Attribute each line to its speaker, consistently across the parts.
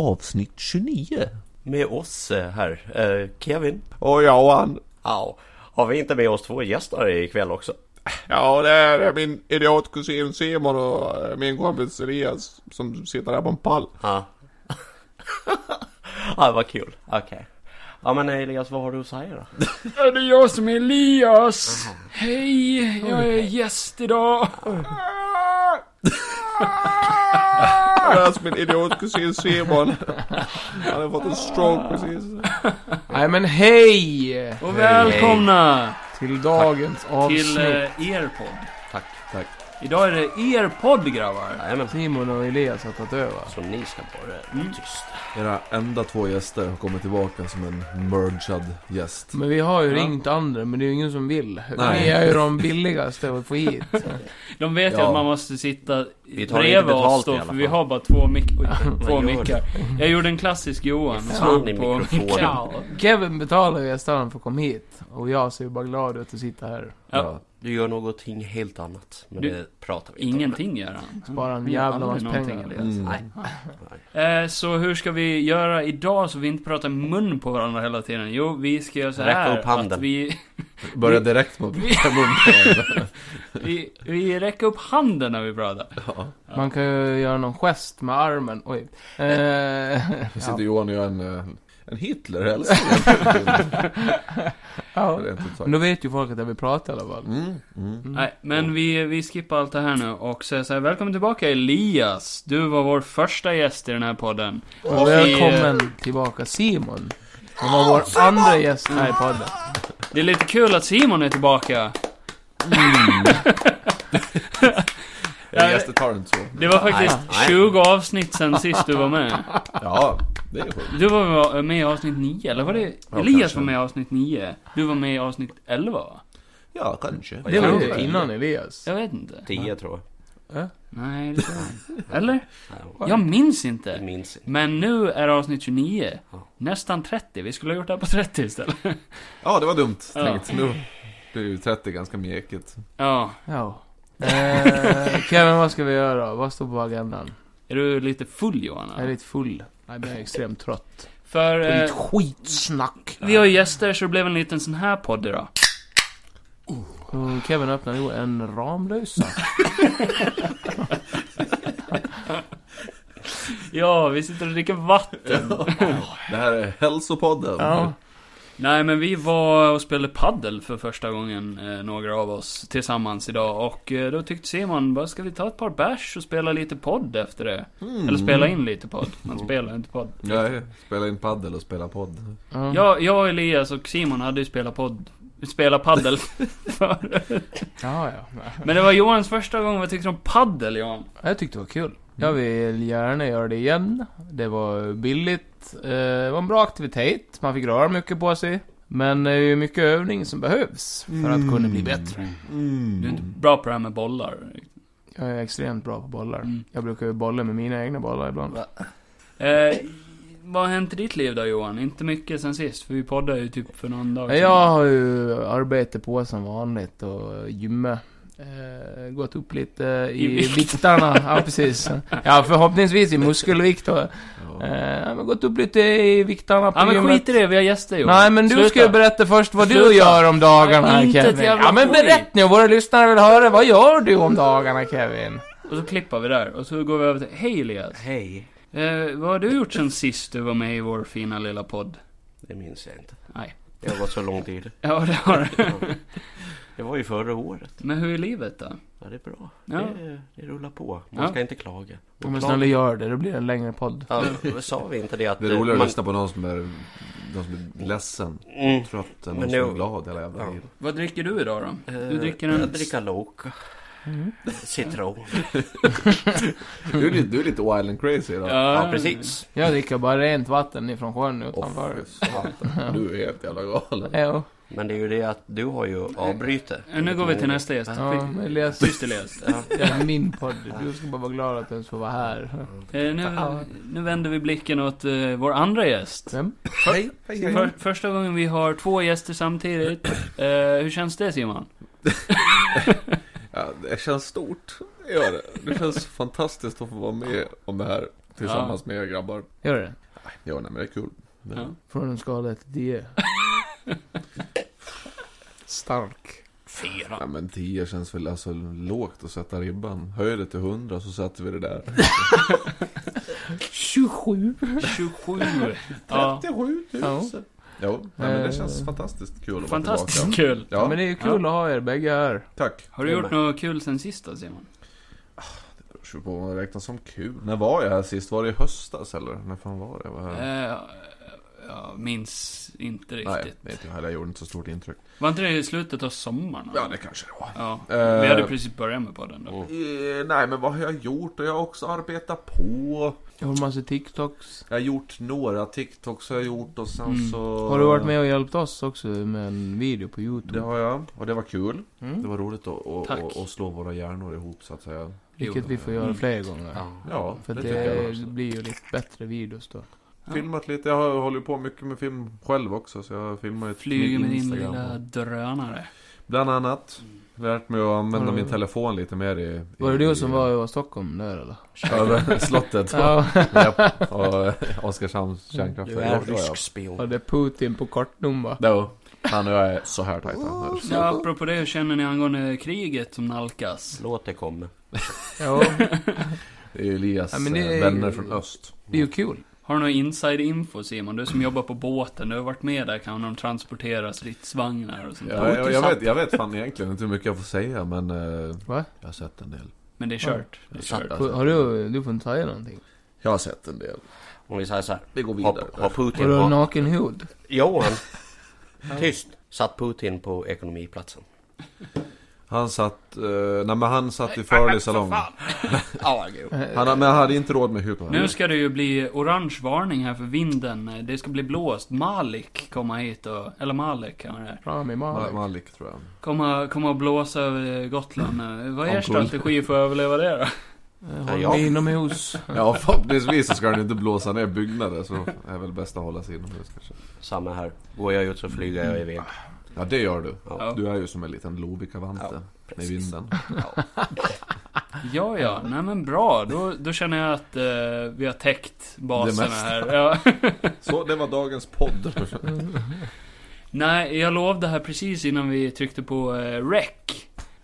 Speaker 1: avsnitt 29.
Speaker 2: Med oss eh, här, eh, Kevin.
Speaker 1: Och Johan.
Speaker 2: Ja. Har vi inte med oss två gäster ikväll också?
Speaker 3: Ja, det är min idiotkusin Simon och eh, min kompis Elias som sitter här på en pall.
Speaker 2: Ja. ja, vad kul. Okej. Ja men Elias, vad har du att säga då?
Speaker 4: Ja, det är jag som är Elias. Hej, jag är gäst idag.
Speaker 3: Det är alltså min idiotkusin Simon. Han har fått en stroke precis.
Speaker 5: Nej men hej!
Speaker 4: Och välkomna
Speaker 5: Till dagens
Speaker 4: till
Speaker 5: avsnitt.
Speaker 4: eh, er podd.
Speaker 2: Tack, tack.
Speaker 4: Idag är det er podd grabbar.
Speaker 2: Jajamän.
Speaker 5: Simon och Elias har tagit över.
Speaker 2: Så ni ska bara vara tysta.
Speaker 6: Era enda två gäster har kommit tillbaka som en mergad gäst.
Speaker 5: Men vi har ju ringt andra, men det är ju ingen som vill.
Speaker 6: Nej.
Speaker 5: Ni är ju de billigaste att få hit.
Speaker 4: De vet ju
Speaker 6: Ja.
Speaker 4: att man måste sitta
Speaker 2: Vi tar inte
Speaker 4: bredvid
Speaker 2: betalt i
Speaker 4: oss då,
Speaker 2: alla
Speaker 4: för
Speaker 2: fall.
Speaker 4: vi har bara två, mick oj, två
Speaker 2: gör du?
Speaker 4: mickar. Jag gjorde en klassisk Johan och
Speaker 2: Fan i
Speaker 4: slog på
Speaker 2: mikrofonen.
Speaker 4: mikrofonen.
Speaker 5: Kevin betalar ju gästerna för att komma hit. Och jag ser ju bara glad ut att sitta här.
Speaker 4: Ja,
Speaker 2: Du gör någonting helt annat. Men
Speaker 4: Du-
Speaker 2: det pratar vi inte om.
Speaker 4: ingenting gör han.
Speaker 5: Sparar en
Speaker 4: Vi gör
Speaker 5: jävla
Speaker 4: aldrig
Speaker 5: massa
Speaker 4: någonting,
Speaker 5: pengar.
Speaker 4: Elias.
Speaker 2: Nej.
Speaker 4: Eh, så hur ska vi göra idag så vi inte pratar mun på varandra hela tiden? Jo, vi ska göra så
Speaker 2: Räcka
Speaker 4: här
Speaker 2: upp handen.
Speaker 4: att vi,
Speaker 6: Börja direkt mot munnen.
Speaker 4: vi, vi räcker upp handen när vi pratar.
Speaker 5: Man kan ju göra någon gest med armen. Oj. Eh,
Speaker 6: Nu
Speaker 5: ja.
Speaker 6: sitter Johan och gör en, eh, en Hitler-hälsning.
Speaker 5: Ja.
Speaker 6: Rent ut sagt.
Speaker 5: Men då vet ju folk att jag vill prata i alla fall.
Speaker 6: Mm, mm.
Speaker 4: Nej, men vi, vi skippar allt det här nu och säger så här, välkommen tillbaka Elias. Du var vår första gäst i den här podden.
Speaker 5: Och välkommen tillbaka Simon. Som var vår andra gäst här i podden.
Speaker 4: Det är lite kul att Simon är tillbaka.
Speaker 6: Era gäster tar det inte så.
Speaker 4: Det var faktiskt
Speaker 2: Nej.
Speaker 4: 20 avsnitt sen sist du var med.
Speaker 6: Ja, det är sjukt.
Speaker 4: Du var med i avsnitt 9, eller var det?
Speaker 6: Ja,
Speaker 4: Elias
Speaker 6: kanske.
Speaker 4: var med i avsnitt 9. Du var med i avsnitt 11, va?
Speaker 1: Ja, kanske.
Speaker 5: Det var
Speaker 4: Ja.
Speaker 5: ju innan Elias.
Speaker 4: Jag vet inte.
Speaker 2: Tio tror
Speaker 4: Nej, det tror jag inte. Eller?
Speaker 2: jag.
Speaker 4: Jag minns
Speaker 2: Jag
Speaker 4: inte.
Speaker 2: minns inte.
Speaker 4: Men nu är avsnitt 29.
Speaker 2: Ja.
Speaker 4: Nästan 30. Vi skulle ha gjort det här på 30 istället.
Speaker 6: Ja, det var dumt
Speaker 4: Ja.
Speaker 6: tänkt. Nu blir ju 30 ganska mjäkigt.
Speaker 4: Ja.
Speaker 5: Ja. Eh, Kevin, vad ska vi göra? Vad står på agendan?
Speaker 4: Är du lite full Johan?
Speaker 5: Jag är lite full. Nej, men jag är extremt trött.
Speaker 4: För
Speaker 5: Det är
Speaker 4: eh,
Speaker 5: ett skitsnack.
Speaker 4: vi har ju gäster så det blev en liten sån här podd idag.
Speaker 5: Och Kevin öppnar ju en Ramlösa.
Speaker 4: Ja, vi sitter och dricker vatten.
Speaker 6: Det här är hälsopodden.
Speaker 5: Ja.
Speaker 4: Nej, men vi var och spelade paddel för första gången, eh, några av oss, tillsammans idag. Och eh, då tyckte Simon, bara ska vi ta ett par bärs och spela lite podd efter det? Eller
Speaker 3: Mm.
Speaker 4: spela in lite podd. Man spelar inte podd.
Speaker 6: Jag spelar in paddel och spelar podd.
Speaker 5: Ja.
Speaker 4: Jag, jag Elias och Simon hade ju spelat podd. Spela paddel förut.
Speaker 5: Ja, ja.
Speaker 4: Men det var Johans första gång, vad tyckte du om paddel Johan?
Speaker 5: Jag tyckte det var kul. Jag vill gärna göra det igen. Det var billigt. eh, Det var en bra aktivitet. Man fick röra mycket på sig. Men det är ju mycket övning som behövs för att kunna bli bättre.
Speaker 4: Du är inte bra på det här med bollar.
Speaker 5: Jag är extremt bra på bollar.
Speaker 4: Mm.
Speaker 5: Jag brukar ju bolla med mina egna bollar ibland.
Speaker 4: Eh, vad har hänt i ditt liv då Johan? Inte mycket sen sist, för vi poddade ju typ för någon dag sedan.
Speaker 5: Jag har ju arbete på som vanligt och gymma. Eh, gått upp lite
Speaker 4: I
Speaker 5: i
Speaker 4: vikt.
Speaker 5: viktarna. Ja, precis. Ja, förhoppningsvis i muskelvikt och, eh, men Gått upp lite i viktarna på
Speaker 4: Ja men
Speaker 5: gymmet.
Speaker 4: skit i det, vi har gäster Johan.
Speaker 5: Nej men du
Speaker 4: Sluta.
Speaker 5: ska ju berätta först vad
Speaker 4: Sluta.
Speaker 5: du gör om dagarna
Speaker 4: Nej, inte ett
Speaker 5: Kevin.
Speaker 4: jävla
Speaker 5: Ja men
Speaker 4: skit.
Speaker 5: berätt nu, våra lyssnare vill höra. Vad gör du om dagarna Kevin?
Speaker 4: Och så klippar vi där, och så går vi över till, hej Elias.
Speaker 2: Hej.
Speaker 4: Eh, vad har du gjort sen sist du var med i vår fina lilla podd?
Speaker 2: Det minns jag inte.
Speaker 4: Nej.
Speaker 2: Det har gått så lång tid.
Speaker 4: Ja det har du.
Speaker 2: Det var ju förra året.
Speaker 4: Men hur är livet då?
Speaker 2: Ja, det är bra.
Speaker 4: Ja.
Speaker 2: Det, det rullar på. Man
Speaker 4: Ja.
Speaker 2: ska inte klaga.
Speaker 5: Om jag snälla gör det, det blir en längre podd.
Speaker 2: Ja, men sa vi inte det att...
Speaker 6: Det är roligare
Speaker 2: man-
Speaker 6: att lyssna på någon som är, någon som är ledsen,
Speaker 2: Mm.
Speaker 6: trött, än
Speaker 2: Men
Speaker 6: någon som
Speaker 2: nu-
Speaker 6: är glad hela jävla
Speaker 2: Ja.
Speaker 6: tiden.
Speaker 4: Vad dricker du idag då? Du
Speaker 2: Eh,
Speaker 4: dricker en...
Speaker 2: Jag dricker Loka.
Speaker 4: Mm.
Speaker 2: Citron.
Speaker 6: Du är lite, du är lite wild and crazy idag.
Speaker 2: Ja, precis.
Speaker 5: Jag dricker bara rent vatten ifrån sjön utanför.
Speaker 6: Åh, fy satan. Du är helt jävla galen.
Speaker 5: Jo.
Speaker 2: Men det är ju det att du har ju avbryter.
Speaker 4: Eh, Nu går vi till nästa gäst.
Speaker 5: Ja, men Elias.
Speaker 4: Tyst Elias.
Speaker 2: Ja.
Speaker 5: Det är min podd. Du ska bara vara glad att du ens får vara här.
Speaker 4: Eh, nu, nu vänder vi blicken åt eh, vår andra gäst.
Speaker 5: Vem?
Speaker 6: Hej, hej,
Speaker 4: För, första gången vi har två gäster samtidigt. Eh, hur känns det Simon?
Speaker 6: Ja, det känns stort. Det gör det. Det känns fantastiskt att få vara med om det här.
Speaker 3: tillsammans med er grabbar.
Speaker 5: Gör det?
Speaker 3: Ja, nej men det är kul.
Speaker 4: Ja.
Speaker 5: Från en skala till 10. Stark.
Speaker 4: Fyra.
Speaker 6: Ja, men 10 känns väl alltså lågt att sätta ribban. Höj det till 100 så sätter vi det där.
Speaker 5: 27.
Speaker 4: 27. Ja.
Speaker 3: 37 000!
Speaker 5: Ja.
Speaker 6: Jo, nej, men det
Speaker 5: Eh,
Speaker 6: känns fantastiskt kul att vara
Speaker 4: Fantastiskt
Speaker 6: tillbaka.
Speaker 4: kul.
Speaker 5: Ja.
Speaker 6: Ja,
Speaker 5: Men det är ju kul att ha er bägge här.
Speaker 6: tack.
Speaker 4: Har du gjort något kul sen sista Simon?
Speaker 6: Jag tror på vad man räknar som kul. När var jag här sist? Var det i höstas eller? När fan var det? Jag Var här?
Speaker 4: Eh, Jag minns inte
Speaker 6: Nej,
Speaker 4: riktigt.
Speaker 6: det är inte jag heller. Jag gjorde inte så stort intryck.
Speaker 4: Var inte det i slutet av sommaren?
Speaker 6: Ja, det kanske det var.
Speaker 4: Ja.
Speaker 6: Eh.
Speaker 4: Vi hade precis börjat med podden då.
Speaker 6: Eh, nej, men vad har jag gjort? Jag har också arbetat på.
Speaker 5: Jag har massa TikToks.
Speaker 6: Jag har gjort några TikToks har jag gjort och sen
Speaker 4: Mm.
Speaker 6: så...
Speaker 5: Har du varit med och hjälpt oss också med en video på
Speaker 6: Det
Speaker 5: YouTube?
Speaker 6: har jag, och det var kul. Det
Speaker 5: Mm.
Speaker 6: var roligt att, att,
Speaker 4: Tack.
Speaker 6: att, att slå våra hjärnor ihop så att säga.
Speaker 5: Vilket vi får göra
Speaker 4: Mm.
Speaker 5: fler gånger.
Speaker 6: Ja,
Speaker 5: För
Speaker 6: det,
Speaker 5: det,
Speaker 6: tycker jag också.
Speaker 5: blir ju lite bättre videos då.
Speaker 4: Ja.
Speaker 6: Filmat lite, jag har- håller på mycket med film själv också så jag filmar ju
Speaker 4: Flyger med din
Speaker 6: Instagram
Speaker 4: lilla drönare.
Speaker 6: Bland annat lärt mig att använda
Speaker 5: Har du-
Speaker 6: min telefon lite mer i... i
Speaker 5: Var det du som
Speaker 6: i-
Speaker 5: var i Stockholm där eller?
Speaker 6: Över slottet.
Speaker 5: Ja,
Speaker 6: Japp, och eh, Oskarshamns kärnkraftverk.
Speaker 2: Du är
Speaker 6: Ja, ja.
Speaker 2: rysk
Speaker 5: var
Speaker 2: spion.
Speaker 5: det Putin på kortnummer?
Speaker 6: Jo, han och jag är så här tajta.
Speaker 4: Ja, apropå det, hur känner ni angående kriget som nalkas?
Speaker 2: Låt det komma.
Speaker 5: Ja,
Speaker 6: Det är ju Elias
Speaker 5: Ja, men det
Speaker 6: eh,
Speaker 5: är-
Speaker 6: vänner från öst.
Speaker 5: det är ju kul.
Speaker 4: Har du någon inside info Simon? Du som jobbar på båten, du har varit med där kan de transportera stridsvagnar och sånt
Speaker 6: Ja,
Speaker 4: där.
Speaker 6: jag, jag, vet, jag vet fan egentligen inte hur mycket jag får säga men... eh,
Speaker 5: Va?
Speaker 6: Jag har sett en del.
Speaker 4: Men det är kört. Det är
Speaker 6: Jag har
Speaker 4: kört.
Speaker 6: sett-
Speaker 5: Har du, du får inte säga någonting.
Speaker 6: Jag har sett en del.
Speaker 2: Om vi säger så här.
Speaker 6: Vi går vidare.
Speaker 2: Har, har
Speaker 5: Har
Speaker 2: Putin...
Speaker 5: du
Speaker 2: Har,
Speaker 5: naken hud?
Speaker 2: Johan! Tyst! Satt Putin på ekonomiplatsen?
Speaker 6: Han satt... eh, nej men han satt i farlig salong.
Speaker 2: Ja, jo.
Speaker 5: Eh,
Speaker 6: Han, men han hade inte råd med hud på henne.
Speaker 4: Nu ska det ju bli orange varning här för vinden. Det ska bli blåst. Malik komma hit och... Eller Malik kan det
Speaker 5: Rami
Speaker 6: Ma-
Speaker 5: Malek.
Speaker 6: Malik tror jag.
Speaker 4: komma, komma och blåsa över Gotland. nu. Vad är er
Speaker 6: Om cool.
Speaker 4: strategi för att överleva det då?
Speaker 5: Eh, Håll
Speaker 2: Ja, jag-
Speaker 5: mig inomhus.
Speaker 6: Ja förhoppningsvis så ska han inte blåsa ner byggnader så är väl bäst att hålla sig inomhus kanske.
Speaker 2: Samma här. Går jag ut så flyger jag iväg.
Speaker 6: Ja det gör du.
Speaker 2: Ja.
Speaker 6: Du är ju som en liten Lovikka-vante. I vinden.
Speaker 4: Ja, ja. Nej men bra. Då, då känner jag att eh, vi har täckt baserna
Speaker 6: mesta.
Speaker 4: här. Ja.
Speaker 6: Så det var dagens podd.
Speaker 4: Nej, jag lovade här precis innan vi tryckte på eh, rec.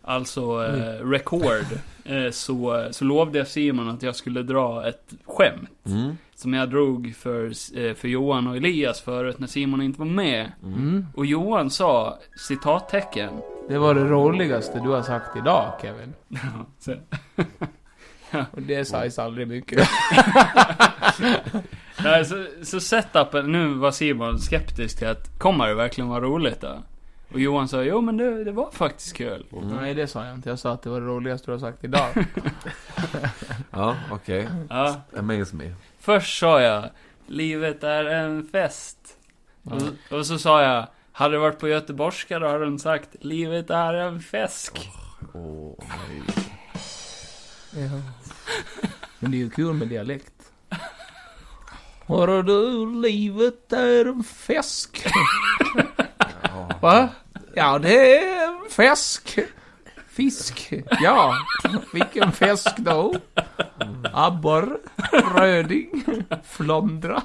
Speaker 4: Alltså eh, record. Eh, så, så lovade jag Simon att jag skulle dra ett skämt.
Speaker 6: Mm.
Speaker 4: Som jag drog för, eh, för Johan och Elias förut när Simon inte var med.
Speaker 5: Mm.
Speaker 4: Och Johan sa, citattecken.
Speaker 5: Det var det roligaste du har sagt idag Kevin.
Speaker 4: Så-
Speaker 5: Och det sägs aldrig mycket.
Speaker 4: Nej, så, så setupen, nu var Simon skeptisk till att kommer det verkligen vara roligt då? Och Johan sa, jo men det, det var faktiskt kul.
Speaker 5: Nej det sa jag inte. Jag sa att det var det roligaste du har sagt idag.
Speaker 6: Ja okej.
Speaker 5: Mm.
Speaker 4: Ja,
Speaker 6: Amaze me.
Speaker 4: först sa jag, livet är en fest. Och, och så sa jag, hade det varit på göteborgska då hade de sagt, livet är en fesk.
Speaker 6: Åh nej.
Speaker 5: Ja. Men det är ju kul med dialekt. Hörru du, livet är en fisk. Va? Ja, det är en fisk. Fisk, ja. Vilken fisk då? Abborre, röding, flondra.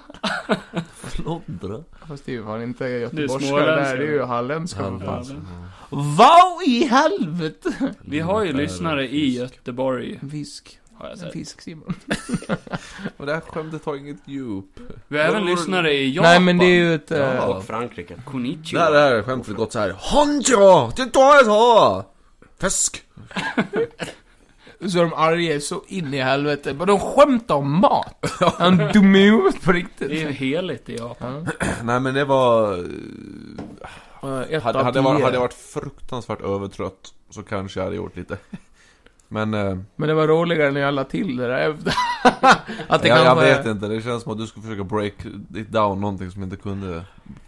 Speaker 6: Flodra.
Speaker 5: Fast det är ju fan inte
Speaker 4: Det är
Speaker 5: göteborgska det
Speaker 4: småländska.
Speaker 5: där, det är ju halländska. för fan.
Speaker 4: Ja.
Speaker 5: Vad i helvete?
Speaker 4: Vi har ju lyssnare i Göteborg,
Speaker 5: En fisk.
Speaker 4: har jag
Speaker 5: En
Speaker 4: sett.
Speaker 5: fisk, Simon.
Speaker 6: Och det här skämtet har inget djup.
Speaker 4: Vi har även lyssnare i Japan.
Speaker 5: Nej, men det är ju ett... eh,
Speaker 6: Ja.
Speaker 2: Och Frankrike.
Speaker 6: Det här, det
Speaker 4: Konnichiwa.
Speaker 6: här skämtet gått så här. Honjo! Det tar jag så! Fisk!
Speaker 5: Så är de arga så in i helvete. Men de skämtar om mat. Han dum i huvudet på
Speaker 4: Det är ju
Speaker 5: riktigt.
Speaker 4: heligt i Japan.
Speaker 6: Nej men det var...
Speaker 5: Hade,
Speaker 6: Hade, hade, jag varit, hade jag varit fruktansvärt övertrött så kanske jag hade gjort lite. Men eh,
Speaker 5: Men det var roligare när jag la till det där efter. att det
Speaker 6: jag, jag
Speaker 5: kanske...
Speaker 6: vet inte, det känns som att du skulle försöka break it down någonting som inte kunde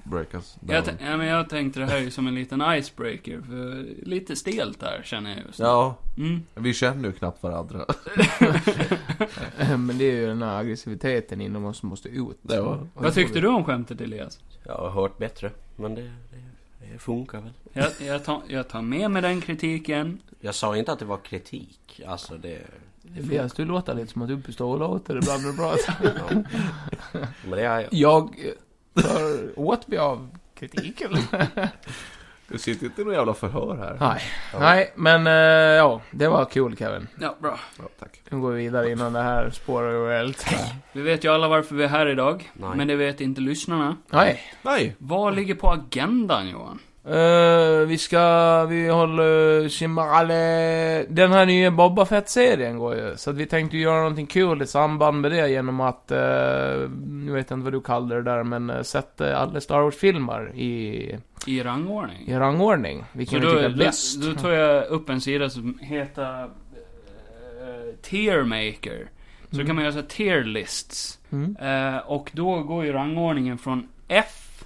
Speaker 6: breakas down.
Speaker 4: Jag, tän- ja, men jag tänkte det här ju som en liten icebreaker, för lite stelt där känner jag just nu.
Speaker 6: Ja,
Speaker 4: Mm.
Speaker 6: vi känner ju knappt varandra.
Speaker 5: Men det är ju den här aggressiviteten inom oss som måste ut.
Speaker 6: Det var-
Speaker 5: Och
Speaker 4: Vad
Speaker 5: det
Speaker 4: tyckte
Speaker 5: får vi-
Speaker 4: du om skämtet Elias?
Speaker 2: Jag har hört bättre. Men det, det, det funkar väl.
Speaker 4: Jag, jag, tar, jag tar med mig den kritiken.
Speaker 2: Jag sa inte att det var kritik. Alltså det...
Speaker 5: Elias, du låter lite som att du pistolåter ibland när du pratar.
Speaker 2: Men det är jag.
Speaker 5: Jag eh, tar åt mig av kritiken.
Speaker 6: Du sitter inte i något jävla förhör här.
Speaker 5: Nej, nej men eh, ja, det var kul Kevin.
Speaker 4: Ja, bra.
Speaker 6: Ja, tack.
Speaker 5: Nu går vi vidare innan det här spårar ur helt.
Speaker 4: Vi vet ju alla varför vi är här idag.
Speaker 2: Nej.
Speaker 4: Men det vet inte lyssnarna.
Speaker 5: Nej,
Speaker 6: Nej!
Speaker 4: Vad ligger på agendan Johan?
Speaker 5: Eh, vi ska, vi håller Shimale... Den här nya Boba Fett-serien går ju, så att vi tänkte ju göra någonting kul i samband med det genom att, eh, nu vet jag inte vad du kallar det där, men eh, sätta alla Star Wars-filmer i,
Speaker 4: I rangordning?
Speaker 5: i rangordning. Vilken vi
Speaker 4: då,
Speaker 5: tycker är
Speaker 4: då-
Speaker 5: bäst.
Speaker 4: då tar jag upp en sida som heter eh, Tiermaker. Så då kan man göra så här tier lists.
Speaker 5: Mm.
Speaker 4: Eh, och då går ju rangordningen från F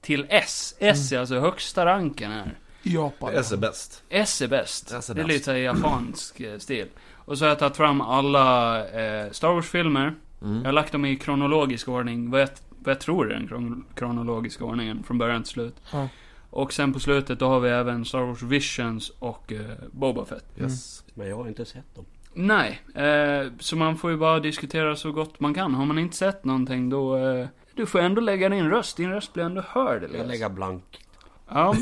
Speaker 4: till S.
Speaker 6: Mm.
Speaker 4: S är alltså högsta ranken här.
Speaker 5: Japan.
Speaker 6: S är bäst.
Speaker 4: S är bäst.
Speaker 6: S är
Speaker 4: det är
Speaker 6: bäst.
Speaker 4: lite så här japansk eh, stil. Och så har jag tagit fram alla eh, Star Wars-filmer.
Speaker 6: Mm.
Speaker 4: Jag har lagt dem i kronologisk ordning. Vad jag, vad jag tror är den kron kronologiska ordningen. Från början till slut.
Speaker 5: Ja.
Speaker 4: Och sen på slutet då har vi även Star Wars Visions och eh, Boba Fett.
Speaker 6: Yes.
Speaker 2: Men jag har inte sett dem.
Speaker 4: Nej, eh, så man får ju bara diskutera så gott man kan. Har man inte sett någonting då... Eh, du får ändå lägga din röst. Din röst blir ändå hörd.
Speaker 2: Jag
Speaker 4: Elias.
Speaker 2: lägger blank.
Speaker 4: Ja,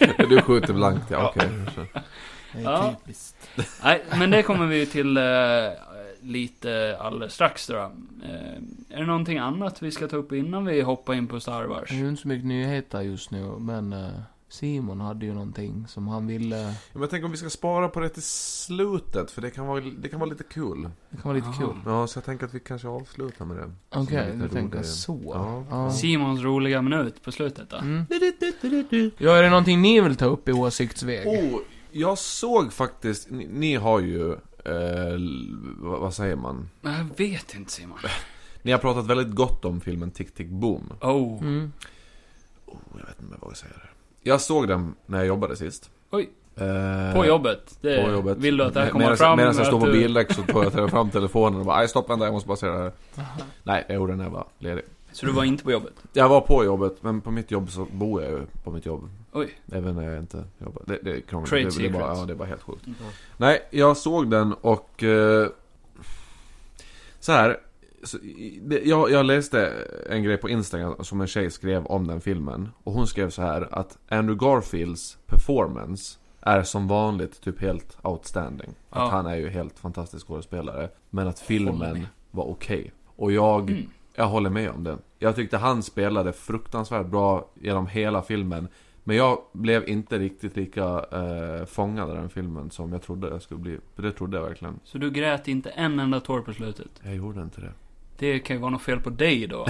Speaker 4: men-
Speaker 6: Du skjuter blankt, ja okej.
Speaker 4: Ja. Nej, men det kommer vi till eh, lite alldeles strax då. Eh, är det någonting annat vi ska ta upp innan vi hoppar in på Star
Speaker 5: Mm,
Speaker 4: Wars?
Speaker 5: Det är ju inte så mycket nyheter just nu, men eh, Simon hade ju någonting som han ville...
Speaker 6: Ja, Men tänk om vi ska spara på det till slutet, för det kan vara, det kan vara lite kul.
Speaker 5: Det kan vara lite
Speaker 4: Aha.
Speaker 5: kul.
Speaker 6: Ja, så jag tänker att vi kanske avslutar med det.
Speaker 5: Okej,
Speaker 6: Som är lite
Speaker 5: du tänker
Speaker 6: roligare.
Speaker 5: så.
Speaker 6: Ja.
Speaker 4: Simons roliga minut på slutet då.
Speaker 5: Mm. Ja, är det någonting ni vill ta upp i åsiktsväg?
Speaker 6: Oh, jag såg faktiskt, ni, ni har ju, eh, l- vad, vad säger man?
Speaker 4: Men Jag vet inte Simon.
Speaker 6: Ni har pratat väldigt gott om filmen Tick Tick Boom.
Speaker 4: Oh.
Speaker 5: Mm.
Speaker 6: Oh, jag vet inte om jag vågar säga det. Jag såg den när jag jobbade sist.
Speaker 4: Oj.
Speaker 6: Eh,
Speaker 4: På jobbet. Det,
Speaker 6: På jobbet.
Speaker 4: Vill du att det här
Speaker 6: Med-
Speaker 4: kommer
Speaker 6: medans-
Speaker 4: fram?
Speaker 6: Medan jag
Speaker 4: att
Speaker 6: står på
Speaker 4: du-
Speaker 6: bildäck så tar jag tar fram telefonen och bara, nej stopp vänta, jag måste bara säga det här. Nej, jag gjorde det när jag var ledig.
Speaker 4: Så du var inte på jobbet?
Speaker 6: Jag var på jobbet, men på mitt jobb så bor jag ju på mitt jobb.
Speaker 4: Oj.
Speaker 6: Även när jag inte jobbar. Det, det är krångligt.
Speaker 4: Trade
Speaker 6: det, det, är bara,
Speaker 4: secrets.
Speaker 6: ja, det är bara helt sjukt.
Speaker 4: Mm.
Speaker 6: Nej, jag såg den och... Eh, så här. Så, i- det, jag, jag läste en grej på Instagram som en tjej skrev om den filmen. Och hon skrev så här att Andrew Garfields performance är som vanligt typ helt outstanding.
Speaker 4: Ja.
Speaker 6: Att han är ju helt fantastisk skådespelare. Men att
Speaker 4: Håller med.
Speaker 6: filmen var okej. Och jag...
Speaker 4: Mm.
Speaker 6: Jag håller med om det. Jag tyckte han spelade fruktansvärt bra genom hela filmen. Men jag blev inte riktigt lika eh, fångad av den filmen som jag trodde jag skulle bli. För det trodde jag verkligen.
Speaker 4: Så du grät inte en enda tår på slutet?
Speaker 6: Jag gjorde inte det.
Speaker 4: Det kan ju vara något fel på dig då.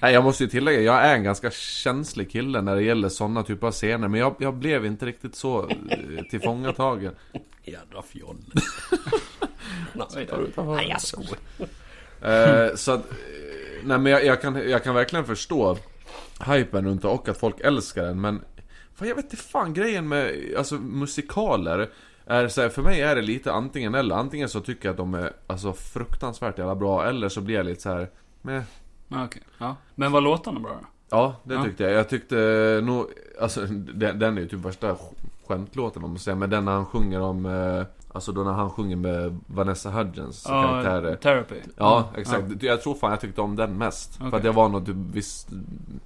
Speaker 6: Nej, jag måste ju tillägga, jag är en ganska känslig kille när det gäller sådana typer av scener. Men jag, jag blev inte riktigt så eh, tillfångatagen.
Speaker 2: Jädra fjoll.
Speaker 4: Oj då.
Speaker 2: Nej, jag skojar.
Speaker 6: Eh, så att, eh, nej men jag, jag, kan, jag kan verkligen förstå hypen runt det och att folk älskar den men fan, jag vet inte fan grejen med alltså, musikaler är så här, för mig är det lite antingen eller. Antingen så tycker jag att de är alltså, fruktansvärt jävla bra eller så blir jag lite så här. Meh.
Speaker 4: Ja, Okej. Ja. Men var låtarna bra då?
Speaker 6: Ja, det
Speaker 4: Ja.
Speaker 6: tyckte jag. Jag tyckte nog, alltså den, den är ju typ värsta sk- skämtlåten man måste säga. Men den när han sjunger om, eh, alltså då när han sjunger med Vanessa Hudgens karaktär. eh,
Speaker 4: Therapy.
Speaker 6: Ja, exakt. Jag tror fan jag tyckte om den mest. För
Speaker 4: Okej.
Speaker 6: att det var något visst,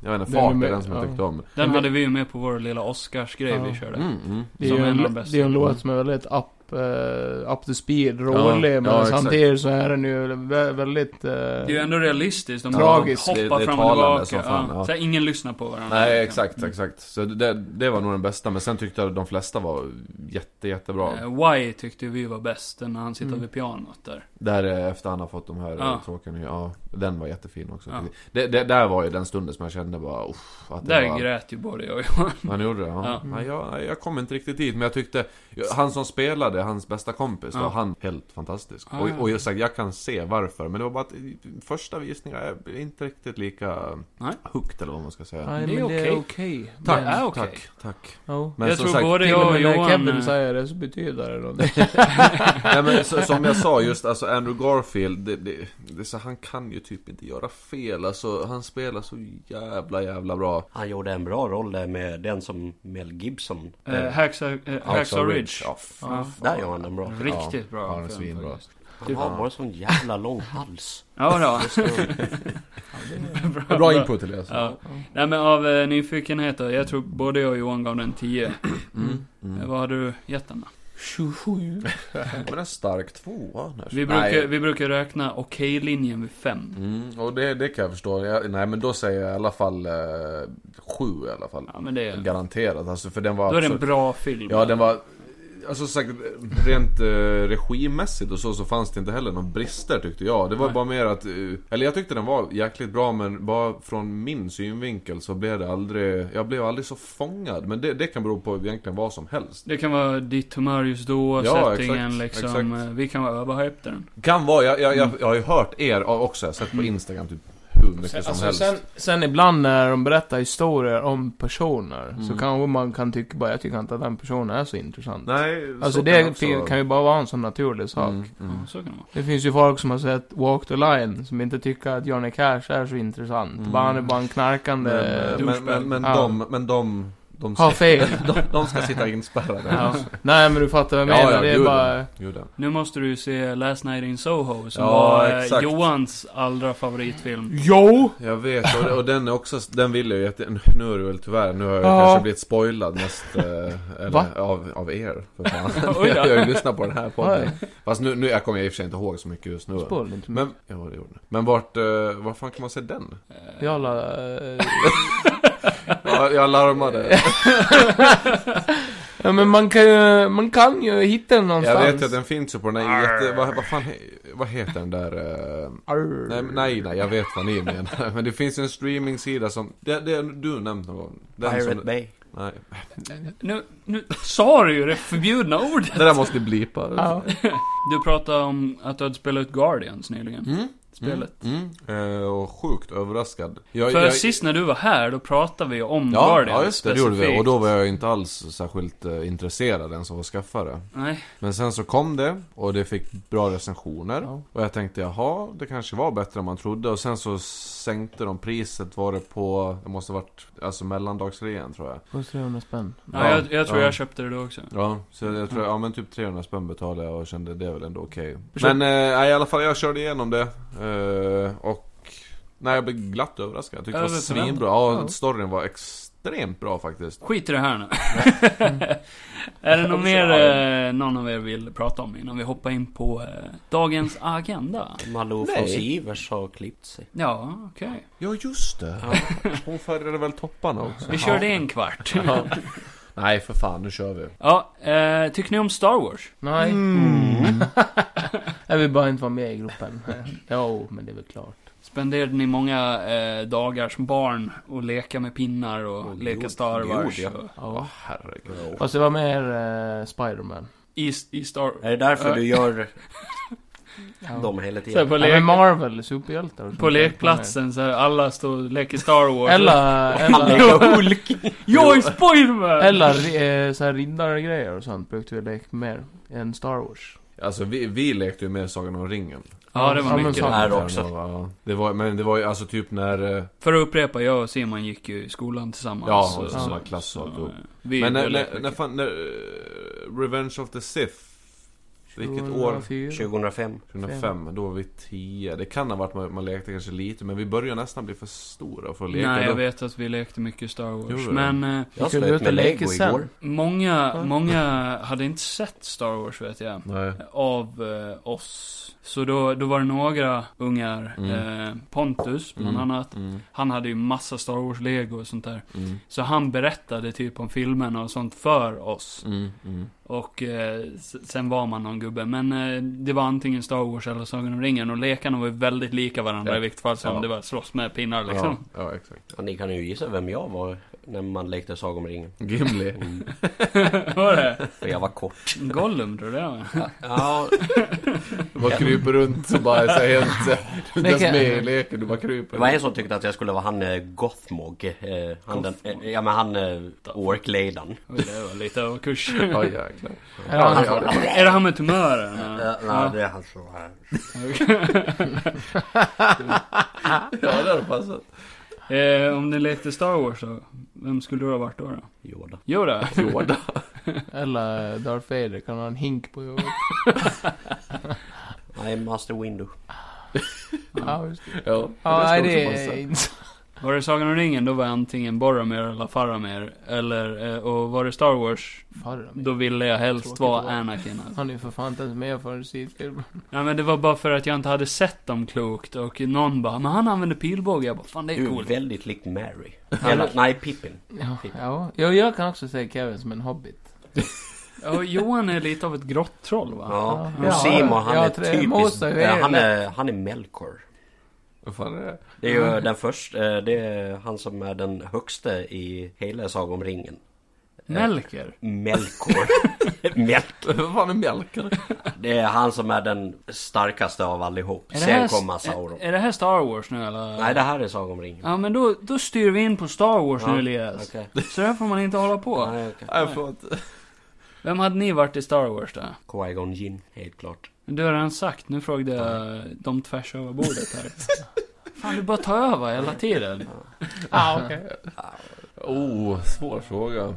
Speaker 6: jag vet inte,
Speaker 5: Den är
Speaker 6: fart i
Speaker 5: med-
Speaker 6: den som jag
Speaker 5: ja.
Speaker 6: tyckte om.
Speaker 4: Den hade vi ju med på vår lilla Oscarsgrej
Speaker 5: Ja.
Speaker 4: vi körde.
Speaker 6: Mm, mm.
Speaker 5: Det är
Speaker 4: Som
Speaker 5: ju
Speaker 4: en av
Speaker 5: en,
Speaker 4: de bästa.
Speaker 5: det är en låt som är väldigt up, eh, up to speed, rolig,
Speaker 6: Ja,
Speaker 5: men
Speaker 6: ja,
Speaker 5: samtidigt så är den ju vä- väldigt... eh,
Speaker 4: Det är ju ändå realistiskt. De
Speaker 5: Tragiskt.
Speaker 4: hoppar
Speaker 6: Det- det är
Speaker 4: fram och
Speaker 6: talande
Speaker 4: tillbaka.
Speaker 6: som fan,
Speaker 4: ja.
Speaker 6: ja.
Speaker 4: Så här, ingen lyssnar på varandra.
Speaker 6: Nej, exakt, exakt. Så det, det var nog den bästa. Men sen tyckte jag de flesta var jätte, jättebra.
Speaker 4: Eh, Y tyckte vi var bäst, den när han sitter
Speaker 5: Mm.
Speaker 4: vid pianot där.
Speaker 6: Där eh, efter han har fått de här
Speaker 4: Ja.
Speaker 6: ja. tråkiga nya- ja, den var jättefin också.
Speaker 4: Ja.
Speaker 6: Det, det, där var ju den stunden som jag kände bara, uff, att det
Speaker 4: Där
Speaker 6: var...
Speaker 4: grät ju både jag och Johan.
Speaker 6: Han gjorde det, ja.
Speaker 4: Ja.
Speaker 5: Mm.
Speaker 6: Nej, jag, jag kom inte riktigt dit, men jag tyckte... Han som spelade, hans bästa kompis,
Speaker 4: Ja.
Speaker 6: var han helt fantastisk.
Speaker 4: Ja, ja.
Speaker 6: Och, och jag, sa, jag kan se varför, men det var bara att första visningar är inte riktigt lika
Speaker 4: Nej.
Speaker 6: hooked eller vad man ska säga.
Speaker 5: nej,
Speaker 4: det är
Speaker 5: men det är
Speaker 4: okej.
Speaker 5: okej.
Speaker 4: Tack.
Speaker 5: Men-
Speaker 4: Det är okej.
Speaker 6: Tack, tack.
Speaker 5: Ja.
Speaker 6: Men
Speaker 4: jag
Speaker 6: som
Speaker 4: tror
Speaker 6: sagt,
Speaker 4: både
Speaker 5: Till
Speaker 4: jag
Speaker 5: och
Speaker 4: och
Speaker 5: med när
Speaker 4: Johan...
Speaker 5: Kevin
Speaker 4: eh,
Speaker 5: säger det så betyder det någonting.
Speaker 6: nej, men, så, som jag sa, just alltså Andrew Garfield, det, det, det, är så, han kan ju typ inte göra fel. Alltså, han spelar så jävla, jävla bra.
Speaker 2: Han gjorde en bra roll där med den som Mel Gibson.
Speaker 4: eh, Hacksaw, eh, Hacksaw Ridge.
Speaker 6: Ja,
Speaker 4: Ja.
Speaker 6: fan, fan,
Speaker 2: Där gör han den
Speaker 4: Mm.
Speaker 2: bra.
Speaker 4: Riktigt bra.
Speaker 6: Ja, han är
Speaker 4: film
Speaker 6: svinbra.
Speaker 4: faktiskt.
Speaker 2: Han har bara sån jävla lång hals.
Speaker 4: Ja, ja. bra,
Speaker 6: Bra input Elias.
Speaker 4: Ja. Nej men av eh, nyfikenheter, jag tror både jag och Johan gav den 10.
Speaker 6: Mm.
Speaker 4: Eh, Vad hade du gett den då?
Speaker 1: 27.
Speaker 6: Men en stark tvåa. när-
Speaker 4: Vi brukar, vi brukar räkna okej-linjen vid 5.
Speaker 6: Mm, och det, det kan jag förstå. Jag, nej men då säger jag i alla fall eh, sju i alla fall.
Speaker 4: Ja men det,
Speaker 6: Garanterat. Alltså för den var
Speaker 4: då är det en
Speaker 6: absolut-
Speaker 4: bra film.
Speaker 6: Ja den var... Alltså som sagt, rent eh, regimässigt och så, så fanns det inte heller några brister tyckte jag. Det var
Speaker 4: Nej.
Speaker 6: bara mer att... eh, eller jag tyckte den var jäkligt bra men bara från min synvinkel så blev det aldrig... Jag blev aldrig så fångad. Men det, det kan bero på egentligen vad som helst.
Speaker 4: Det kan vara ditt humör just då,
Speaker 6: Ja,
Speaker 4: settingen
Speaker 6: exakt,
Speaker 4: liksom.
Speaker 6: exakt.
Speaker 4: Eh, Vi kan vara överhypade den.
Speaker 6: Kan vara, jag, jag, jag, jag har ju hört er också. Jag har sett på Instagram typ hur mycket
Speaker 5: Sen,
Speaker 6: som
Speaker 5: alltså,
Speaker 6: helst.
Speaker 5: sen, sen ibland när de berättar historier om personer så
Speaker 4: Mm.
Speaker 5: kanske man kan tycka bara, jag tycker inte att den personen är så intressant.
Speaker 6: Nej,
Speaker 5: alltså
Speaker 6: så kan
Speaker 5: det
Speaker 6: också
Speaker 5: fin-
Speaker 6: vara.
Speaker 5: kan ju bara vara en sån naturlig sak.
Speaker 6: Mm, mm.
Speaker 4: Ja, så kan det vara.
Speaker 5: Det finns ju folk som har sett Walk the Line som inte tycker att Johnny Cash är så intressant.
Speaker 6: Mm.
Speaker 5: Bara han är bara en knarkande...
Speaker 6: Men, eh, men, men, men
Speaker 5: Ja.
Speaker 6: de, men de, de,
Speaker 5: har
Speaker 6: ska,
Speaker 5: fel.
Speaker 6: de, de ska sitta inspärrade.
Speaker 5: ja. Nej men du fattar vad jag menar. det är
Speaker 6: gud,
Speaker 5: bara...
Speaker 6: gud, ja.
Speaker 4: Nu måste du ju se Last Night in Soho som
Speaker 6: Ja,
Speaker 4: var eh,
Speaker 6: exakt.
Speaker 4: Johans allra favoritfilm.
Speaker 5: Jo!
Speaker 6: Jag vet, och, och den är också, den vill jag ju jätte... Nu är det väl tyvärr, nu har jag
Speaker 5: Ja.
Speaker 6: kanske blivit spoilad mest eh,
Speaker 5: Va?
Speaker 6: eller, av, av er. För fan.
Speaker 4: Oj då.
Speaker 6: jag har ju lyssnat på den här podden.
Speaker 5: Oj.
Speaker 6: Fast nu, nu, jag kommer i och för sig inte ihåg så mycket just nu.
Speaker 5: Spoil inte mig.
Speaker 6: Men, ja, det gjorde ni. Men vart, eh, var fan kan man se den?
Speaker 5: Jag la... eh,
Speaker 6: Jag, jag larmade.
Speaker 5: Ja men man kan ju, man kan ju hitta den någonstans.
Speaker 6: Jag vet ju att den finns ju på den här jätte... Vad, vad fan, he- vad heter den där... eh,
Speaker 5: Arr.
Speaker 6: Nej, men- nej, nej, jag vet vad ni menar. Men det finns en streamingsida som... Det, det du nämnt någon gång. Den
Speaker 2: Pirate
Speaker 6: som,
Speaker 2: Bay.
Speaker 6: Nej.
Speaker 4: Nu, nu sa du ju det förbjudna ordet!
Speaker 6: Det där måste blipa.
Speaker 5: Ja.
Speaker 4: Du pratade om att du hade spelat ut Guardians nyligen.
Speaker 6: Mm.
Speaker 4: Spelet.
Speaker 6: Mm. Eh, och sjukt överraskad. Jag,
Speaker 4: För
Speaker 6: jag,
Speaker 4: sist när du var här, då pratade vi om
Speaker 6: Ja,
Speaker 4: Guardians
Speaker 6: ja just det, det gjorde vi.
Speaker 4: specifikt.
Speaker 6: Och då var jag ju inte alls särskilt eh, intresserad ens av att skaffa det.
Speaker 4: Nej,
Speaker 6: Men sen så kom det och det fick bra recensioner.
Speaker 5: Ja.
Speaker 6: Och jag tänkte jaha, det kanske var bättre än man trodde. Och sen så sänkte de priset var det på, det måste ha varit, alltså mellandagsrean tror jag.
Speaker 5: Kostar 300 spänn.
Speaker 4: ja,
Speaker 6: Ja,
Speaker 4: jag, jag tror
Speaker 6: ja.
Speaker 4: jag köpte det då också.
Speaker 6: Ja, så jag tror, ja men typ 300 spänn betalade jag och kände det är väl ändå okej. Men eh, nej, i alla fall jag körde igenom det. Eh, och nej, jag blev glatt överraskad. Jag tyckte det var
Speaker 4: Över förväntan.
Speaker 6: svinbra. Ja,
Speaker 5: Ja.
Speaker 6: storyn var extremt bra faktiskt.
Speaker 4: Skit i det här nu. är det något mer eh, någon av er vill prata om innan vi hoppar in på eh, dagens agenda?
Speaker 2: Malou
Speaker 6: Nej.
Speaker 2: von Sivers har klippt sig.
Speaker 4: Ja, okej.
Speaker 6: Ja, just det. Hon färgade väl topparna också.
Speaker 4: Vi körde en kvart.
Speaker 6: Nej, för fan, nu kör vi.
Speaker 4: ja, eh, tycker ni om Star Wars?
Speaker 5: Nej. Mm. jag vill bara inte vara med i gruppen. Jo, men det är väl klart.
Speaker 4: Spenderade ni många eh, dagar som barn och leka med pinnar och
Speaker 6: Åh,
Speaker 4: leka
Speaker 6: gud,
Speaker 4: Star
Speaker 6: gud,
Speaker 4: Wars?
Speaker 6: ja.
Speaker 4: och,
Speaker 5: Ja.
Speaker 6: herregud.
Speaker 5: Fast det var mer eh, Spiderman.
Speaker 4: i, I Star...
Speaker 2: Är det därför
Speaker 4: Ja.
Speaker 2: du gör
Speaker 5: Ja.
Speaker 2: dem hela
Speaker 4: Så här,
Speaker 2: tiden?
Speaker 4: på,
Speaker 5: Ja,
Speaker 4: lek,
Speaker 5: men Marvel, superhjältar och sånt.
Speaker 4: på lekplatsen så här, alla står och leker Star Wars.
Speaker 5: Eller, eller,
Speaker 4: Alla Hulk! Jag är Spiderman!
Speaker 5: eller eh, så här riddargrejer och sånt brukade vi leka mer än Star Wars.
Speaker 6: Alltså vi, vi lekte ju med Sagan om ringen.
Speaker 4: Ja, det
Speaker 5: Ja,
Speaker 4: var
Speaker 5: men
Speaker 4: mycket.
Speaker 5: så-
Speaker 2: här också.
Speaker 6: Ja, det var, men det var ju alltså typ när... eh,
Speaker 4: För att upprepa, jag och Simon gick ju i skolan tillsammans.
Speaker 6: Alltså, Ja,
Speaker 4: så-
Speaker 6: och
Speaker 4: så-
Speaker 6: samma klass och
Speaker 4: så-
Speaker 6: alltihop.
Speaker 4: Vi
Speaker 6: Men när,
Speaker 4: gjorde
Speaker 6: när,
Speaker 4: mycket.
Speaker 6: när fan, när, eh, Revenge of the Sith. Vilket år?
Speaker 5: 2004.
Speaker 2: 2005.
Speaker 6: 2005, då var vi 10. Det kan ha varit man, man lekte kanske lite, men vi började nästan bli för stora för att leka.
Speaker 4: Nej,
Speaker 6: då.
Speaker 4: jag vet att vi lekte mycket Star Wars.
Speaker 6: Gjorde
Speaker 4: Men eh,
Speaker 5: Vi
Speaker 2: Jag
Speaker 5: skulle
Speaker 2: slöt
Speaker 5: ut och
Speaker 2: med
Speaker 5: leka
Speaker 2: Lego
Speaker 5: sen.
Speaker 2: igår.
Speaker 4: många,
Speaker 5: Ja.
Speaker 4: många hade inte sett Star Wars, vet jag.
Speaker 6: Nej.
Speaker 4: Av eh, oss. Så då, då var det några ungar.
Speaker 6: Mm.
Speaker 4: Eh, Pontus, bland
Speaker 6: Mm.
Speaker 4: annat.
Speaker 6: Mm,
Speaker 4: Han hade ju massa Star Wars-lego och sånt där.
Speaker 6: mm,
Speaker 4: Så han berättade typ om filmerna och sånt för oss.
Speaker 6: mm, mm.
Speaker 4: Och eh, s- sen var man någon gubbe. Men eh, det var antingen Star Wars eller Sagan om ringen. Och lekarna var ju väldigt lika varandra
Speaker 6: Ja.
Speaker 4: i vilket fall som.
Speaker 6: Ja.
Speaker 4: Det var slåss med pinnar liksom.
Speaker 6: Ja, ja, exakt.
Speaker 2: Ja, ni kan ju gissa vem jag var när man lekte Sagan om ringen.
Speaker 6: Gimli.
Speaker 2: Mm.
Speaker 4: var det?
Speaker 2: För jag var kort.
Speaker 4: Gollum tror jag det var.
Speaker 2: Ja,
Speaker 6: Man kryper runt och bara så här helt... Du är inte ens
Speaker 5: Leka.
Speaker 6: med i leken, du bara kryper.
Speaker 2: det var en som tyckte att jag skulle vara han eh, Gothmog. Eh, han den, eh, ja men han eh, orkledaren.
Speaker 4: Oj, Det var lite av kurs.
Speaker 6: Ja, jäklar.
Speaker 5: Ja,
Speaker 6: Ja,
Speaker 5: han-
Speaker 6: ja, det-
Speaker 4: Är det han med tumören?
Speaker 2: Eh, nej, det är han som var
Speaker 6: ja, det hade passat.
Speaker 4: Eh, om ni lekte Star Wars då, vem skulle du ha varit då? då?
Speaker 2: Yoda.
Speaker 4: Yoda?
Speaker 6: Yoda.
Speaker 5: Eller eh, Darth Vader kan ha en hink på huvudet.
Speaker 2: Nej, Master Windu.
Speaker 5: Ja, just det.
Speaker 6: Ja,
Speaker 5: Ja,
Speaker 6: ska
Speaker 5: nej,
Speaker 6: också
Speaker 5: det
Speaker 6: passa.
Speaker 5: är inte...
Speaker 4: Var det Sagan om ringen, då var jag antingen Boromir eller Faramir. Eller, eh, och var det Star Wars,
Speaker 5: Farmir.
Speaker 4: då ville jag helst
Speaker 5: Tråkigt
Speaker 4: vara
Speaker 5: att vara.
Speaker 4: Anakin. Alltså.
Speaker 5: Han är ju för fan inte ens med för sidfilmen.
Speaker 4: Ja, men det var bara för att jag inte hade sett dem klokt. Och någon bara, men han använder pilbåge. Jag bara, fan det är
Speaker 2: Du är
Speaker 4: coolt.
Speaker 2: väldigt lik Mary. Eller, nej, Pippin.
Speaker 5: Ja, ja. Jo, jag kan också säga Kevin som en hobbit.
Speaker 4: Ja, och Johan är lite av ett grottroll va?
Speaker 2: Ja.
Speaker 5: Ja.
Speaker 2: Och Simon, han
Speaker 5: Ja,
Speaker 2: är
Speaker 5: tre
Speaker 2: typisk...
Speaker 5: mosar, hur är
Speaker 2: eh,
Speaker 5: det
Speaker 2: Han är, han är Melkor.
Speaker 6: Vad fan är det?
Speaker 2: Det är ju den första, det är han som är den högste i hela Sagan om ringen.
Speaker 4: Melker.
Speaker 2: Melkor. Melk.
Speaker 6: Vad fan är mjälkare?
Speaker 2: Det är han som är den starkaste av allihop.
Speaker 4: Är det här-
Speaker 2: Sen kommer Sauron.
Speaker 4: Är, är det här Star Wars nu eller?
Speaker 2: Nej, det här är Sagan om ringen.
Speaker 4: Ja men då, då styr vi in på Star Wars nu Elias.
Speaker 2: okej.
Speaker 4: Så där får man inte hålla på.
Speaker 2: Nej, okej.
Speaker 6: Nej, förlåt.
Speaker 4: Vem hade ni varit i Star Wars då?
Speaker 2: Qui-Gon Jinn, helt klart.
Speaker 4: Du har redan sagt, nu frågade jag dem tvärs över bordet här. Fan du bara tar över hela tiden.
Speaker 5: Ah, okej.
Speaker 6: Oh, svår fråga.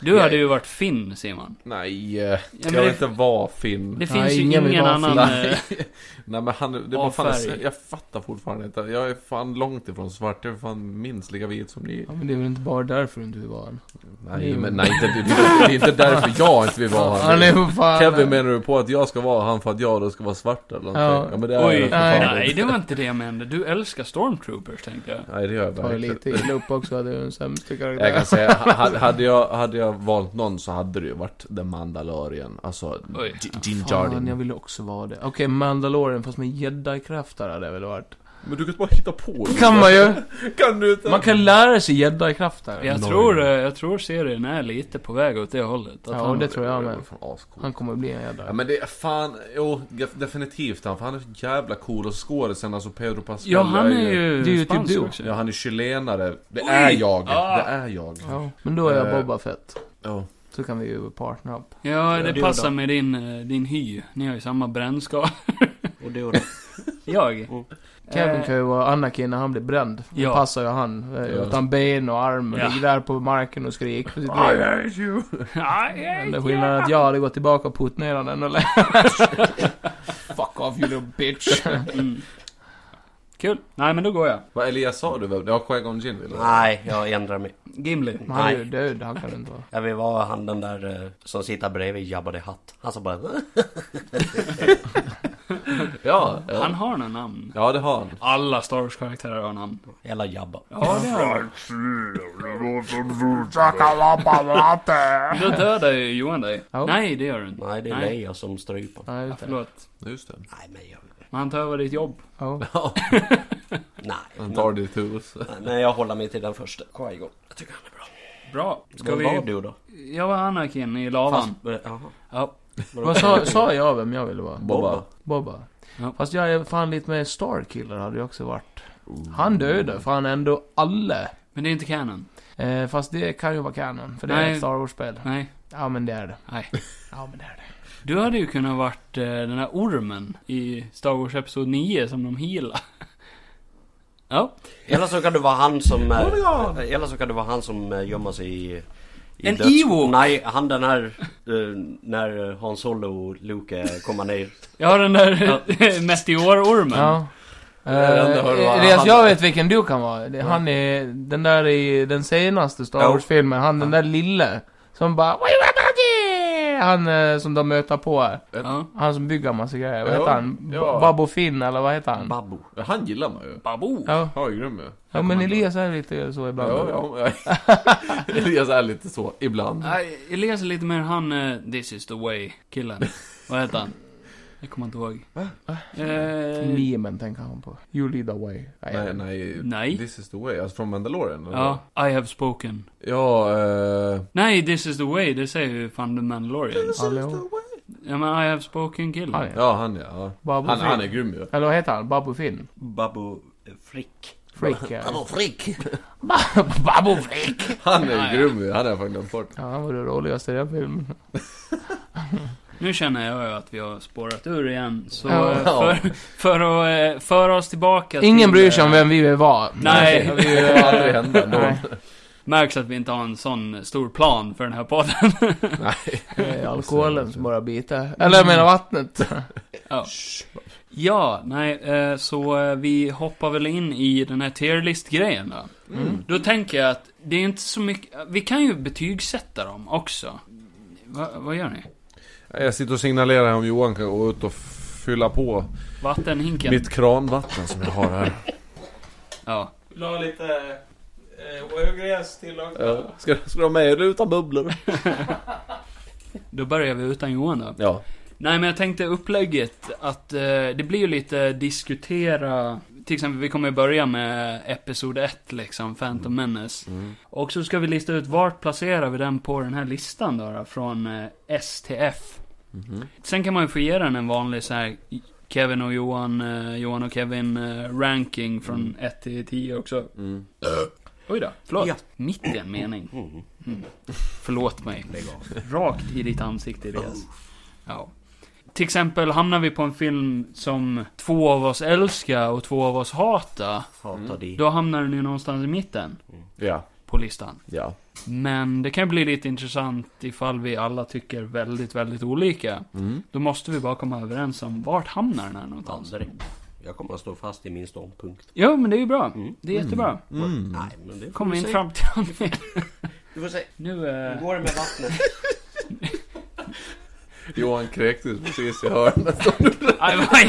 Speaker 4: Du hade ju varit Finn Simon.
Speaker 6: Nej, eh, jag
Speaker 4: men det-
Speaker 6: vill inte vara Finn.
Speaker 4: Det
Speaker 5: Nej,
Speaker 4: finns ju
Speaker 5: ingen
Speaker 4: ingen,
Speaker 5: vill vara
Speaker 4: annan...
Speaker 6: Nej.
Speaker 4: eh,
Speaker 6: Nej men han, det
Speaker 4: Av
Speaker 6: var fan,
Speaker 4: färg.
Speaker 6: jag fattar fortfarande inte. Jag är fan långt ifrån svart. Jag är fan minst lika vit som ni.
Speaker 5: Ja, men det är väl inte bara därför du inte vill vara han.
Speaker 6: Nej men nej, inte, det, det är inte därför jag inte vill vara
Speaker 5: Han är
Speaker 6: han.
Speaker 5: för fan...
Speaker 6: Kevin menar du på att jag ska vara han för att jag då ska vara svart eller någonting?
Speaker 5: Ja.
Speaker 6: Ja, men det är
Speaker 4: Oj,
Speaker 6: jag för
Speaker 5: nej.
Speaker 6: fan
Speaker 4: Nej,
Speaker 6: inte.
Speaker 4: det var inte det jag menade. Du älskar stormtroopers, tänkte jag.
Speaker 6: Nej det gör jag
Speaker 5: Tar det
Speaker 6: verkligen.
Speaker 5: lite illa upp också, hade ju en sämsta karaktär.
Speaker 6: Jag kan säga, ha- hade jag, hade jag valt någon så hade det ju varit The Mandalorian. Alltså,
Speaker 4: Oj.
Speaker 6: J- Din
Speaker 5: Fan, jag
Speaker 6: Jardin.
Speaker 5: ville också vara det. Okej, Mandalorian fast med jedi-krafter hade jag väl varit.
Speaker 6: Men du kan bara hitta på
Speaker 5: Det kan man ju!
Speaker 6: Kan du inte?
Speaker 5: Man kan lära sig jedi-krafter.
Speaker 4: Jag tror, eh, jag tror serien är lite på väg åt det hållet. Att
Speaker 5: Ja,
Speaker 4: han,
Speaker 5: det tror jag med.
Speaker 6: Fan, ascoolt.
Speaker 5: Han kommer bli en jedi.
Speaker 6: Ja men det är fan, jo def- definitivt han, för han är så jävla cool och skådisen alltså Pedro Pascal
Speaker 4: ja, han är
Speaker 5: Det
Speaker 4: ju,
Speaker 5: är ju typ
Speaker 4: spansk
Speaker 5: du.
Speaker 4: också.
Speaker 6: Ja han är chilenare, det är jag,
Speaker 4: Ah.
Speaker 6: det är jag
Speaker 5: Ja, men då är jag
Speaker 6: Eh.
Speaker 5: Boba Fett.
Speaker 6: Ja.
Speaker 5: Så kan vi ju partner upp.
Speaker 4: Ja, det
Speaker 2: du
Speaker 4: passar
Speaker 2: då?
Speaker 4: med din, eh, din hy. Ni har ju samma brännskada.
Speaker 2: Och du då?
Speaker 4: Jag?
Speaker 5: Kevin
Speaker 4: Eh,
Speaker 5: kan ju vara Anakin när han blir bränd. Då
Speaker 4: Ja.
Speaker 5: passar ju han. eh,
Speaker 6: Ja.
Speaker 5: Utan ben och arm och
Speaker 4: Ja.
Speaker 5: ligger där på marken och skriker på sitt liv.
Speaker 6: I hate you!
Speaker 5: Enda skillnaden är att jag hade gått tillbaka och putt ner honom ännu Fuck off you little bitch.
Speaker 4: Mm. Kul. Nej, men då går jag.
Speaker 6: Vad Elias sa du? väl? Ja, Qui-Gon Jinn ville
Speaker 2: Nej, jag ändrar mig.
Speaker 4: Gimli.
Speaker 5: Men han är ju
Speaker 2: Nej.
Speaker 5: död, han kan inte vara.
Speaker 2: Jag vill vara han den där eh, som sitter bredvid Jabba the Hutt. Han som bara... "Äh,
Speaker 6: Ja,
Speaker 4: Han
Speaker 6: ja.
Speaker 4: har några namn.
Speaker 6: ja det har han
Speaker 4: Alla Star Wars-karaktärer har namn.
Speaker 2: Eller Jabba.
Speaker 4: Ja, det har han. Då dödar ju Johan dig.
Speaker 5: Ja.
Speaker 4: Nej, det gör du inte.
Speaker 2: Nej, det är
Speaker 4: Nej.
Speaker 2: Leia som stryper.
Speaker 5: Nej,
Speaker 4: Ja,
Speaker 5: just det.
Speaker 4: förlåt.
Speaker 6: Just det
Speaker 2: Nej, men jag...
Speaker 4: Men han tar över ditt jobb.
Speaker 5: Ja.
Speaker 2: Nej.
Speaker 6: Han tar ditt hus
Speaker 2: Nej, jag håller mig till den första. Qui-Gon. Jag tycker han är bra.
Speaker 4: Bra. Ska
Speaker 2: Vem var
Speaker 4: vi...
Speaker 2: du då?
Speaker 4: Jag var Anakin i lavan.
Speaker 2: Fast- eh, jaha.
Speaker 4: Ja.
Speaker 5: Vad sa, sa jag vem jag ville vara?
Speaker 6: Bobba
Speaker 5: Bobba.
Speaker 4: Ja.
Speaker 5: Fast jag är fan lite mer Starkiller hade jag också varit. Han dödar fan ändå alla.
Speaker 4: Men det är inte canon.
Speaker 5: Eh, fast det kan ju vara canon, för det är
Speaker 4: Nej.
Speaker 5: ett Star Wars-spel.
Speaker 4: Nej.
Speaker 5: Ja men det är det.
Speaker 4: Nej.
Speaker 5: Ja men det är det.
Speaker 4: Du hade ju kunnat varit eh, den här ormen i Star Wars Episod 9 som de healar. ja.
Speaker 2: Eller så kan du vara han som... eh, Eller så kan du vara han som eh, gömmer sig i... i
Speaker 4: En
Speaker 2: döds-
Speaker 4: Ewok!
Speaker 2: Nej, han den här... eh, när eh, Han Solo och Luke eh, kommer ner.
Speaker 4: Jag har den där
Speaker 2: Ja.
Speaker 4: meteorormen.
Speaker 5: Ja.
Speaker 6: Jag undrar hur det var.
Speaker 5: Eh, Elias,
Speaker 6: Han-
Speaker 5: jag vet vilken du kan vara. Det- Han är den där i den senaste Star
Speaker 2: Ja.
Speaker 5: Wars-filmen. Han den där lille. Som bara... Han eh, som de möter på. här.
Speaker 4: Ja.
Speaker 5: Han som bygger en massa grejer. Vad
Speaker 6: Ja.
Speaker 5: heter han?
Speaker 6: Ja.
Speaker 5: Ja. Babbo Finn eller vad heter
Speaker 4: Mm.
Speaker 5: han?
Speaker 2: Babbo.
Speaker 6: Han gillar man ju
Speaker 4: Babu.
Speaker 5: Ja.
Speaker 6: Han är grym ju
Speaker 5: ja, men Elias är lite så ibland.
Speaker 6: Ja, ja, ja. Elias är lite så, ibland
Speaker 4: Nej, jag läser lite mer han eh, This is the way killen. Vad heter han? Jag kommer inte ihåg. Va? Eh,
Speaker 5: Memen tänker han på. You lead the way.
Speaker 6: Nej, nej.
Speaker 4: Nej.
Speaker 6: This is the way. Alltså från Mandalorian? eller?
Speaker 4: ja, I have spoken.
Speaker 6: Ja, eh...
Speaker 4: Nej, this is the way, det säger ju fan The Mandalorians.
Speaker 5: Hallå?
Speaker 4: Ja men I have spoken killen.
Speaker 5: Han är.
Speaker 6: Ja, han ja. ja.
Speaker 5: Babu
Speaker 6: Han,
Speaker 5: Finn.
Speaker 6: han är grym ju.
Speaker 5: Eller vad heter han? Babbo Finn?
Speaker 2: Babbo eh, Frick.
Speaker 5: Freak, ja.
Speaker 2: Frick!
Speaker 5: Babbo Finn!
Speaker 6: Han är grym ju. Han är faktiskt glömt bort.
Speaker 5: Ja, han var det roligaste i den filmen.
Speaker 4: Nu känner jag ju att vi har spårat ur igen. Så
Speaker 5: Ja.
Speaker 4: eh, för, för att eh, föra oss tillbaka
Speaker 5: Ingen
Speaker 4: till,
Speaker 5: bryr sig om
Speaker 4: eh,
Speaker 5: vem vi var.
Speaker 4: Nej.
Speaker 5: Vi,
Speaker 6: Det kommer aldrig hända ändå.
Speaker 5: Nej.
Speaker 4: Märks att vi inte har en sån stor plan för den här podden.
Speaker 5: Det är alkoholen som bara biter. Eller jag menar vattnet.
Speaker 4: ja, nej, eh, så eh, vi hoppar väl in i den här tierlist-grejen då.
Speaker 5: Mm.
Speaker 4: Då tänker jag att det är inte så mycket... Vi kan ju betygsätta dem också. Va, vad gör ni?
Speaker 6: Jag sitter och signalerar om Johan kan gå ut och fylla på
Speaker 4: Vattenhinken?
Speaker 6: mitt kranvatten som jag har här.
Speaker 4: Ja.
Speaker 7: La lite eh, ogräs till och
Speaker 1: Ja. Ska, ska du ha med dig utan bubblor?
Speaker 4: Då börjar vi utan Johan då.
Speaker 6: Ja.
Speaker 4: Nej men jag tänkte upplägget att eh, det blir ju lite diskutera, till exempel vi kommer ju börja med Episod 1 liksom, Phantom Menace.
Speaker 2: Mm.
Speaker 4: Och så ska vi lista ut vart placerar vi den på den här listan då, då från eh, S till F. Sen kan man ju få ge den en vanlig så här Kevin och Johan, eh, Johan och Kevin eh, ranking från 1 till 10 också.
Speaker 6: Mm.
Speaker 4: Oj då, förlåt.
Speaker 2: Ja.
Speaker 4: Mitt i en mening. Mm. Förlåt mig. Rakt i ditt ansikte Elias. Ja. Till exempel hamnar vi på en film som två av oss älskar och två av oss hatar.
Speaker 2: Hatar dig.
Speaker 4: Då hamnar den ju någonstans i mitten
Speaker 6: Mm. Ja.
Speaker 4: på listan.
Speaker 6: Ja.
Speaker 4: Men det kan ju bli lite intressant ifall vi alla tycker väldigt, väldigt olika.
Speaker 6: Mm.
Speaker 4: Då måste vi bara komma överens om vart hamnar den här någonstans.
Speaker 2: Aldrig. Jag kommer att stå fast i min ståndpunkt.
Speaker 4: Ja, men det är ju bra.
Speaker 2: Mm.
Speaker 4: Det är jättebra.
Speaker 2: Nej, men det får
Speaker 4: Kommer
Speaker 2: vi
Speaker 4: vi inte
Speaker 2: se.
Speaker 4: Mm. fram till någonting.
Speaker 2: Du får se.
Speaker 4: Nu...
Speaker 2: Hur
Speaker 4: Eh...
Speaker 2: går det med vattnet?
Speaker 6: Johan kräktes precis i hörnet.
Speaker 4: Aj, vad i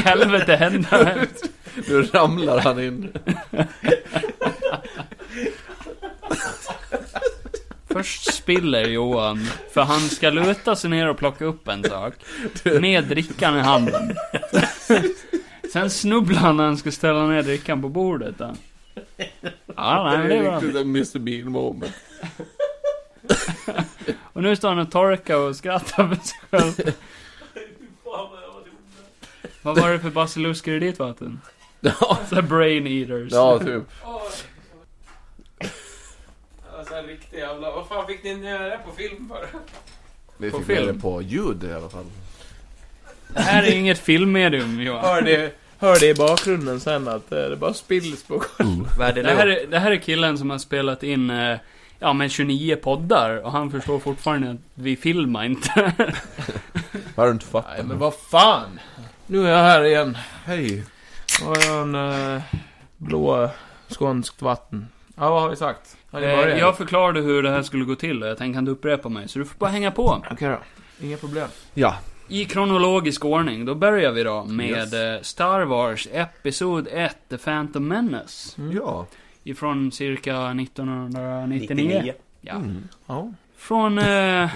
Speaker 4: helvete hände?
Speaker 6: Nu ramlar han in.
Speaker 4: Först spiller Johan, för han ska luta sig ner och plocka upp en sak. Med drickan i handen. Sen snubblar han när han ska ställa ner drickan på bordet. Då. Ja, nej, men
Speaker 6: det
Speaker 4: det var
Speaker 6: är riktigt en Mr Bean moment.
Speaker 4: Och nu står han och torkar och skrattar för sig själv. Vad var det för basilusker i ditt vatten?
Speaker 6: Ja.
Speaker 4: Så här brain eaters.
Speaker 6: Ja, typ.
Speaker 7: Alltså en riktig jävla... Vad fan fick ni göra på film för?
Speaker 6: Vi
Speaker 4: På
Speaker 6: fick med
Speaker 4: film.
Speaker 6: det på ljud i alla fall.
Speaker 4: Det här är inget filmmedium Johan.
Speaker 5: Hör det, hör det i bakgrunden sen att eh, det bara spills på
Speaker 2: Vad är det
Speaker 4: Det här
Speaker 2: nu?
Speaker 4: är, det här är killen som har spelat in, eh, ja men 29 poddar och han förstår fortfarande att vi filmar inte.
Speaker 6: Har du inte fattat?
Speaker 5: Nej men vad fan! Nu är jag här igen.
Speaker 6: Hej.
Speaker 5: Och jag har en eh, blå skånskt vatten. Ja, vad har vi sagt? Har ni
Speaker 4: Eh,
Speaker 5: börjat?
Speaker 4: Jag förklarade hur det här skulle gå till och jag tänker inte upprepa mig, så du får bara hänga på.
Speaker 5: Okej då. Inga problem.
Speaker 6: Ja.
Speaker 4: I kronologisk ordning, då börjar vi då med
Speaker 6: Yes.
Speaker 4: eh, Star Wars Episod 1, The Phantom Menace.
Speaker 6: Ja.
Speaker 4: Ifrån cirka 1999.
Speaker 2: 99.
Speaker 4: Ja.
Speaker 5: Ja.
Speaker 4: Från, eh,
Speaker 6: Mm.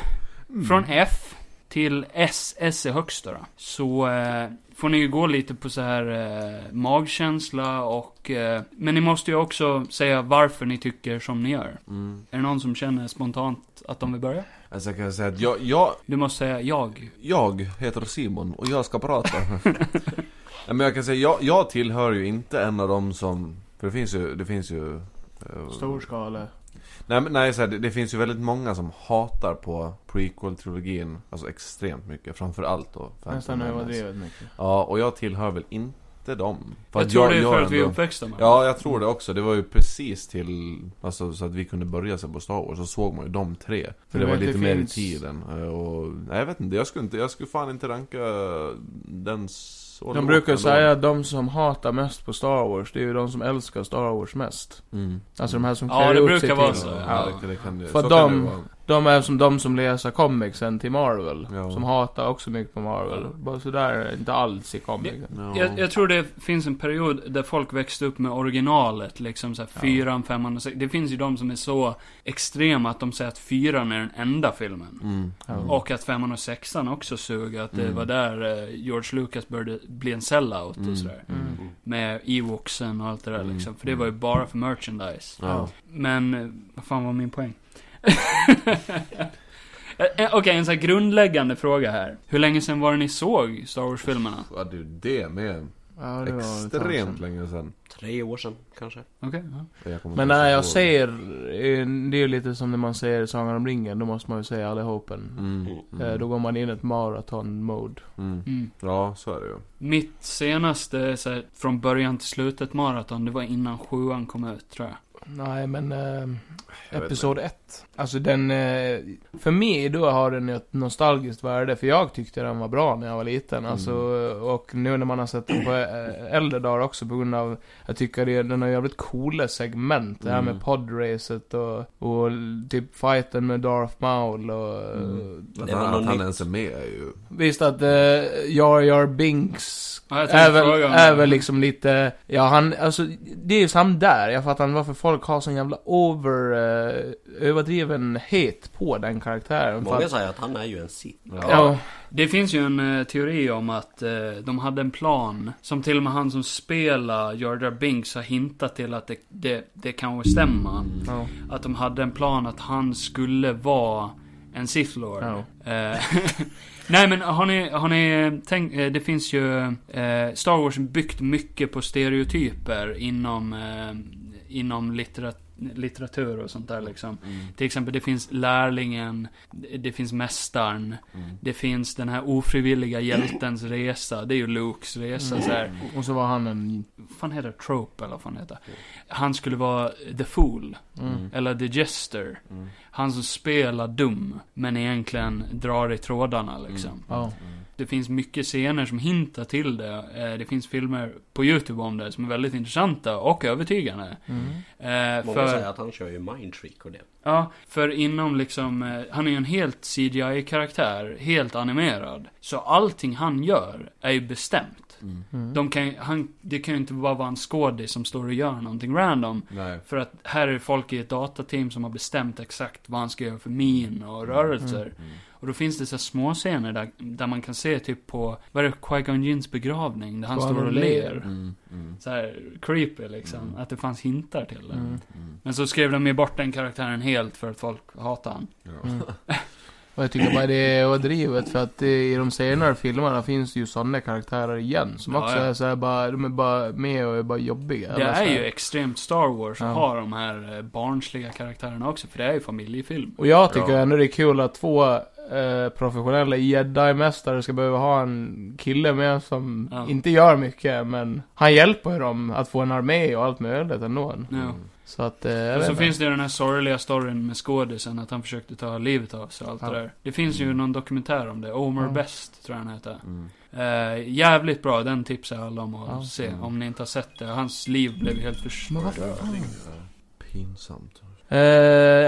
Speaker 4: från F till S, S är högst då. då. Så eh, får ni ju gå lite på så här eh, magkänsla och... Eh, men ni måste ju också säga varför ni tycker som ni gör.
Speaker 6: Mm.
Speaker 4: Är det någon som känner spontant att de vill börja?
Speaker 6: Alltså jag kan säga att jag, jag,
Speaker 4: Du måste säga jag.
Speaker 6: jag heter Simon och jag ska prata. Nej, men jag kan säga, jag, jag tillhör ju inte en av dem som... För det finns ju... Det finns ju eh,
Speaker 5: Storskale.
Speaker 6: Nej, men nej så här, det, det finns ju väldigt många som hatar på prequel-trilogin. Alltså extremt mycket. Framförallt då. Phantom
Speaker 5: Nästan
Speaker 6: Menace.
Speaker 5: överdrivet mycket.
Speaker 6: Ja, och jag tillhör väl inte dem. För
Speaker 4: Jag
Speaker 6: att
Speaker 4: tror det är för att vi är
Speaker 6: ändå-
Speaker 4: uppväxta med
Speaker 6: Ja, jag tror det också. Det var ju precis till, alltså så att vi kunde börja se på Star Wars, så såg man ju de tre. För
Speaker 5: Men
Speaker 6: det var
Speaker 5: det
Speaker 6: lite mer i
Speaker 5: finns-
Speaker 6: tiden. eh, Och, nej jag vet inte, jag skulle inte, jag skulle fan inte ranka den så
Speaker 5: De
Speaker 6: lågt
Speaker 5: brukar
Speaker 6: ändå.
Speaker 5: säga att de som hatar mest på Star Wars, det är ju de som älskar Star Wars mest.
Speaker 6: Mm.
Speaker 5: Alltså de här som
Speaker 4: Ja,
Speaker 5: klär
Speaker 4: det
Speaker 5: upp
Speaker 4: brukar
Speaker 5: sig
Speaker 4: vara
Speaker 5: till-
Speaker 4: så,
Speaker 5: Ja.
Speaker 6: det- det kan, ju-
Speaker 5: För
Speaker 6: så kan det
Speaker 5: de-
Speaker 6: ju vara.
Speaker 5: De är som de som läser comicsen till Marvel.
Speaker 6: Ja.
Speaker 5: Som hatar också mycket på Marvel. Bara sådär, inte alls i comicsen.
Speaker 6: Ja.
Speaker 4: Jag, jag tror det finns en period där folk växte upp med originalet, liksom såhär
Speaker 6: Ja.
Speaker 4: fyran, femman och sex. Det finns ju de som är så extrema att de säger att fyran är den enda filmen.
Speaker 6: Mm.
Speaker 5: Ja.
Speaker 4: Och att femman och sexan också sög, att det
Speaker 6: Mm.
Speaker 4: var där eh, George Lucas började bli en sellout
Speaker 6: Mm.
Speaker 4: och sådär.
Speaker 5: Mm.
Speaker 4: Med Ewoxen och allt det där
Speaker 6: Mm.
Speaker 4: liksom. För det var ju bara för merchandise.
Speaker 6: Ja.
Speaker 4: Men, eh, vad fan var min poäng? Eh, eh, Okej, en sån här grundläggande fråga här. Hur länge sedan var det ni såg Star Wars-filmerna?
Speaker 6: Ja, det är ju det med.
Speaker 5: Ja, det var ett tag sedan.
Speaker 6: Extremt länge sedan.
Speaker 2: Tre år sedan kanske.
Speaker 4: Okej, ja.
Speaker 6: Jag kommer
Speaker 5: Men
Speaker 6: inte
Speaker 5: när
Speaker 6: ens
Speaker 5: jag
Speaker 6: ihåg.
Speaker 5: säger, eh, det är ju lite som när man säger Sagan om ringen, då måste man ju säga allihopen.
Speaker 6: Mm,
Speaker 5: Eh,
Speaker 6: mm,
Speaker 5: Då går man in i ett maraton-mode.
Speaker 6: mm.
Speaker 4: Mm.
Speaker 6: Ja, så är det ju.
Speaker 4: Mitt senaste, så här, från början till slutet maraton, det var innan sjuan kom ut tror jag.
Speaker 5: Nej men, eh,
Speaker 6: Jag vet
Speaker 5: episod 1. Alltså den, eh, för mig då har den ett nostalgiskt värde, för jag tyckte den var bra när jag var liten. Alltså,
Speaker 6: Mm.
Speaker 5: och nu när man har sett den på eh, äldre dagar också på grund av, jag tycker det, den har jävligt coola segment. Det här med
Speaker 6: Mm.
Speaker 5: podracet och, och typ fighten med Darth Maul och...
Speaker 6: Att,
Speaker 2: Det var
Speaker 6: han,
Speaker 2: något
Speaker 6: att han
Speaker 2: nytt.
Speaker 6: ens är med är ju...
Speaker 5: Visst att eh, Jar Jar Binks
Speaker 4: Ja, jag tänkte
Speaker 5: är väl,
Speaker 4: fråga om-
Speaker 5: är väl liksom lite, ja han, alltså det är ju samma där. Jag fattar inte varför folk har sån jävla over, eh, överdriven het på den karaktären. För
Speaker 2: Många
Speaker 5: att,
Speaker 2: säger att han är ju en sith.
Speaker 5: ja,
Speaker 4: Det finns ju en eh, teori om att eh, de hade en plan, som till och med han som spelar Jar Jar Binks har hintat till att det, det, det kanske stämmer.
Speaker 5: ja,
Speaker 4: Att de hade en plan att han skulle vara en Sith Lord.
Speaker 5: ja.
Speaker 4: Eh, Nej men har ni, har ni tänkt, eh, det finns ju, eh, Star Wars är byggt mycket på stereotyper inom, eh, inom litterat litteratur och sånt där liksom. Till exempel det finns lärlingen, det- det finns mästaren, det finns den här ofrivilliga hjältens resa, det är ju Lukes resa
Speaker 5: Mm.
Speaker 4: så här.
Speaker 5: Och så var han en,
Speaker 4: Vad fan heter det? Trope eller vad fan heter det? Han skulle vara the fool.
Speaker 5: mm,
Speaker 4: Eller The Jester. Han som spelar dum, men egentligen drar i trådarna liksom.
Speaker 5: ja.
Speaker 4: Det finns mycket scener som hintar till det. Eh, Det finns filmer på YouTube om det som är väldigt intressanta och övertygande.
Speaker 5: Mm.
Speaker 4: Eh,
Speaker 2: Många
Speaker 4: För,
Speaker 2: säger att han kör ju mind trick och det.
Speaker 4: ja, för inom liksom, eh, han är ju en helt CGI-karaktär, helt animerad. Så allting han gör är ju bestämt.
Speaker 5: Mm.
Speaker 4: De kan, ju- han, det kan ju inte bara vara en skådis som står och gör någonting random.
Speaker 6: Nej.
Speaker 4: För att här är det folk i ett datateam som har bestämt exakt vad han ska göra för min och
Speaker 6: Mm.
Speaker 4: rörelser. Och då finns det så här små scener där, där man kan se typ på, vad är det, Qui-Gon Jinns begravning? Där han
Speaker 5: Står
Speaker 4: står
Speaker 5: han
Speaker 4: och
Speaker 5: och
Speaker 4: ler.
Speaker 6: Mm, mm,
Speaker 4: Så här creepy liksom. Att det fanns hintar till det.
Speaker 5: Mm.
Speaker 6: mm.
Speaker 4: Men så skrev de ju bort den karaktären helt för att folk hatar han.
Speaker 6: Ja.
Speaker 5: Mm. Och jag tycker bara det är överdrivet för att eh, i de senare filmerna finns det ju sådana karaktärer igen. Som
Speaker 4: Ja,
Speaker 5: också
Speaker 4: ja.
Speaker 5: är såhär bara, de är bara med och är bara jobbiga.
Speaker 4: det
Speaker 5: eller så
Speaker 4: är
Speaker 5: här.
Speaker 4: ju extremt Star Wars att
Speaker 5: Ja.
Speaker 4: ha de här eh, barnsliga karaktärerna också. För det är ju familjefilm.
Speaker 5: Och jag tycker
Speaker 6: Ja.
Speaker 5: ändå det är kul att två eh, professionella jedi-mästare ska behöva ha en kille med som
Speaker 4: Ja.
Speaker 5: inte gör mycket, men han hjälper ju dem att få en armé och allt möjligt ändå.
Speaker 4: Ja.
Speaker 5: Så att, eh, jag
Speaker 4: Och
Speaker 5: vet
Speaker 4: så
Speaker 5: inte.
Speaker 4: finns det ju den här sorgliga storyn med skådisen, att han försökte ta livet av sig och allt
Speaker 5: Ja.
Speaker 4: det där. Det finns ju någon dokumentär om det, Omer
Speaker 5: Ja.
Speaker 4: Best, tror jag han heter.
Speaker 6: Mm.
Speaker 4: Eh, jävligt bra, den tipsar jag alla om att
Speaker 5: Ja.
Speaker 4: se, om ni inte har sett det. Hans liv blev ju helt
Speaker 5: Men
Speaker 4: förstört.
Speaker 5: vad fan?
Speaker 6: Pinsamt.
Speaker 5: Eh,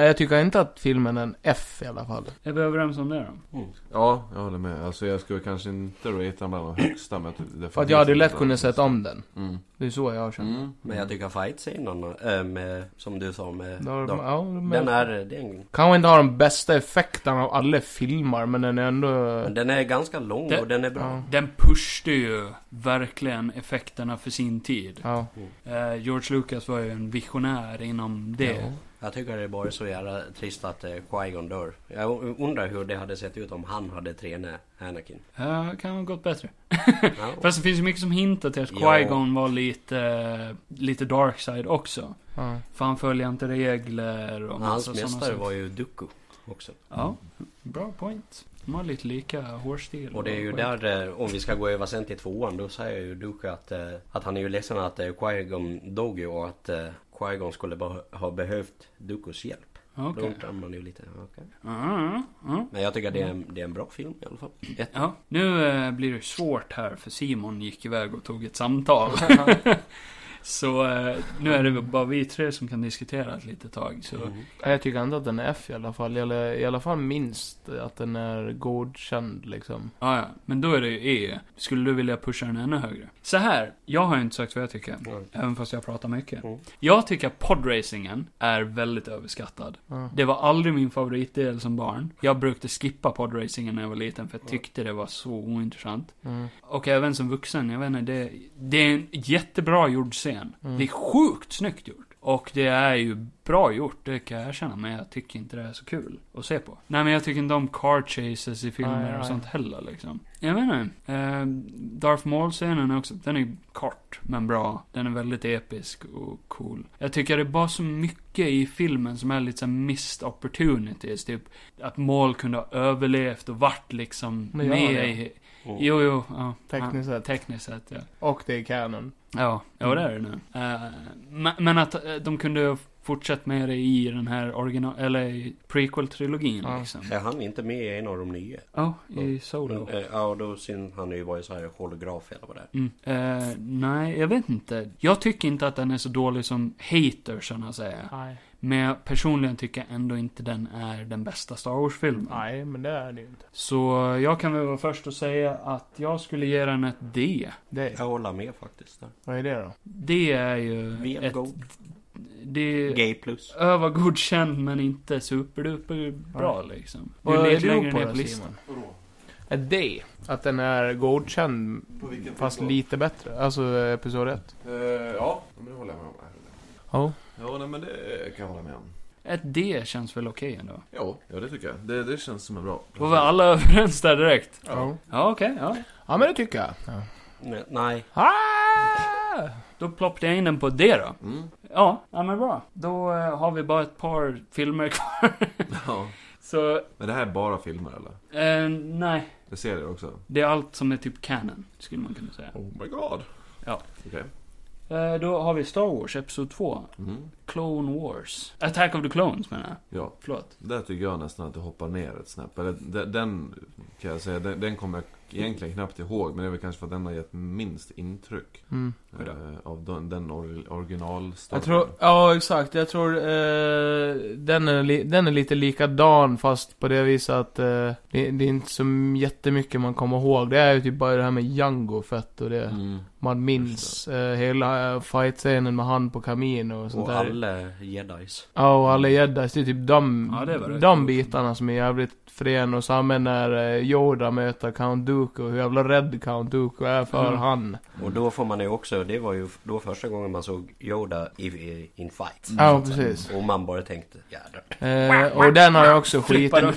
Speaker 5: jag tycker inte att filmen är en F i alla fall.
Speaker 4: Är vi överens om det då?
Speaker 6: Ja, jag håller med. Alltså jag skulle kanske inte ratea bland de högsta men typ jag tycker det
Speaker 5: För att jag hade ju lätt
Speaker 6: finns-
Speaker 5: kunnat sett om den.
Speaker 6: Mm.
Speaker 5: Det är så jag har känt.
Speaker 6: Mm.
Speaker 2: Men jag tycker fightscenerna, äh, med, som du sa med...
Speaker 5: Då har-
Speaker 2: de-
Speaker 5: ja, men-
Speaker 2: Mm. den är, eh, det är en,
Speaker 5: Kanske inte har den bästa effekten av alla filmer, men den är ändå...
Speaker 2: men den är ganska lång
Speaker 4: Det-
Speaker 2: och den är bra.
Speaker 5: Ja.
Speaker 4: Den pushade ju verkligen effekterna för sin tid.
Speaker 5: ja.
Speaker 4: Eh, George Lucas var ju en visionär inom det.
Speaker 5: Ja.
Speaker 2: Jag tycker det är bara så jävla trist att eh, Qui-Gon dör. Jag u- undrar hur det hade sett ut om han hade tränat Anakin.
Speaker 4: Eh, kan ha gått bättre.
Speaker 2: Ja.
Speaker 4: Fast det finns ju mycket som hintar till att
Speaker 2: Ja.
Speaker 4: Qui-Gon var lite, lite dark side också.
Speaker 5: ja.
Speaker 4: För han följer inte regler och
Speaker 2: Hans
Speaker 4: massa såna
Speaker 2: mästare
Speaker 4: saker.
Speaker 2: var ju Dooku också.
Speaker 4: Ja, bra point. De har lite lika hårstil.
Speaker 2: Och det är ju
Speaker 4: skägg.
Speaker 2: där, eh, om vi ska gå över sen till tvåan, då säger ju Dooku att, eh, att han är ju ledsen att eh, Qui-Gon dog ju och att eh, Qui-Gon skulle be- ha behövt Dookus hjälp. Då
Speaker 4: Okej.
Speaker 2: undrar man ju lite, okej.
Speaker 4: Ja, ja.
Speaker 2: Men jag tycker det är, en, det är en bra film i alla fall. Ett,
Speaker 4: Ja, nu eh, blir det svårt här för Simon gick iväg och tog ett samtal. så eh, nu är det väl bara vi tre som kan diskutera ett litet tag. Så.
Speaker 2: Mm.
Speaker 5: Nej, Jag tycker ändå att den är F i alla fall. Eller i alla fall minst att den är godkänd liksom.
Speaker 4: Ja, ja. Men då är det ju E. Skulle du vilja pusha den ännu högre? Så här, jag har ju inte sagt vad jag tycker.
Speaker 2: Mm.
Speaker 4: Även fast jag pratar mycket.
Speaker 2: Mm.
Speaker 4: Jag tycker att podracingen är väldigt överskattad.
Speaker 5: Ja.
Speaker 4: Det var aldrig min favoritdel som barn. Jag brukade skippa podracingen när jag var liten för jag tyckte det var så ointressant.
Speaker 5: Mm.
Speaker 4: Och även som vuxen, jag vet inte, det, det är en jättebra gjord scen.
Speaker 5: Mm.
Speaker 4: Det är sjukt snyggt gjort. Och det är ju bra gjort, det kan jag erkänna, men jag tycker inte det är så kul att se på. Nej men jag tycker inte om car chases i filmer
Speaker 5: Nej, nej.
Speaker 4: och sånt heller liksom. Jag vet inte. Eh, Darth Maul-scenen är också, den är kort, men bra. Den är väldigt episk och cool. Jag tycker det är bara så mycket i filmen som är lite så här missed opportunities, typ. Att Maul kunde ha överlevt och varit liksom
Speaker 5: Men gör han
Speaker 4: med
Speaker 5: det? Oh.
Speaker 4: i... Jo, jo, ja.
Speaker 5: Tekniskt
Speaker 4: ja,
Speaker 5: sett.
Speaker 4: Tekniskt sett, ja.
Speaker 5: Och det är kanon.
Speaker 4: Ja, ja det är det nu. Eh, men- men att eh, de kunde ha fortsatt med det i den här original, eller i prequel-trilogin
Speaker 5: Ja.
Speaker 4: liksom.
Speaker 2: Är han inte med i en av de nya?
Speaker 4: Ja, i Solo.
Speaker 2: Men, eh, Ja, och då syns han ju bara i så här holograf eller vad det är.
Speaker 4: Mm. Eh, nej, jag vet inte. Jag tycker inte att den är så dålig som hatersarna säger.
Speaker 5: Nej.
Speaker 4: Men jag personligen tycker ändå inte den är den bästa Star Wars-filmen.
Speaker 5: Nej, men det är det ju inte.
Speaker 4: Så jag kan väl vara först och säga att jag skulle ge den ett D.
Speaker 5: Det,
Speaker 2: Jag håller med faktiskt. där.
Speaker 5: vad är det då?
Speaker 4: Det är ju...
Speaker 2: VM
Speaker 4: ett,
Speaker 2: Gold.
Speaker 4: det,
Speaker 2: Gay plus.
Speaker 4: över godkänd men inte superduper bra liksom.
Speaker 5: Vad är
Speaker 4: lite
Speaker 5: du
Speaker 4: längre
Speaker 5: på
Speaker 4: ner
Speaker 5: då,
Speaker 4: på listan.
Speaker 5: Simon? Ett D. Att den är godkänd, fast lite bättre. Alltså eh, episod 1.
Speaker 6: Eh, ja, men det håller jag med om.
Speaker 5: Ja.
Speaker 6: Ja, nej, men det kan jag hålla med om.
Speaker 4: Ett D känns väl okej ändå?
Speaker 6: Jo, ja, det tycker jag. Det, det känns som en bra...
Speaker 4: Då var alla överens där direkt?
Speaker 5: Ja.
Speaker 4: Ja, okej, ja.
Speaker 5: Ja, men det tycker jag. Ja.
Speaker 2: Nej, nej.
Speaker 5: Ah!
Speaker 4: Då ploppade jag in den på D då.
Speaker 6: Mm.
Speaker 4: Ja, ja men bra. Då eh, har vi bara ett par filmer kvar.
Speaker 6: Ja.
Speaker 4: Så,
Speaker 6: Men det här är bara filmer eller?
Speaker 4: eh, nej.
Speaker 6: Det ser jag också.
Speaker 4: Det är allt som är typ canon, skulle man kunna säga.
Speaker 6: Oh my god.
Speaker 4: Ja.
Speaker 6: Okej.
Speaker 4: Eh, då har vi Star Wars, Episod 2.
Speaker 6: Mm.
Speaker 4: Clone Wars. Attack of the Clones menar jag.
Speaker 6: Ja,
Speaker 4: Förlåt.
Speaker 6: där tycker jag nästan att det hoppar ner ett snäpp. Eller de- den, kan jag säga, den, den kommer jag egentligen knappt ihåg. Men det är väl kanske för att den har gett minst intryck.
Speaker 5: Mm.
Speaker 2: Oj då.
Speaker 6: Eh, av den, den or, original Star
Speaker 5: Jag tror,
Speaker 6: Wars.
Speaker 5: ja exakt, jag tror eh, den, är li, den är lite likadan fast på det viset att eh, det, det är inte så jättemycket man kommer ihåg. Det är ju typ bara det här med Django fett och det.
Speaker 6: Mm.
Speaker 5: Man minns eh, hela eh, fight-scenen med han på kamin och sånt
Speaker 2: Och
Speaker 5: där.
Speaker 2: alla jedis.
Speaker 5: Ja, och alla jeddas. Det är typ de,
Speaker 4: Ja, det var rätt
Speaker 5: de
Speaker 4: coolt.
Speaker 5: bitarna som är jävligt frän. Och samman när eh, Yoda möter Count Dooku. Hur jävla rädd Count Dooku är för
Speaker 4: Mm.
Speaker 5: han.
Speaker 2: Och då får man ju också, det var ju då första gången man såg Yoda i, i in fight.
Speaker 5: Ja, precis.
Speaker 2: Och man bara tänkte, jädrar.
Speaker 5: Eh, och den har jag också skit...
Speaker 4: Flippar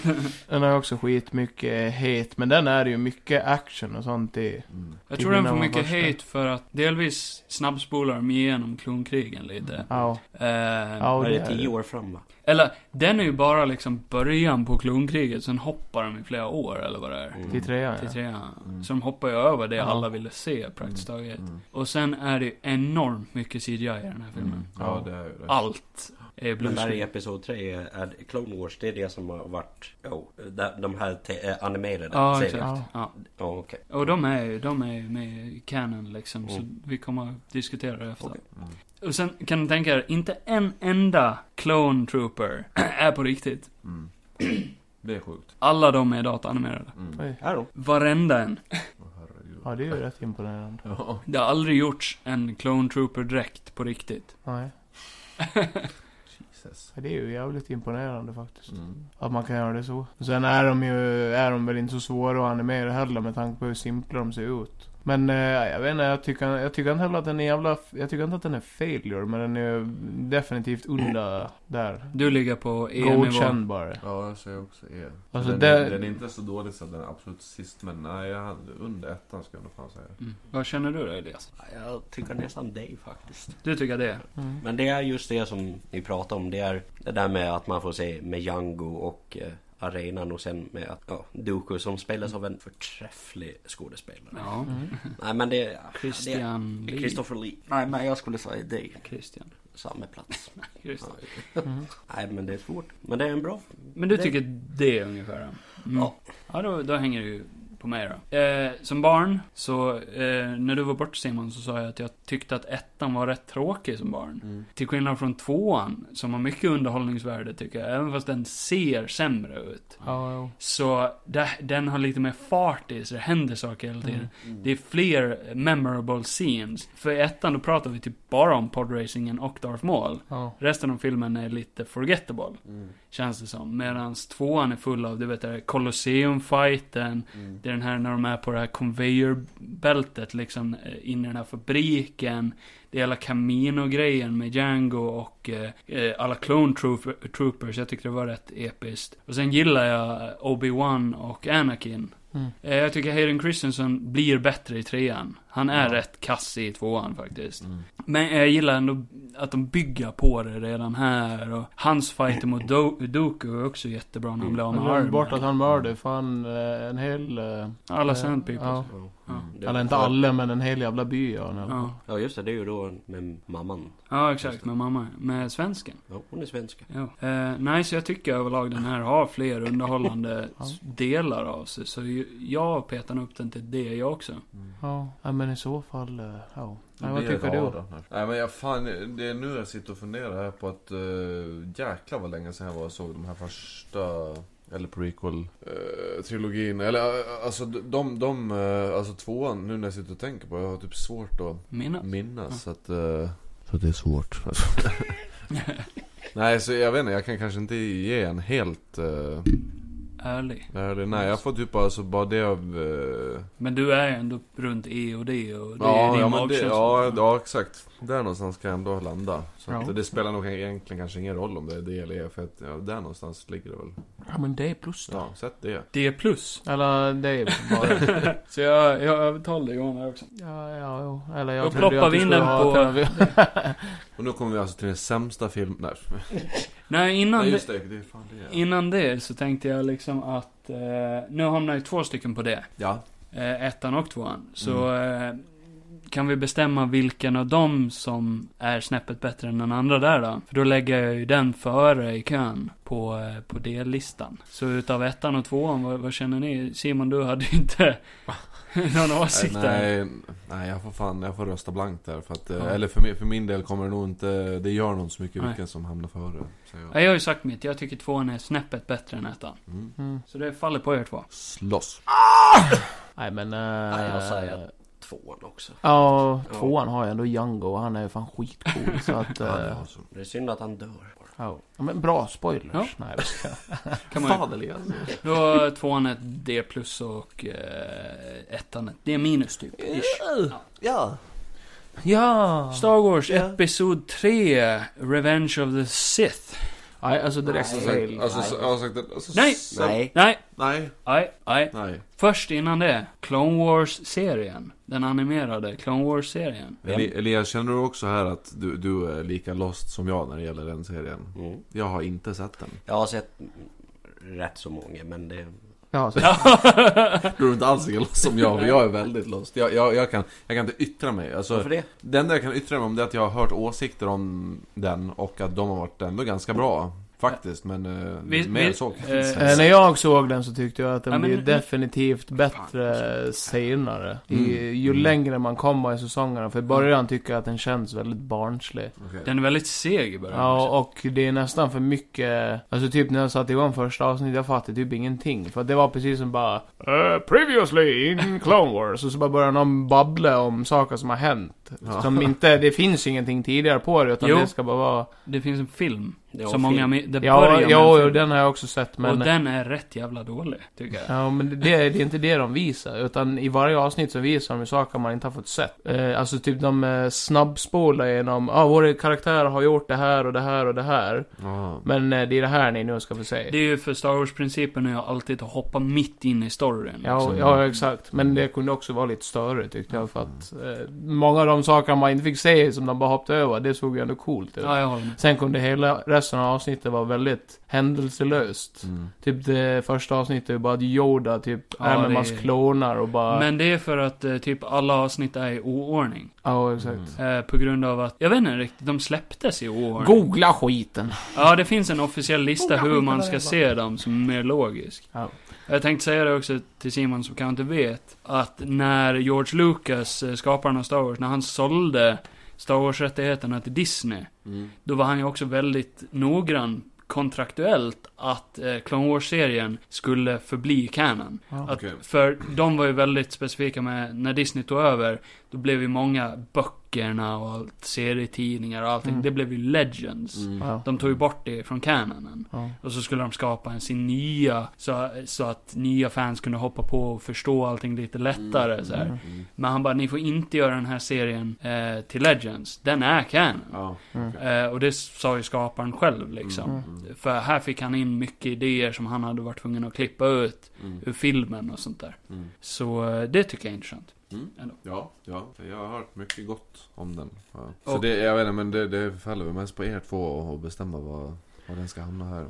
Speaker 5: Den har också skit mycket hate. Men den är det ju mycket action och sånt i.
Speaker 6: Mm.
Speaker 4: Jag
Speaker 5: Det
Speaker 4: tror
Speaker 5: är
Speaker 4: den
Speaker 5: mina
Speaker 4: får mycket
Speaker 5: första.
Speaker 4: hate för att delvis snabbspolar de igenom klonkrigen
Speaker 6: Mm.
Speaker 4: lite.
Speaker 5: Ja.
Speaker 4: Eh,
Speaker 5: Ja, och
Speaker 2: Var
Speaker 5: det
Speaker 2: det
Speaker 5: är
Speaker 2: tio
Speaker 5: det.
Speaker 2: år fram va?
Speaker 4: Eller, den är ju bara liksom början på klonkriget, sen hoppar de i flera år eller vad det är.
Speaker 5: Till trean
Speaker 4: Till
Speaker 5: ja.
Speaker 4: trean.
Speaker 6: Mm.
Speaker 4: Så de hoppar ju över det
Speaker 5: Ja.
Speaker 4: alla ville se praktiskt taget.
Speaker 6: Mm.
Speaker 4: Och sen är det ju enormt mycket CGI i den här filmen.
Speaker 6: Ja, det är ju det.
Speaker 4: Mm. Allt är
Speaker 2: Men där i
Speaker 4: bluescreen.
Speaker 2: Episod 3, är, är Clone Wars, det är det som har varit, jo, där- de här te- eh, animerade
Speaker 4: Ja,
Speaker 2: serierna.
Speaker 4: exakt. Ja.
Speaker 2: Ja, okej.
Speaker 4: Och de är ju, de är ju med i canon liksom,
Speaker 2: Mm.
Speaker 4: så vi kommer att diskutera det efter.
Speaker 2: Okej.
Speaker 6: Mm.
Speaker 4: Och sen kan ni tänka er, inte en enda clone trooper är på riktigt.
Speaker 6: Mm. Det är sjukt.
Speaker 4: Alla de är dataanimerade.
Speaker 6: Mm.
Speaker 5: Oj.
Speaker 2: Här då.
Speaker 4: Varenda en.
Speaker 6: Åh, herregud.
Speaker 5: Ja, det är ju rätt imponerande.
Speaker 6: Ja.
Speaker 4: Det har aldrig gjorts en clone trooper direkt på riktigt.
Speaker 5: Nej.
Speaker 6: Jesus.
Speaker 5: Det är ju jävligt imponerande faktiskt.
Speaker 6: Mm.
Speaker 5: Att man kan göra det så. Och sen är de ju, är de väl inte så svåra att animera heller med tanke på hur simpla de ser ut. Men eh, jag vet inte, jag tycker, jag tycker inte heller att den är jävla, jag tycker inte att den är failure. Men den är ju definitivt under där.
Speaker 4: Du ligger på E-nivå.
Speaker 5: Godkänd bara.
Speaker 6: Ja, jag säger också E.
Speaker 5: Alltså,
Speaker 6: den,
Speaker 5: det-
Speaker 6: är, den är inte så dålig så att den är absolut sist, men nej, jag hade under ettan ska jag nog fan säga.
Speaker 4: Mm. Vad känner du då Elias?
Speaker 2: Ja, Jag tycker nästan dig faktiskt.
Speaker 4: Du tycker det?
Speaker 5: Mm.
Speaker 2: Men det är just det som ni pratar om. Det är det där med att man får se med Django och eh, arenan och sen med att, ja, Dooku som spelas av en förträfflig skådespelare.
Speaker 4: Ja.
Speaker 5: Mm.
Speaker 2: Nej men det... Mm. ja,
Speaker 4: Christian
Speaker 2: det-
Speaker 4: Lee.
Speaker 2: Christopher Lee. Nej men jag skulle säga dig.
Speaker 4: Christian.
Speaker 2: Samma plats.
Speaker 4: Christian.
Speaker 5: Mm.
Speaker 2: Nej men det är svårt. Men det är en bra...
Speaker 4: Men du
Speaker 2: Det-
Speaker 4: tycker det ungefär? ja? Mm.
Speaker 2: Ja.
Speaker 4: Ja, då, då hänger det ju på mig då. Eh, som barn, så eh, när du var bort Simon så sa jag att jag tyckte att ettan var rätt tråkig som barn.
Speaker 2: Mm.
Speaker 4: Till skillnad från tvåan, som har mycket underhållningsvärde tycker jag, även fast den ser sämre ut.
Speaker 5: Ja, jo.
Speaker 4: Så det, den har lite mer fart i sig, det händer saker hela tiden.
Speaker 2: Mm.
Speaker 4: Det är fler memorable scenes. För i ettan då pratar vi typ bara om podracingen och Darth Maul.
Speaker 5: Ja.
Speaker 4: Resten av filmen är lite forgettable. Känns det som. Medans tvåan är full av, du vet, det här Colosseum-fighten. Det är den här när de är på det här conveyor-bältet liksom eh, in i den här fabriken. Det är hela Camino-grejen med Django och eh, eh, alla Clone Trooper, Troopers. Jag tyckte det var rätt episkt. Och sen gillar jag eh, Obi-Wan och Anakin.
Speaker 5: Mm.
Speaker 4: Eh, jag tycker Hayden Christensen blir bättre i trean. Han är
Speaker 5: Ja.
Speaker 4: rätt kass i tvåan faktiskt.
Speaker 6: Mm.
Speaker 4: Men jag gillar ändå att de bygger på det redan här. Och hans fight mot Do- Doku är också jättebra när han blir av
Speaker 5: Han
Speaker 4: med
Speaker 5: glömde bort att
Speaker 4: armen.
Speaker 5: han mördade fan eh, en hel... eh,
Speaker 4: Alla
Speaker 5: eh,
Speaker 4: Sand People.
Speaker 5: Ja.
Speaker 2: Mm.
Speaker 5: Eller inte alla, men en hel jävla by ja. ja.
Speaker 4: Ja.
Speaker 2: Ja just det, det är ju då med mamman.
Speaker 4: ja, exakt. Med mamma. Med svensken.
Speaker 2: Ja, hon är svenska.
Speaker 4: Ja. Eh, nej, så jag tycker överlag den här har fler underhållande s- delar av sig. Så ju- jag petar upp den till det jag också.
Speaker 5: Ja, ja, men i så fall... eh, Ja.
Speaker 6: Det
Speaker 5: ja vad
Speaker 6: blir
Speaker 5: tycker
Speaker 6: ett
Speaker 5: du?
Speaker 6: A då. Nej men jag fan, det är nu jag sitter och funderar här på att uh, jäklar vad länge sedan jag var och såg de här första eller prequel eh, trilogin eller eh, alltså de, de, eh, alltså tvåan nu när jag sitter och tänker på det, jag har typ svårt att
Speaker 4: Mina.
Speaker 6: minnas så att... eh, så att det är svårt. nej, så jag vet inte. Jag kan kanske inte ge en helt... Uh,
Speaker 4: Ärlig.
Speaker 6: nej, nej, jag får typ alltså bara det av... eh,
Speaker 4: Men du är ändå runt E och D och det är
Speaker 6: ja,
Speaker 4: din
Speaker 6: ja, men det,
Speaker 4: magkänsla.
Speaker 6: ja, ja, exakt. Där någonstans kan jag ändå landa. Så att
Speaker 5: Ja.
Speaker 6: det spelar nog egentligen kanske ingen roll om det är det eller E, för att ja, där någonstans ligger det väl.
Speaker 5: Ja men det är plus då.
Speaker 6: Ja, sätt det.
Speaker 4: D plus.
Speaker 5: Eller det är bara...
Speaker 4: Så jag, jag övertalade Johan här också.
Speaker 5: ja, ja, jo. Eller jag
Speaker 4: Då
Speaker 5: trodde
Speaker 4: ploppar
Speaker 5: att du
Speaker 4: vi in
Speaker 5: skulle
Speaker 4: den
Speaker 5: ha
Speaker 4: på-
Speaker 5: Tel Aviv.
Speaker 6: Och nu kommer vi alltså till den sämsta filmen. Nej,
Speaker 4: Nej, innan
Speaker 6: nej
Speaker 4: det-
Speaker 6: just det. Det är fan det.
Speaker 4: Innan det så tänkte jag liksom att, eh, nu hamnar ju två stycken på det.
Speaker 6: Ja.
Speaker 4: Eh, ettan och tvåan. Så eh, kan vi bestämma vilken av dem som är snäppet bättre än den andra där då? För då lägger jag ju den före i kön på, eh, på D-listan. Så utav ettan och tvåan, vad, vad känner ni? Simon, du hade ju inte någon åsikt där.
Speaker 6: Nej, nej, jag får fan, jag får rösta blankt där för att, eh,
Speaker 4: Ja.
Speaker 6: eller för min, för min del kommer det nog inte, det gör nog inte så mycket
Speaker 4: Nej.
Speaker 6: vilken som hamnar före. säger jag.
Speaker 4: Ja, jag har ju sagt mitt, jag tycker tvåan är snäppet bättre än ettan.
Speaker 6: Mm.
Speaker 5: Mm.
Speaker 4: Så det faller på er två.
Speaker 6: Slåss.
Speaker 5: Nej men...
Speaker 2: Ja,
Speaker 5: Äh,
Speaker 2: jag säger Tvåan också.
Speaker 5: Ja, tvåan har jag ändå Django och han är ju fan skitcool så att...
Speaker 6: Ja, det
Speaker 5: eh,
Speaker 6: var så.
Speaker 2: Det är synd att han dör.
Speaker 5: ja. ja men bra spoilers.
Speaker 4: Ja.
Speaker 5: Nej jag skojar.
Speaker 4: Kan man ju
Speaker 5: Fan Elias.
Speaker 4: Då har tvåan ett D plus och eh, ettan ett D minus typ. Ish.
Speaker 2: Ja.
Speaker 5: Ja!
Speaker 4: Star Wars Episod 3, Revenge of the Sith.
Speaker 5: Nej alltså direkt
Speaker 2: Nej.
Speaker 5: fel.
Speaker 6: Alltså,
Speaker 2: Nej.
Speaker 6: så- jag har sagt det. Alltså,
Speaker 4: Nej.
Speaker 6: s-
Speaker 2: Nej.
Speaker 4: Nej,
Speaker 6: Nej.
Speaker 4: nej, nej.
Speaker 6: Nej.
Speaker 4: Först innan det, Clone Wars-serien. Den animerade Clone Wars-serien.
Speaker 2: Vem?
Speaker 6: Eli- Elias, känner du också här att du, du är lika lost som jag när det gäller den serien?
Speaker 2: Mm.
Speaker 6: Jag har inte sett den.
Speaker 2: Jag har sett mm, rätt så många men det...
Speaker 5: Ja, så,
Speaker 6: Du är inte alls lika lost som jag, för jag är väldigt lost. Jag, jag, jag, kan, jag kan inte yttra mig. Alltså,
Speaker 2: Varför det?
Speaker 6: Det enda jag kan yttra mig om det är att jag har hört åsikter om den och att de har varit ändå ganska bra. Faktiskt, men eh,
Speaker 4: Vi-
Speaker 6: mer
Speaker 4: vi-
Speaker 6: så
Speaker 4: eh,
Speaker 5: eh, när jag såg den så tyckte jag att den
Speaker 4: Ja, men-
Speaker 5: blev definitivt
Speaker 4: alltså,
Speaker 5: bättre senare. I, ju
Speaker 6: Mm.
Speaker 5: längre man kommer i säsongerna. För i början tycker jag att den känns väldigt barnslig.
Speaker 6: Okej.
Speaker 4: Den är väldigt seg i början.
Speaker 5: Ja, och det är nästan för mycket. Alltså typ när jag satte igång första avsnittet, jag fattade typ ingenting. För att det var precis som bara... "Eh, previously in Clone Wars. Och så bara började någon babbla om saker som har hänt.
Speaker 6: Ja.
Speaker 5: Som inte, det finns ingenting tidigare på det. Utan
Speaker 4: Jo.
Speaker 5: det ska bara vara...
Speaker 4: Det finns en film.
Speaker 2: det var
Speaker 4: som
Speaker 2: fel.
Speaker 4: många... mi- Det
Speaker 5: Ja,
Speaker 4: börjar med en
Speaker 5: ja,
Speaker 4: film.
Speaker 5: jo, den har jag också sett. Men...
Speaker 4: Och den är rätt jävla dålig, tycker jag.
Speaker 5: Ja, men det, det är inte det de visar. Utan i varje avsnitt så visar de ju saker man inte har fått sett. Eh, alltså typ de eh, snabbspolar genom, ja ah, våra karaktärer har gjort det här och det här och det här.
Speaker 6: Ja.
Speaker 5: Men eh, det är det här ni nu ska få se.
Speaker 4: Det är ju för Star Wars-principen att jag alltid hoppar mitt in i storyn.
Speaker 5: Ja,
Speaker 6: Liksom.
Speaker 5: ja, exakt. Men det kunde också vara lite större tyckte jag för att eh, många av de saker man inte fick se som de bara hoppade över, det såg ju ändå coolt ut.
Speaker 4: Ja, jag håller med.
Speaker 5: Sen kunde hela resten av avsnittet vara väldigt händelselöst.
Speaker 6: Mm.
Speaker 5: Typ det första avsnittet var bara att Yoda typ
Speaker 4: Ja,
Speaker 5: är
Speaker 4: det-
Speaker 5: med mans kloner och bara...
Speaker 4: Men det är för att eh, typ alla avsnitt är i oordning.
Speaker 5: Ja, exakt.
Speaker 4: Eh, på grund av att, jag vet inte riktigt, de släpptes i oordning.
Speaker 5: Googla skiten.
Speaker 4: Ja, det finns en officiell lista hur man ska se dem som är mer logisk.
Speaker 5: Ja.
Speaker 4: Jag tänkte säga det också till Simon som kanske inte vet. Att när George Lucas, eh, skaparen av Star Wars, när han sålde Star Wars-rättigheterna till Disney.
Speaker 6: Mm.
Speaker 4: Då var han ju också väldigt noggrann kontraktuellt att eh, Clone Wars-serien skulle förbli canon.
Speaker 5: Ja.
Speaker 4: Att,
Speaker 6: Okej.
Speaker 4: För de var ju väldigt specifika med, när Disney tog över, då blev ju många böcker böckerna och allt, serietidningar och allting. Det blev ju Legends.
Speaker 6: Mm.
Speaker 5: Ja.
Speaker 4: De tog ju bort det från canonen.
Speaker 5: Ja.
Speaker 4: Och så skulle de skapa en sin nya, så, så att nya fans kunde hoppa på och förstå allting lite lättare
Speaker 6: Mm.
Speaker 4: så här. Men han bara, ni får inte göra den här serien eh, till Legends. Den är canon.
Speaker 6: Ja.
Speaker 4: Eh, och det sa ju skaparen själv liksom.
Speaker 6: Mm.
Speaker 4: För här fick han in mycket idéer som han hade varit tvungen att klippa ut ur filmen och sånt där.
Speaker 6: Mm.
Speaker 4: Så eh, det tycker jag är intressant.
Speaker 6: Ja, ja, jag har hört mycket gott om den. Ja. Så
Speaker 4: Och-
Speaker 6: det, jag vet inte, men det, det faller väl mest på er två att bestämma vad, vad den ska hamna här.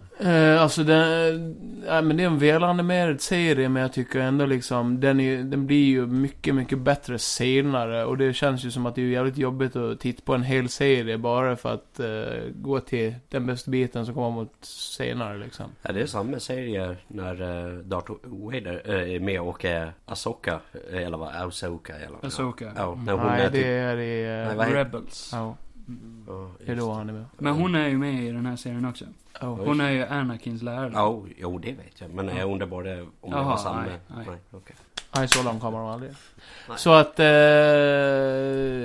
Speaker 5: Eh, alltså den, nej men det är en välanimerad serie men jag tycker ändå liksom den, är, ju- den blir ju mycket, mycket bättre senare och det känns ju som att det är jävligt jobbigt att titta på en hel serie bara för att eh, gå till den bästa biten som kommer mot senare liksom.
Speaker 2: Ja, det är samma serie när uh, Darth Vader eh, är med och är Asoka eller vad? Asoka eller vad?
Speaker 4: Ahsoka.
Speaker 2: Ja,
Speaker 4: Mm.
Speaker 2: när hon
Speaker 5: nej,
Speaker 2: är
Speaker 5: det
Speaker 2: typ...
Speaker 5: är i... eh,
Speaker 2: Nej, vad heter-
Speaker 4: Rebels.
Speaker 5: ja,
Speaker 2: Ja,
Speaker 5: det är då han är med.
Speaker 4: Men hon är ju med i den här serien också.
Speaker 5: Ja.
Speaker 4: Hon är ju Anakins lärare.
Speaker 2: Ja, jo det vet jag. Men jag undrar bara om det
Speaker 4: Jaha,
Speaker 2: var samma.
Speaker 4: nej, nej.
Speaker 2: okej.
Speaker 5: Nej, så långt kommer de aldrig.
Speaker 2: Nej.
Speaker 5: Så att, eh,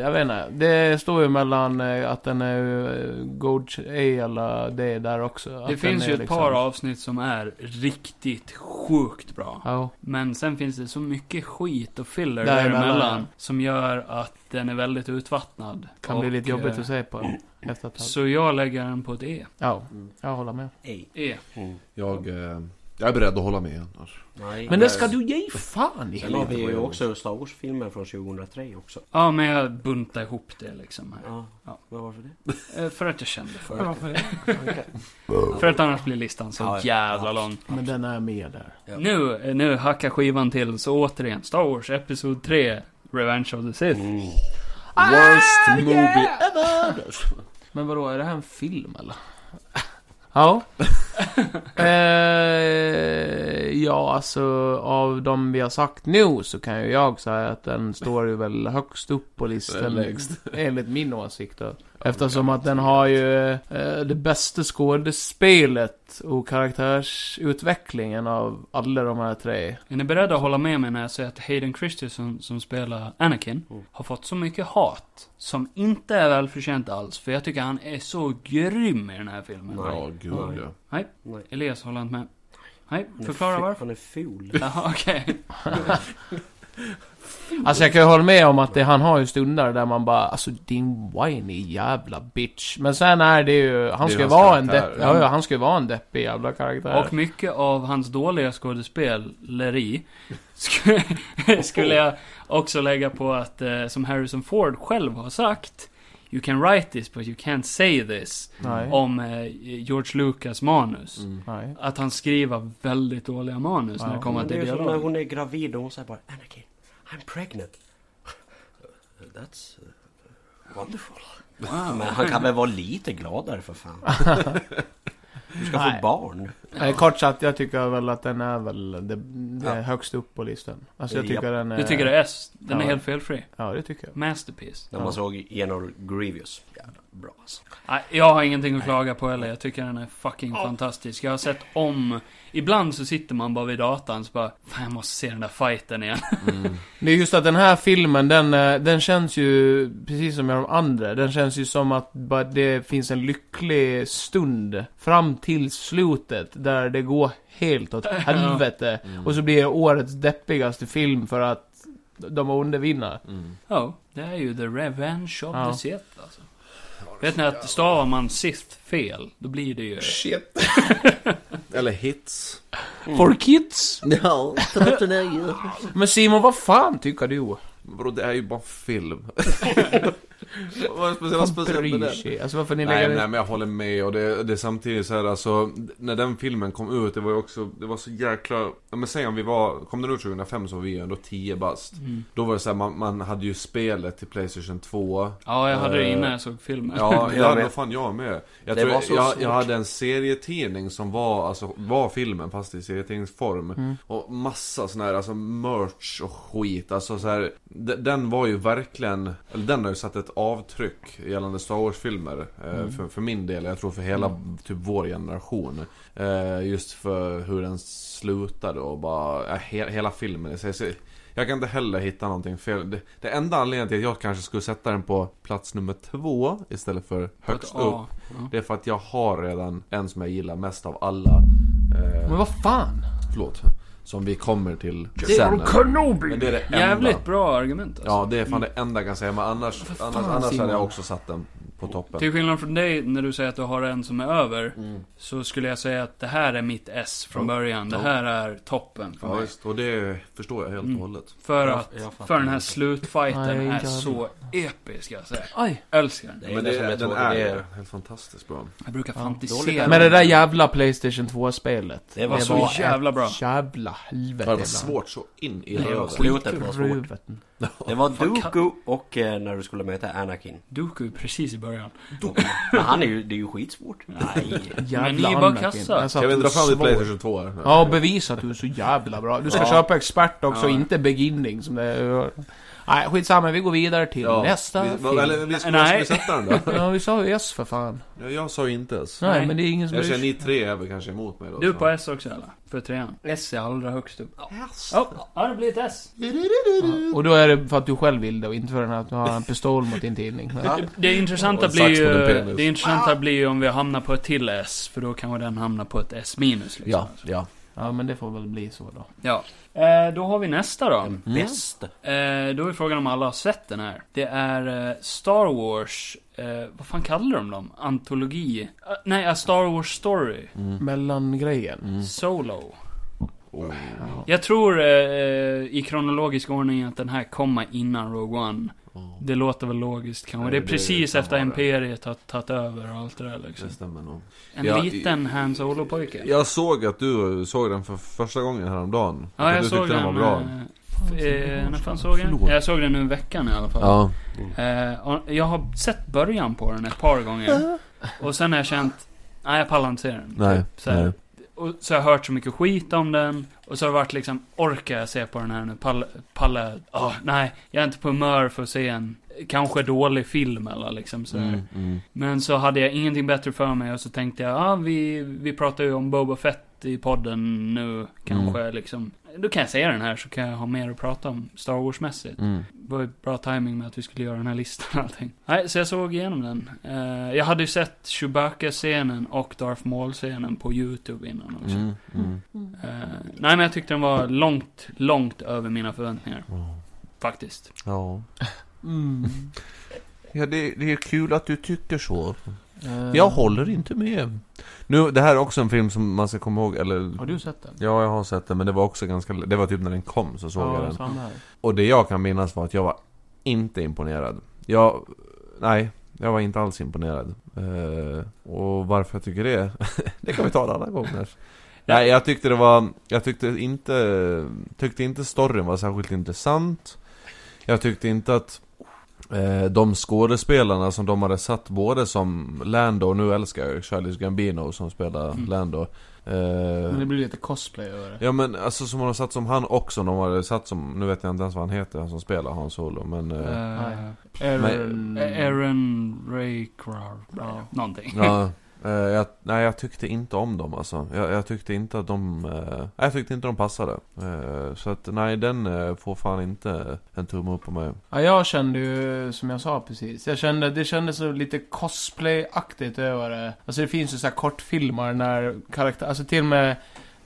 Speaker 5: jag vet inte. Det står ju mellan eh, att den är eh, god tjej eller det där också. Att
Speaker 4: Det
Speaker 5: den
Speaker 4: finns
Speaker 5: är
Speaker 4: ju ett
Speaker 5: liksom-
Speaker 4: par avsnitt som är riktigt sjukt bra.
Speaker 5: Ja.
Speaker 4: Men sen finns det så mycket skit och filler
Speaker 5: Däremellan,
Speaker 4: däremellan.
Speaker 5: ja.
Speaker 4: Som gör att den är väldigt utvattnad.
Speaker 5: Kan
Speaker 4: Och,
Speaker 5: bli lite jobbigt
Speaker 4: eh,
Speaker 5: att se på efter ett tag.
Speaker 4: Så jag lägger den på ett E.
Speaker 5: Ja, jag håller med.
Speaker 2: Ej.
Speaker 4: E.
Speaker 2: Mm.
Speaker 6: Jag, eh, jag är beredd att hålla med annars.
Speaker 2: Nej. eh,
Speaker 5: Men det ska du ge fan i!
Speaker 2: Sen har vi ju också Star Wars-filmen från 2003 också.
Speaker 4: Ja, men jag buntar ihop det liksom här.
Speaker 2: Ja.
Speaker 4: Ja.
Speaker 2: Men varför det?
Speaker 4: Eh, För att jag kände för det.
Speaker 5: Varför det?
Speaker 4: För att annars blir listan så
Speaker 2: Ja, ja.
Speaker 4: jävla lång.
Speaker 5: Men den är med där.
Speaker 2: Ja.
Speaker 4: Nu, eh, nu hackar skivan till, så återigen. Star Wars Episod 3, Revenge of the Sith.
Speaker 2: Mm.
Speaker 5: Ah,
Speaker 6: Worst movie
Speaker 5: Men vadå, är det här en film eller? ja. eh, ja, alltså av de vi har sagt nu så kan ju jag säga att den står ju väl högst upp på listan.
Speaker 6: Lägst.
Speaker 5: enligt min åsikt då. Eftersom att den har ju eh, det bästa skådespelet och karaktärsutvecklingen av alla de här tre.
Speaker 4: Är ni beredda att hålla med mig när jag säger att Hayden Christensen som spelar Anakin har fått så mycket hat som inte är välförtjänt alls. För jag tycker han är så grym i den här filmen.
Speaker 6: Ja, gud ja.
Speaker 4: Nej.
Speaker 2: Nej.
Speaker 4: Elias håller inte med. Nej,
Speaker 2: Han är
Speaker 4: förklara
Speaker 2: fi-
Speaker 4: varför.
Speaker 2: Han är ful.
Speaker 4: Jaha, okej.
Speaker 5: Alltså jag kan ju hålla med om att det, han har ju stunder där man bara alltså din whiny jävla bitch. Men sen är det ju, han
Speaker 6: Det är
Speaker 5: ska ju
Speaker 6: hans
Speaker 5: vara en
Speaker 6: karaktär,
Speaker 5: depp,
Speaker 6: ja.
Speaker 5: ja, ja, han ska ju vara en deppig jävla karaktär.
Speaker 4: Och mycket av hans dåliga skådespeleri skulle, skulle jag också lägga på att, eh, som Harrison Ford själv har sagt, You can write this but you can't say this.
Speaker 5: nej,
Speaker 4: Om eh, George Lucas manus.
Speaker 5: nej.
Speaker 4: Att han skriver väldigt dåliga manus när
Speaker 5: Mm. Ja.
Speaker 4: det kommer
Speaker 2: Men det
Speaker 4: till
Speaker 2: är ju som när
Speaker 4: dialog.
Speaker 2: hon är gravid och hon säger bara Anakin, I'm pregnant. That's uh, wonderful. Men han kan väl vara lite gladare för fan. Du ska
Speaker 5: Nej.
Speaker 2: få barn.
Speaker 5: Eh, Kort sagt, jag tycker väl att den är väl det, det är
Speaker 2: Ja.
Speaker 5: högst upp på listan. Alltså jag
Speaker 2: Japp.
Speaker 5: tycker den är...
Speaker 4: Du tycker det är S? Den är
Speaker 5: Ja.
Speaker 4: helt felfri.
Speaker 5: Ja, det tycker jag.
Speaker 4: Masterpiece.
Speaker 2: När man såg General Grievous. Jävla bra alltså.
Speaker 4: Nej, jag har ingenting att klaga på heller. Jag tycker den är fucking fantastisk. Jag har sett om... Ibland så sitter man bara vid datorn så bara... Fan, jag måste se den där fighten igen.
Speaker 5: Det är just att den här filmen, den, eh, den känns ju, precis som med de andra, den känns ju som att bara det finns en lycklig stund fram till slutet där det går helt åt helvete.
Speaker 6: Mm.
Speaker 5: Och så blir det årets deppigaste film för att de onda vinner.
Speaker 6: Mm.
Speaker 4: Ja, det är ju The Revenge of
Speaker 5: Ja.
Speaker 4: the Sith alltså. Vet ni att stavar man Sith fel, då blir det ju...
Speaker 6: Shit. Eller hits.
Speaker 5: For kids!
Speaker 1: Ja, 13 är ju...
Speaker 5: Mm. Men Simon, vad fan tycker du?
Speaker 6: Bro, det är ju bara film. Vad är speciellt
Speaker 5: Vad
Speaker 6: speciellt med
Speaker 5: bryr
Speaker 6: den?
Speaker 5: sig? Alltså varför ni
Speaker 6: Nej,
Speaker 5: lägger
Speaker 6: nej
Speaker 5: det?
Speaker 6: men jag håller med och det, det är samtidigt så här alltså När den filmen kom ut, det var ju också, det var så jäkla ja, Men säg om vi var, kom den ut 2005 så var vi ju ändå 10 bast
Speaker 4: Mm.
Speaker 6: Då var det så här, man, man hade ju spelet till Playstation 2
Speaker 4: Ja, jag hade det
Speaker 6: Eh,
Speaker 4: innan jag såg filmen.
Speaker 6: Ja,
Speaker 2: Jag
Speaker 6: jag,
Speaker 2: med.
Speaker 6: vad fan jag med. Jag,
Speaker 2: Det
Speaker 6: tror,
Speaker 2: var så
Speaker 6: jag,
Speaker 2: svårt.
Speaker 6: jag hade en serietidning som var, alltså, var filmen fast i serietidningsform.
Speaker 5: Mm.
Speaker 6: Och massa sån här, alltså merch och skit. Alltså så här, de- den var ju verkligen, eller den har ju satt ett avtryck gällande Star Wars-filmer. eh, För, för min del, jag tror för hela typ vår generation. Eh, Just för hur den slutade och bara, ja, he, hela filmen. i sig. Så jag, Jag kan inte heller hitta någonting fel. Det, det enda anledningen till att jag kanske skulle sätta den på plats nummer två istället för högst upp.
Speaker 4: Ja.
Speaker 6: Det är för att jag har redan en som jag gillar mest av alla. Eh,
Speaker 5: Men vad fan?
Speaker 6: Förlåt. Som vi kommer till sen. Men det är det enda.
Speaker 4: Jävligt bra argument alltså.
Speaker 6: Ja, det är fan det enda jag kan säga. Men annars, annars, annars hade jag också satt den på toppen.
Speaker 4: Till skillnad från dig, när du säger att du har en som är över,
Speaker 6: Mm.
Speaker 4: så skulle jag säga att det här är mitt S från början. Det här är toppen för
Speaker 6: Ja,
Speaker 4: mig.
Speaker 6: visst. Och det förstår jag helt och hållet.
Speaker 4: För
Speaker 2: Jag-
Speaker 4: att,
Speaker 2: jag fattar
Speaker 4: för den
Speaker 2: inte.
Speaker 4: här
Speaker 5: Nej,
Speaker 4: slutfighten är
Speaker 5: inte jag
Speaker 4: så episk alltså.
Speaker 5: Aj.
Speaker 4: Älskar den.
Speaker 2: Det är det som är
Speaker 6: den
Speaker 2: tråkigt.
Speaker 6: är
Speaker 2: Det är-
Speaker 6: helt fantastiskt bra.
Speaker 4: Jag brukar
Speaker 2: dåligt.
Speaker 4: fantisera.
Speaker 5: Men det där jävla Playstation 2-spelet.
Speaker 2: Det var
Speaker 4: så Alltså, jävla bra.
Speaker 5: Jävla
Speaker 6: Det
Speaker 5: helvete
Speaker 6: var svårt så in i
Speaker 2: Det var
Speaker 6: röven.
Speaker 2: Slutet var svårt.
Speaker 5: Röveten.
Speaker 2: Det var Dooku och eh, när du skulle möta Anakin.
Speaker 4: Dooku precis i början.
Speaker 2: Men han är ju, det är ju skitsvårt. Nej.
Speaker 5: Jävla
Speaker 4: ni är bara
Speaker 5: Anakin.
Speaker 4: kassa.
Speaker 5: Alltså att
Speaker 6: Kan vi
Speaker 5: du
Speaker 6: dra
Speaker 5: är
Speaker 6: fram ditt
Speaker 5: svår.
Speaker 6: Playstation 2 här?
Speaker 5: Ja, och bevisa att du är så jävla bra. Du ska köpa expert också, inte beginning som det är. Nej, skitsamma. Vi går vidare till
Speaker 6: Ja,
Speaker 5: nästa
Speaker 6: vi,
Speaker 5: film.
Speaker 6: vad- eller, vi ska,
Speaker 4: Nej.
Speaker 6: Nej. ska vi sätta den då?
Speaker 5: Ja, vi sa ju S för fan.
Speaker 6: Ja, Jag sa ju inte ens.
Speaker 5: Nej,
Speaker 4: Nej.
Speaker 5: men det är ingen som
Speaker 6: Jag känner
Speaker 5: bryr sig.
Speaker 6: ni tre är väl kanske emot mig då.
Speaker 4: Du
Speaker 6: så.
Speaker 4: på S också eller? För trean. S är allra högst upp. Ja, ja det blir ett S.
Speaker 5: Och då är det för att du själv vill det och inte för den här att du har en pistol mot din tidning.
Speaker 4: Det intressanta,
Speaker 6: Och en
Speaker 4: blir
Speaker 6: sax
Speaker 4: ju,
Speaker 6: mot en penis.
Speaker 4: det intressanta blir ju om vi hamnar på ett till S, för då kanske den hamnar på ett S minus liksom.
Speaker 6: Ja, ja.
Speaker 5: Ja, men det får väl bli så då.
Speaker 4: ja. Eh, då har vi nästa då.
Speaker 6: Mm.
Speaker 2: Bäst.
Speaker 4: Eh, då är frågan om alla har sett den här. Det är eh, Star Wars... Eh, vad fan kallar de dem? Antologi? Eh, nej, A Star Wars Story.
Speaker 5: Mellangrejen.
Speaker 4: Solo.
Speaker 6: Mm. Oh.
Speaker 4: Jag tror eh, eh, i kronologisk ordning att den här kommer innan Rogue One.
Speaker 6: Oh.
Speaker 4: Det låter väl logiskt kanske.
Speaker 6: Nej,
Speaker 4: Det är
Speaker 6: det
Speaker 4: precis
Speaker 6: kan
Speaker 4: efter
Speaker 6: vara det.
Speaker 4: Imperiet har tagit över och allt det där liksom.
Speaker 6: Det stämmer nog.
Speaker 4: En
Speaker 6: Ja,
Speaker 4: liten Han Solo-pojke.
Speaker 6: Jag såg att du såg den för första gången häromdagen.
Speaker 4: Ja, jag
Speaker 6: du
Speaker 4: såg
Speaker 6: tyckte
Speaker 4: den.
Speaker 6: den var bra.
Speaker 4: eh, f- eh, när fan såg jag den? Jag såg den nu i veckan i alla fall.
Speaker 6: Ja.
Speaker 4: Eh, och jag har sett början på den ett par gånger. Och sen har jag känt, nej jag pallar inte se den. Typ,
Speaker 6: Nej,
Speaker 4: så, här.
Speaker 6: nej.
Speaker 4: Och, så har jag hört så mycket skit om den. Och så har det varit liksom, orkar jag se på den här nu? Pall- Pallar jag? Ah, nej, jag är inte på humör för att se en kanske dålig film eller liksom så här.
Speaker 6: Mm, mm.
Speaker 4: Men så hade jag ingenting bättre för mig och så tänkte jag, ah, vi, vi pratar ju om Boba Fett i podden nu kanske
Speaker 6: Mm.
Speaker 4: liksom. Då kan jag säga den här så kan jag ha mer att prata om Star Wars-mässigt.
Speaker 6: Mm.
Speaker 4: Det var ju bra timing med att vi skulle göra den här listan och allting. Nej, så jag såg igenom den. Eh, jag hade ju sett Chewbacca-scenen och Darth Maul-scenen på YouTube innan också.
Speaker 6: Mm. Mm.
Speaker 4: Eh, nej, men jag tyckte den var långt, långt över mina förväntningar. Faktiskt.
Speaker 6: Ja.
Speaker 4: Mm.
Speaker 6: Ja, det, det är kul att du tycker så.
Speaker 5: Eh,
Speaker 6: Jag håller inte med. Nu, det här är också en film som man ska komma ihåg, eller...
Speaker 5: Har du sett den?
Speaker 6: Ja, jag har sett den, men det var också ganska... Det var typ när den kom så såg jag den.
Speaker 5: samma här.
Speaker 6: Och det jag kan minnas var att jag var inte imponerad. Jag... Nej, jag var inte alls imponerad. Eh, och varför jag tycker det? det kan vi ta en annan gång kanske. Nej, jag tyckte det var... Jag tyckte inte... Tyckte inte storyn var särskilt intressant. Jag tyckte inte att... eh, De skådespelarna som de hade satt både som Lando, och nu älskar jag ju Charles Gambino som spelar
Speaker 4: Mm.
Speaker 6: Lando. Eh,
Speaker 5: Men det blir lite cosplay över det.
Speaker 6: Ja men alltså som hon har satt som han också, de har satt som, nu vet jag inte ens vad han heter, han som spelar Han Solo, men... eh,
Speaker 4: Uh,
Speaker 5: Aaron...
Speaker 4: Aaron Raycrow. Ja. Någonting.
Speaker 6: ja, eh, jag, nej jag tyckte inte om dem alltså. Jag, jag tyckte inte att de, eh, nej, jag tyckte inte de passade. Eh, så att nej, den eh, får fan inte en tumme upp på mig.
Speaker 5: Ja, jag kände ju, som jag sa precis, jag kände, det kändes så lite cosplay-aktigt över det. Alltså det finns ju så här kortfilmer när karaktär, alltså till och med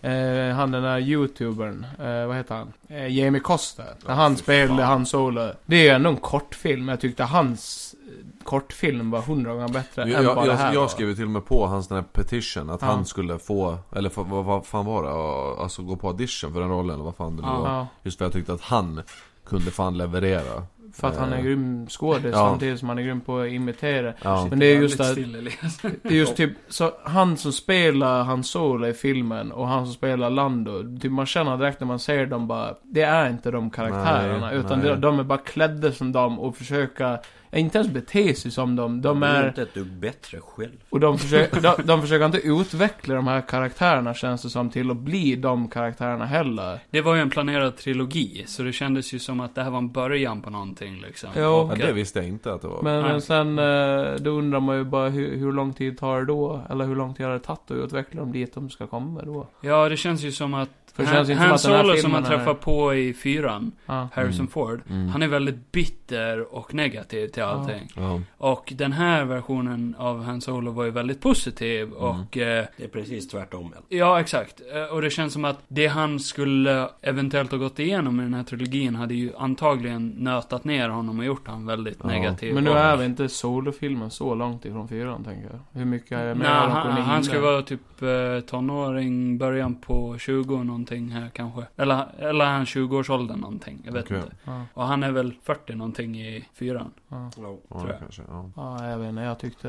Speaker 5: eh, han den där youtubern, eh, vad heter han? Eh, Jamie Costa. När han spelade Han Solo. Det är ju ändå en kortfilm, jag tyckte hans eh, kortfilm var hundra gånger bättre
Speaker 6: Jag,
Speaker 5: än vad
Speaker 6: jag,
Speaker 5: det här
Speaker 6: jag,
Speaker 5: var.
Speaker 6: jag skrev ju till och med på hans den här petition, att
Speaker 5: Ja.
Speaker 6: han skulle få, eller få, vad, vad fan var det? Ja, Alltså gå på audition för den rollen, eller vad fan det nu
Speaker 4: Ja.
Speaker 6: var.
Speaker 5: Ja,
Speaker 6: Just för jag tyckte att han kunde fan leverera.
Speaker 5: för att han är
Speaker 6: Eh.
Speaker 5: grym skådis
Speaker 6: Ja.
Speaker 5: samtidigt som han är grym på att imitera.
Speaker 6: Ja.
Speaker 5: Men det är just
Speaker 4: Jävligt
Speaker 5: att
Speaker 4: still, Elias.
Speaker 5: Det är just typ, så han som spelar Han Solo i filmen och han som spelar Lando, typ man känner direkt när man ser dem bara, det är inte de karaktärerna,
Speaker 6: Nej,
Speaker 5: utan
Speaker 6: nej.
Speaker 5: De, de är bara klädda som dem och försöka inte ens bete sig som dem. De
Speaker 4: Mm.
Speaker 2: Du är
Speaker 5: är...
Speaker 2: inte ett dugg bättre själv.
Speaker 5: Och de försöker, de, de försöker inte utveckla de här karaktärerna känns det som till att bli de karaktärerna heller.
Speaker 4: Det var ju en planerad trilogi, så det kändes ju som att det här var en början på någonting liksom.
Speaker 5: Jo.
Speaker 4: Och,
Speaker 6: Ja, det visste jag inte att det var.
Speaker 5: Men,
Speaker 4: Nej.
Speaker 5: men sen, eh, då undrar man ju bara hur, hur lång tid tar det då? Eller hur lång tid har det tagit att utveckla dem dit de ska komma då?
Speaker 4: ja, det känns ju som att...
Speaker 5: För det
Speaker 4: Han-
Speaker 5: känns ju inte
Speaker 4: Han
Speaker 5: som att den här
Speaker 4: Solo som
Speaker 5: filmen
Speaker 4: man
Speaker 5: är-
Speaker 4: träffar på i fyran,
Speaker 5: Ja.
Speaker 4: Harrison
Speaker 6: Mm.
Speaker 4: Ford,
Speaker 6: Mm.
Speaker 4: han är väldigt bitter och negativ till allting.
Speaker 6: Ja.
Speaker 4: Och den här versionen av Han Solo var ju väldigt positiv
Speaker 5: Mm.
Speaker 4: och... Eh,
Speaker 2: Det är precis tvärtom.
Speaker 4: Ja, exakt. Eh, Och det känns som att det han skulle eventuellt ha gått igenom i den här trilogin hade ju antagligen nötat ner honom och gjort honom väldigt
Speaker 6: Ja.
Speaker 4: negativ.
Speaker 5: Men nu
Speaker 4: Och-
Speaker 5: är vi inte solofilmen så långt ifrån fyran, tänker jag. Hur mycket är det mer
Speaker 4: Nej,
Speaker 5: de
Speaker 4: han,
Speaker 5: kunde hinna?
Speaker 4: han ska vara typ eh, tonåring, början på 20 någonting här kanske. Eller, eller är han 20-årsåldern någonting, jag vet
Speaker 6: Okej.
Speaker 4: inte.
Speaker 5: Ja,
Speaker 4: Och han är väl 40 någonting i fyran.
Speaker 5: ja.
Speaker 2: Ja.
Speaker 6: Ja,
Speaker 4: Tror jag.
Speaker 6: kanske. Ja.
Speaker 5: ja, jag vet inte. Jag tyckte,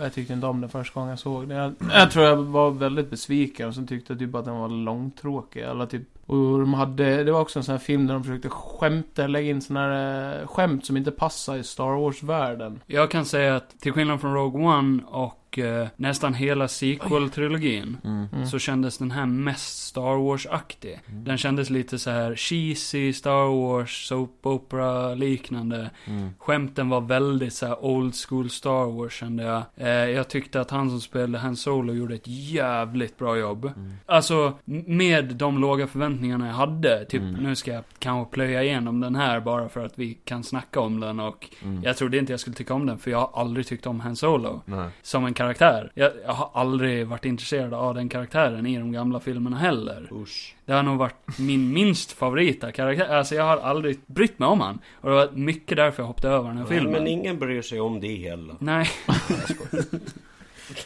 Speaker 5: jag tyckte inte om den första gången jag såg den. Jag, jag tror jag var väldigt besviken och sen tyckte jag typ att den var långtråkig. Eller typ, och de hade, det var också en sån här film där de försökte skämta, lägga in såna här eh, skämt som inte passar i Star Wars-världen.
Speaker 4: Jag kan säga att till skillnad från Rogue One och eh, nästan hela sequel-trilogin
Speaker 6: Mm.
Speaker 5: Mm.
Speaker 4: så kändes den här mest Star Wars-aktig. Den kändes lite så här cheesy, Star Wars, soap opera liknande.
Speaker 6: Mm.
Speaker 4: Skämten var väldigt så här old school Star Wars kände jag. Eh, jag tyckte att han som spelade Han Solo gjorde ett jävligt bra jobb.
Speaker 6: Mm.
Speaker 4: Alltså, m- med de låga förväntningarna jag hade. Typ,
Speaker 6: Mm.
Speaker 4: nu ska jag kanske plöja igenom den här bara för att vi kan snacka om den och
Speaker 6: Mm.
Speaker 4: jag trodde inte jag skulle tycka om den för jag har aldrig tyckt om Han Solo.
Speaker 6: Nej.
Speaker 4: Som en karaktär. Jag, jag har aldrig varit intresserad av den karaktären i de gamla filmerna heller.
Speaker 2: Usch.
Speaker 4: Det har nog varit min minst favorita karaktär. Alltså jag har aldrig brytt mig om han. Och det var mycket därför jag hoppade över den här
Speaker 2: Nej,
Speaker 4: filmen.
Speaker 2: men ingen bryr sig om det heller.
Speaker 4: Nej.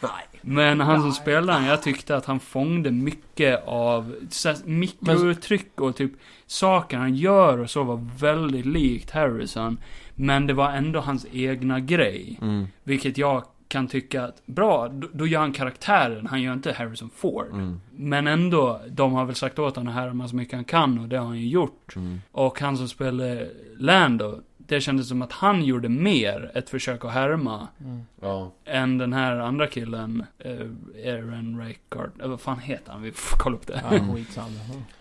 Speaker 2: Nej.
Speaker 4: Men han som spelade han, jag tyckte att han fångde mycket av så här mikrouttryck och typ saker han gör och så var väldigt likt Harrison. Men det var ändå hans egna grej.
Speaker 6: Mm.
Speaker 4: Vilket jag kan tycka att, bra, då, då gör han karaktären, han gör inte Harrison Ford.
Speaker 6: Mm.
Speaker 4: Men ändå, de har väl sagt åt honom att härma så mycket han kan och det har han ju gjort.
Speaker 6: Mm.
Speaker 4: Och han som spelade Lando, det kändes som att han gjorde mer ett försök att härma
Speaker 5: Mm.
Speaker 6: Ja.
Speaker 4: än den här andra killen, eh, Aaron Reichard. Eh, vad fan heter han? Vi får kolla upp det.
Speaker 5: Ja, skitsamma.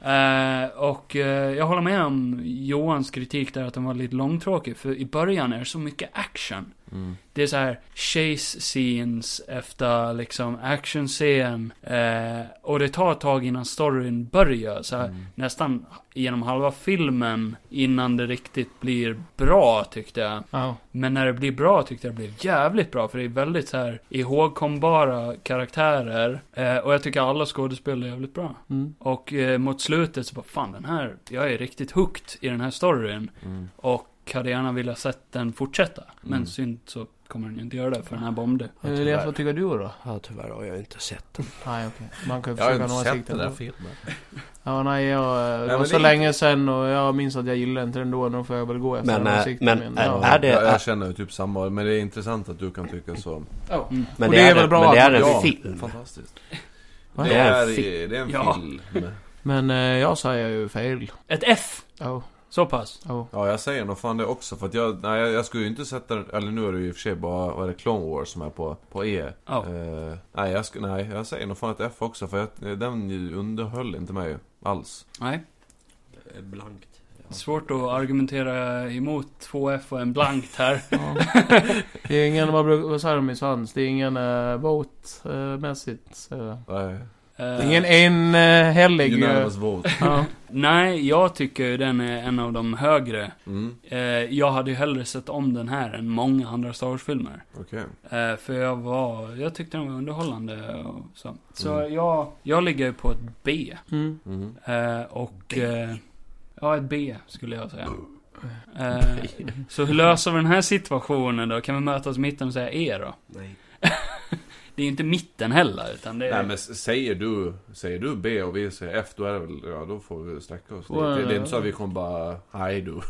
Speaker 5: Mm.
Speaker 4: Eh, och eh, jag håller med om Johans kritik där att den var lite långtråkig. För i början är det så mycket action.
Speaker 6: Mm.
Speaker 4: Det är så här chase scenes efter liksom actionscen. Eh, och det tar ett tag innan storyn börjar. Så här,
Speaker 6: Mm.
Speaker 4: Nästan genom halva filmen innan det riktigt blir bra tyckte jag.
Speaker 5: Ja.
Speaker 4: Men när det blir bra tyckte jag det blev jävligt bra för det är väldigt så här ihågkombara karaktärer. Eh, och jag tycker alla skådespelare är jävligt bra.
Speaker 5: Mm.
Speaker 4: Och eh, mot slutet så bara fan den här, jag är riktigt hooked i den här storyn.
Speaker 6: Mm.
Speaker 4: Och hade gärna velat sett den fortsätta. Men
Speaker 6: Mm.
Speaker 4: synd så kommer den ju inte göra det för den här bombade.
Speaker 5: Elias, vad tycker du då?
Speaker 2: Ja, tyvärr har jag inte sett den.
Speaker 5: Nej, okej. Man kan ju
Speaker 6: Jag har
Speaker 5: försöka
Speaker 6: inte
Speaker 5: nå
Speaker 6: sett
Speaker 5: åsikter.
Speaker 6: den där
Speaker 5: på-
Speaker 6: filmen.
Speaker 5: Ja, nej, jag, det
Speaker 6: men
Speaker 5: var
Speaker 6: det
Speaker 5: så
Speaker 6: är
Speaker 5: länge sen och jag minns att jag gillade inte den då. Då får jag väl gå efter
Speaker 2: Men,
Speaker 5: den
Speaker 2: eh,
Speaker 5: åsikten
Speaker 2: men
Speaker 5: min.
Speaker 2: är,
Speaker 5: Ja.
Speaker 2: är det...
Speaker 6: Jag,
Speaker 2: Är,
Speaker 6: jag känner ju typ samma, men det är intressant att du kan tycka så.
Speaker 5: Ja.
Speaker 4: Mm.
Speaker 2: men
Speaker 5: och
Speaker 2: det, är väl bra men det
Speaker 5: att
Speaker 2: är en
Speaker 5: man-
Speaker 6: ja,
Speaker 2: film.
Speaker 6: Fantastiskt.
Speaker 5: Va?
Speaker 6: Det är, det är en
Speaker 4: Ja.
Speaker 6: film.
Speaker 5: Men eh, jag säger ju fel.
Speaker 4: Ett F!
Speaker 5: Ja,
Speaker 4: Så pass.
Speaker 5: ja.
Speaker 6: Ja, jag säger nog fan det också. För att jag, nej, jag, jag skulle ju inte sätta den, eller nu är det ju i och för sig bara, vad är det, Clone Wars som är på, på E.
Speaker 4: Ja.
Speaker 6: Eh, nej, jag sku, nej, jag säger nog fan ett F också. För jag, den ju underhöll inte mig alls.
Speaker 4: Nej.
Speaker 2: Eh, Blankt.
Speaker 4: Svårt att argumentera emot två F och en blankt här.
Speaker 5: ja. Det är ingen, vad, bruk- vad säger de i Svans? Det är ingen uh, båtmässigt. Uh,
Speaker 6: Nej.
Speaker 4: Eh,
Speaker 5: ingen enhällig... Uh,
Speaker 6: Unanimous vote.
Speaker 5: ja.
Speaker 4: Nej, jag tycker ju den är en av de högre.
Speaker 6: Mm,
Speaker 4: Eh, jag hade ju hellre sett om den här än många andra Star Wars-filmer.
Speaker 6: okej.
Speaker 4: Eh, för jag var, jag tyckte den var underhållande och så. Så
Speaker 6: Mm.
Speaker 4: jag, jag ligger ju på ett B.
Speaker 5: mm.
Speaker 6: Mm.
Speaker 4: Eh, och... Eh, ja, ett B skulle jag säga. Eh, så hur löser vi den här situationen då? Kan vi mötas i mitten och säga E då?
Speaker 2: Nej.
Speaker 4: Det är ju inte mitten heller, utan det är...
Speaker 6: Nej men s- säger du, säger du B och vi säger F, då är det väl, ja då får vi sträcka oss dit.
Speaker 5: Well,
Speaker 6: Det, det är inte så att vi kommer bara, hej du,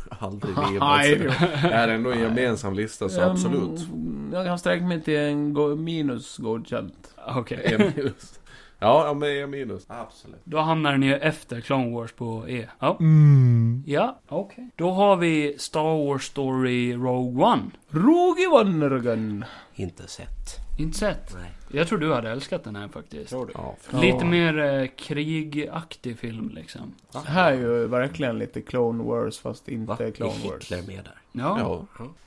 Speaker 6: aldrig i
Speaker 2: alltså.
Speaker 6: livet. Det är ändå en gemensam lista, så absolut.
Speaker 5: Mm, Jag kan sträcka mig till en go- minus godkänt.
Speaker 4: Ah, Okej.
Speaker 6: E minus. Ja, ja, men E minus. Absolut.
Speaker 4: Då hamnar den ju efter Clone Wars på E. Ja. Ja, okej. Då har vi Star Wars Story Rogue One.
Speaker 5: Rogi Wannergun.
Speaker 2: Inte sett.
Speaker 4: Inte sett.
Speaker 2: Nej.
Speaker 4: Jag tror du hade älskat den här faktiskt.
Speaker 2: Tror du?
Speaker 4: Lite mer eh, krigaktig film liksom.
Speaker 5: Det här är ju verkligen lite Clone Wars fast
Speaker 2: Va?
Speaker 5: inte
Speaker 2: Är
Speaker 5: Clone Wars.
Speaker 2: Hitler med där?
Speaker 4: Ja.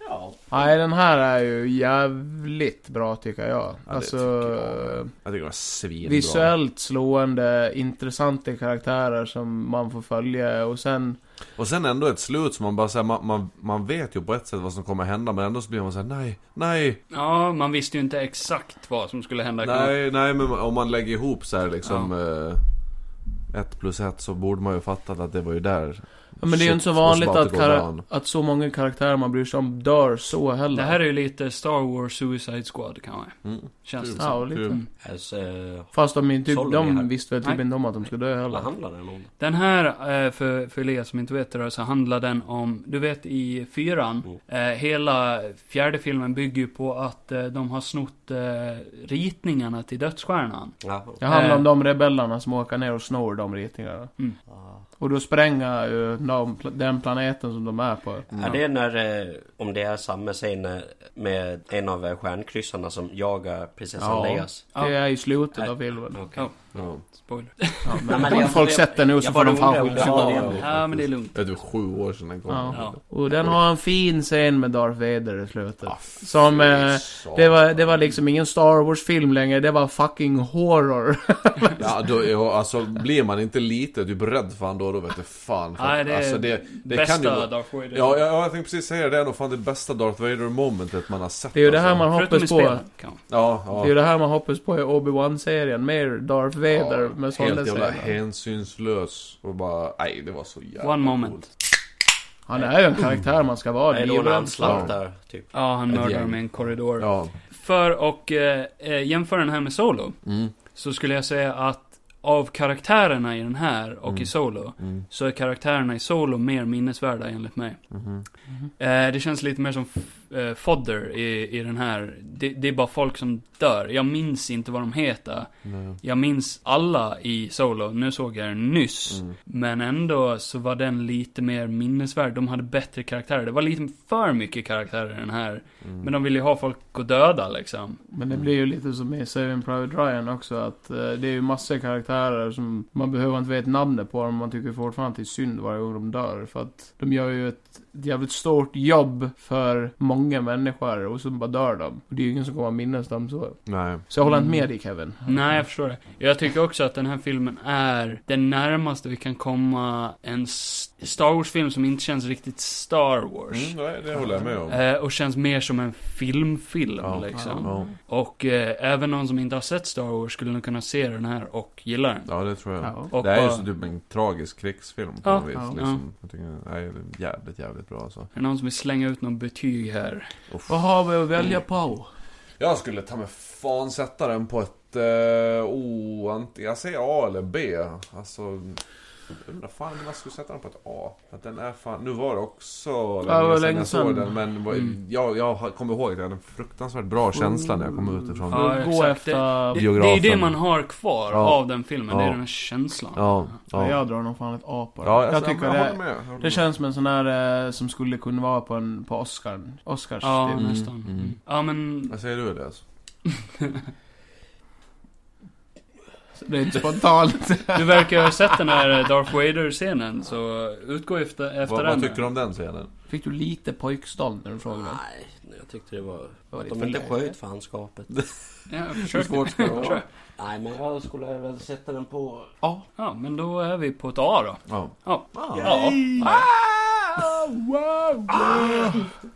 Speaker 6: Ja.
Speaker 5: Nej, den här är ju jävligt bra tycker jag.
Speaker 6: det
Speaker 5: alltså...
Speaker 6: tycker jag. Jag tycker det var svinbra.
Speaker 5: Visuellt slående, intressanta karaktärer som man får följa och sen...
Speaker 6: Och sen ändå ett slut som man bara säger man, man, man vet ju på ett sätt vad som kommer hända men ändå så blir man såhär nej, nej,
Speaker 4: ja, man visste ju inte exakt vad som skulle hända.
Speaker 6: nej, nej men om man lägger ihop så här liksom eh, ett plus ett så borde man ju fattat att det var ju där.
Speaker 5: Ja, men det är ju
Speaker 6: Shit,
Speaker 5: inte så
Speaker 6: måste
Speaker 5: vanligt
Speaker 6: bara
Speaker 5: att,
Speaker 6: gå
Speaker 5: kara-
Speaker 6: down.
Speaker 5: att så många karaktärer man bryr sig om dör så heller.
Speaker 4: Det här är ju lite Star Wars Suicide Squad kanske.
Speaker 6: Mm.
Speaker 4: Känns det
Speaker 5: Ja,
Speaker 4: som. Mm.
Speaker 5: och lite.
Speaker 6: Kul.
Speaker 2: Alltså, eh,
Speaker 5: Fast de, inte,
Speaker 2: Sålde vi här.
Speaker 5: de visste väl typ
Speaker 4: Nej.
Speaker 5: inte om att de skulle dö heller.
Speaker 2: vad handlar den om?
Speaker 4: Den här, eh, för, för er som inte vet det då, så handlar den om, du vet i
Speaker 6: Mm.
Speaker 4: fyran, eh, hela fjärde filmen bygger ju på att eh, de har snott eh, ritningarna till Dödsstjärnan.
Speaker 2: Ja.
Speaker 5: Det handlar om
Speaker 4: Eh.
Speaker 5: de rebellerna som åker ner och snor de ritningarna.
Speaker 4: Mm.
Speaker 5: Och då spränga ju de, pl- den planeten som de är på.
Speaker 2: Är det när, eh, om det är samma scen eh, med en av eh, stjärnkryssarna som jagar prinsessan
Speaker 5: Ja.
Speaker 2: Leias?
Speaker 5: Det är i slutet
Speaker 2: Nej.
Speaker 5: av filmen.
Speaker 2: Okej.
Speaker 4: Ja.
Speaker 6: Ja.
Speaker 4: Spoiler.
Speaker 5: Ja,
Speaker 2: Nej,
Speaker 5: men,
Speaker 2: men
Speaker 5: om
Speaker 2: jag-
Speaker 5: folk
Speaker 2: jag-
Speaker 5: sett den nu så
Speaker 2: jag
Speaker 5: får
Speaker 2: bara
Speaker 5: de fan
Speaker 2: undrar om
Speaker 5: skjuta
Speaker 2: det
Speaker 5: sig
Speaker 2: var
Speaker 5: bara.
Speaker 2: det.
Speaker 4: Ja, men det är lugnt.
Speaker 6: Det är typ sju år sedan den kom. Ah,
Speaker 5: Ja.
Speaker 4: Ja.
Speaker 5: Och den har en fin scen med Darth Vader i slutet.
Speaker 6: Ah,
Speaker 5: Som, eh,
Speaker 6: fy
Speaker 5: Det var,
Speaker 6: satan.
Speaker 5: det var liksom ingen Star Wars-film längre, det var fucking horror.
Speaker 6: Ja, då, ja, alltså blir man inte lite typ rädd för han då, då vet du fan. För,
Speaker 4: Nej, det är
Speaker 6: alltså, det, det
Speaker 4: Bästa
Speaker 6: kan ju vara-
Speaker 4: Darth Vader.
Speaker 6: Ja, ja, ja, jag tänkte precis säga det. Det är nog fan det bästa Darth Vader-momentet man har sett. alltså.
Speaker 5: Det är ju det här man
Speaker 4: Alltså, Förutom i
Speaker 5: hoppas på.
Speaker 4: spelet kanske.
Speaker 6: Ja,
Speaker 5: Det
Speaker 6: ja.
Speaker 5: är ju det här man hoppas på i Obi-Wan-serien. Mer Darth Vader
Speaker 6: Ja,
Speaker 5: med sådana
Speaker 6: Helt jävla
Speaker 5: scener.
Speaker 6: hänsynslös. Och bara, nej, det var så jävla
Speaker 4: One moment.
Speaker 6: coolt.
Speaker 5: Han är ju en karaktär man ska vara.
Speaker 2: Är det då när han
Speaker 5: livrädd för.
Speaker 2: slaktar, typ?
Speaker 4: Ja, han
Speaker 6: Ett
Speaker 4: mördar
Speaker 6: gäng.
Speaker 4: dem i en korridor.
Speaker 6: Ja.
Speaker 4: För och eh, eh, jämföra den här med Solo.
Speaker 6: Mm.
Speaker 4: Så skulle jag säga att av karaktärerna i den här och
Speaker 6: Mm.
Speaker 4: i Solo.
Speaker 6: Mm.
Speaker 4: Så är karaktärerna i Solo mer minnesvärda enligt mig.
Speaker 6: mhm.
Speaker 4: Eh, det känns lite mer som f- eh, fodder i, i den här. Det, det är bara folk som dör. Jag minns inte vad de heter.
Speaker 6: Nej.
Speaker 4: Jag minns alla i Solo. Nu såg jag den nyss.
Speaker 6: Mm.
Speaker 4: Men ändå så var den lite mer minnesvärd. De hade bättre karaktärer. Det var lite för mycket karaktärer i den här.
Speaker 6: Mm.
Speaker 4: Men de ville ju ha folk att döda liksom.
Speaker 5: Men det blir ju lite som i Saving Private Ryan också. Att eh, det är ju massor karaktärer som man behöver inte veta namnet på. Men man tycker fortfarande att det är synd varje gång de dör. För att de gör ju ett jävligt stort jobb för många människor. Och så bara dör de. Och det är ju ingen som kommer att minnas dem så.
Speaker 6: Nej.
Speaker 5: Så jag håller inte
Speaker 4: Mm.
Speaker 5: med dig Kevin.
Speaker 4: Nej, jag förstår det. Jag tycker också att den här filmen är den närmaste vi kan komma en s- Star Wars-film som inte känns riktigt Star Wars.
Speaker 6: Mm, nej, det håller jag med om.
Speaker 4: Eh, och känns mer som en filmfilm
Speaker 6: Ja.
Speaker 4: liksom.
Speaker 6: Ja.
Speaker 4: Och eh, även någon som inte har sett Star Wars skulle nog kunna se den här och gilla den.
Speaker 6: ja, det tror jag.
Speaker 5: Ja.
Speaker 4: Och
Speaker 6: det är ju
Speaker 4: bara-
Speaker 6: så typ en tragisk krigsfilm på
Speaker 4: Ja,
Speaker 6: något vis.
Speaker 5: ja,
Speaker 6: liksom. Jag tycker, nej, det är jävligt, jävligt bra alltså.
Speaker 4: Är det någon som vill slänga ut något betyg här?
Speaker 6: Uff.
Speaker 5: Vad har vi att välja på?
Speaker 6: Jag skulle ta mig fan sätta den på ett... Eh, oh, antingen, jag säger A eller B. Alltså... Jag undrar fan om jag skulle sätta den på ett A. Att den är fan... Nu var det också
Speaker 5: Ja, det var
Speaker 6: sedan
Speaker 5: länge
Speaker 6: jag såg
Speaker 5: sedan.
Speaker 6: den. Men vad-
Speaker 4: Mm.
Speaker 6: jag, jag har- kommer ihåg att jag hade en fruktansvärt
Speaker 5: Mm.
Speaker 6: bra känsla när jag kom ut ifrån
Speaker 4: Ja,
Speaker 6: den.
Speaker 5: Gå
Speaker 4: exakt.
Speaker 5: efter...
Speaker 4: Det, det
Speaker 6: Biografen.
Speaker 4: är ju det man har kvar
Speaker 6: Ja.
Speaker 4: av den filmen. Det är
Speaker 6: Ja.
Speaker 4: den här känslan.
Speaker 6: Ja,
Speaker 5: Ja.
Speaker 6: ja.
Speaker 5: Jag drar nog fan ett A på det.
Speaker 6: Ja,
Speaker 5: jag tycker
Speaker 6: jag håller
Speaker 5: det,
Speaker 6: med. Jag håller
Speaker 5: det
Speaker 6: med.
Speaker 5: känns som en sån här eh, som skulle kunna vara på, en, på Oscar. Oscars.
Speaker 4: Ja,
Speaker 5: typ.
Speaker 6: Mm,
Speaker 4: nästan.
Speaker 6: mm.
Speaker 4: Ja, men...
Speaker 6: Vad säger du det alltså?
Speaker 5: Det är inte spontant.
Speaker 4: Du verkar ha sett den här Darth Vader-scenen, så utgå efter, efter
Speaker 6: Vad,
Speaker 4: den.
Speaker 6: vad tycker du om den scenen?
Speaker 5: Fick du lite pojkstånd när du frågade mig?
Speaker 2: Nej, jag tyckte det var...
Speaker 5: Vad var
Speaker 2: Att
Speaker 5: ditt
Speaker 2: de inte
Speaker 5: fel?
Speaker 2: sköt fanskapet.
Speaker 4: Ja, jag försöker.
Speaker 2: Nej, men jag skulle väl sätta den på...
Speaker 4: Ja, men då är vi på ett A då.
Speaker 6: Ja.
Speaker 4: Ja.
Speaker 6: Ja.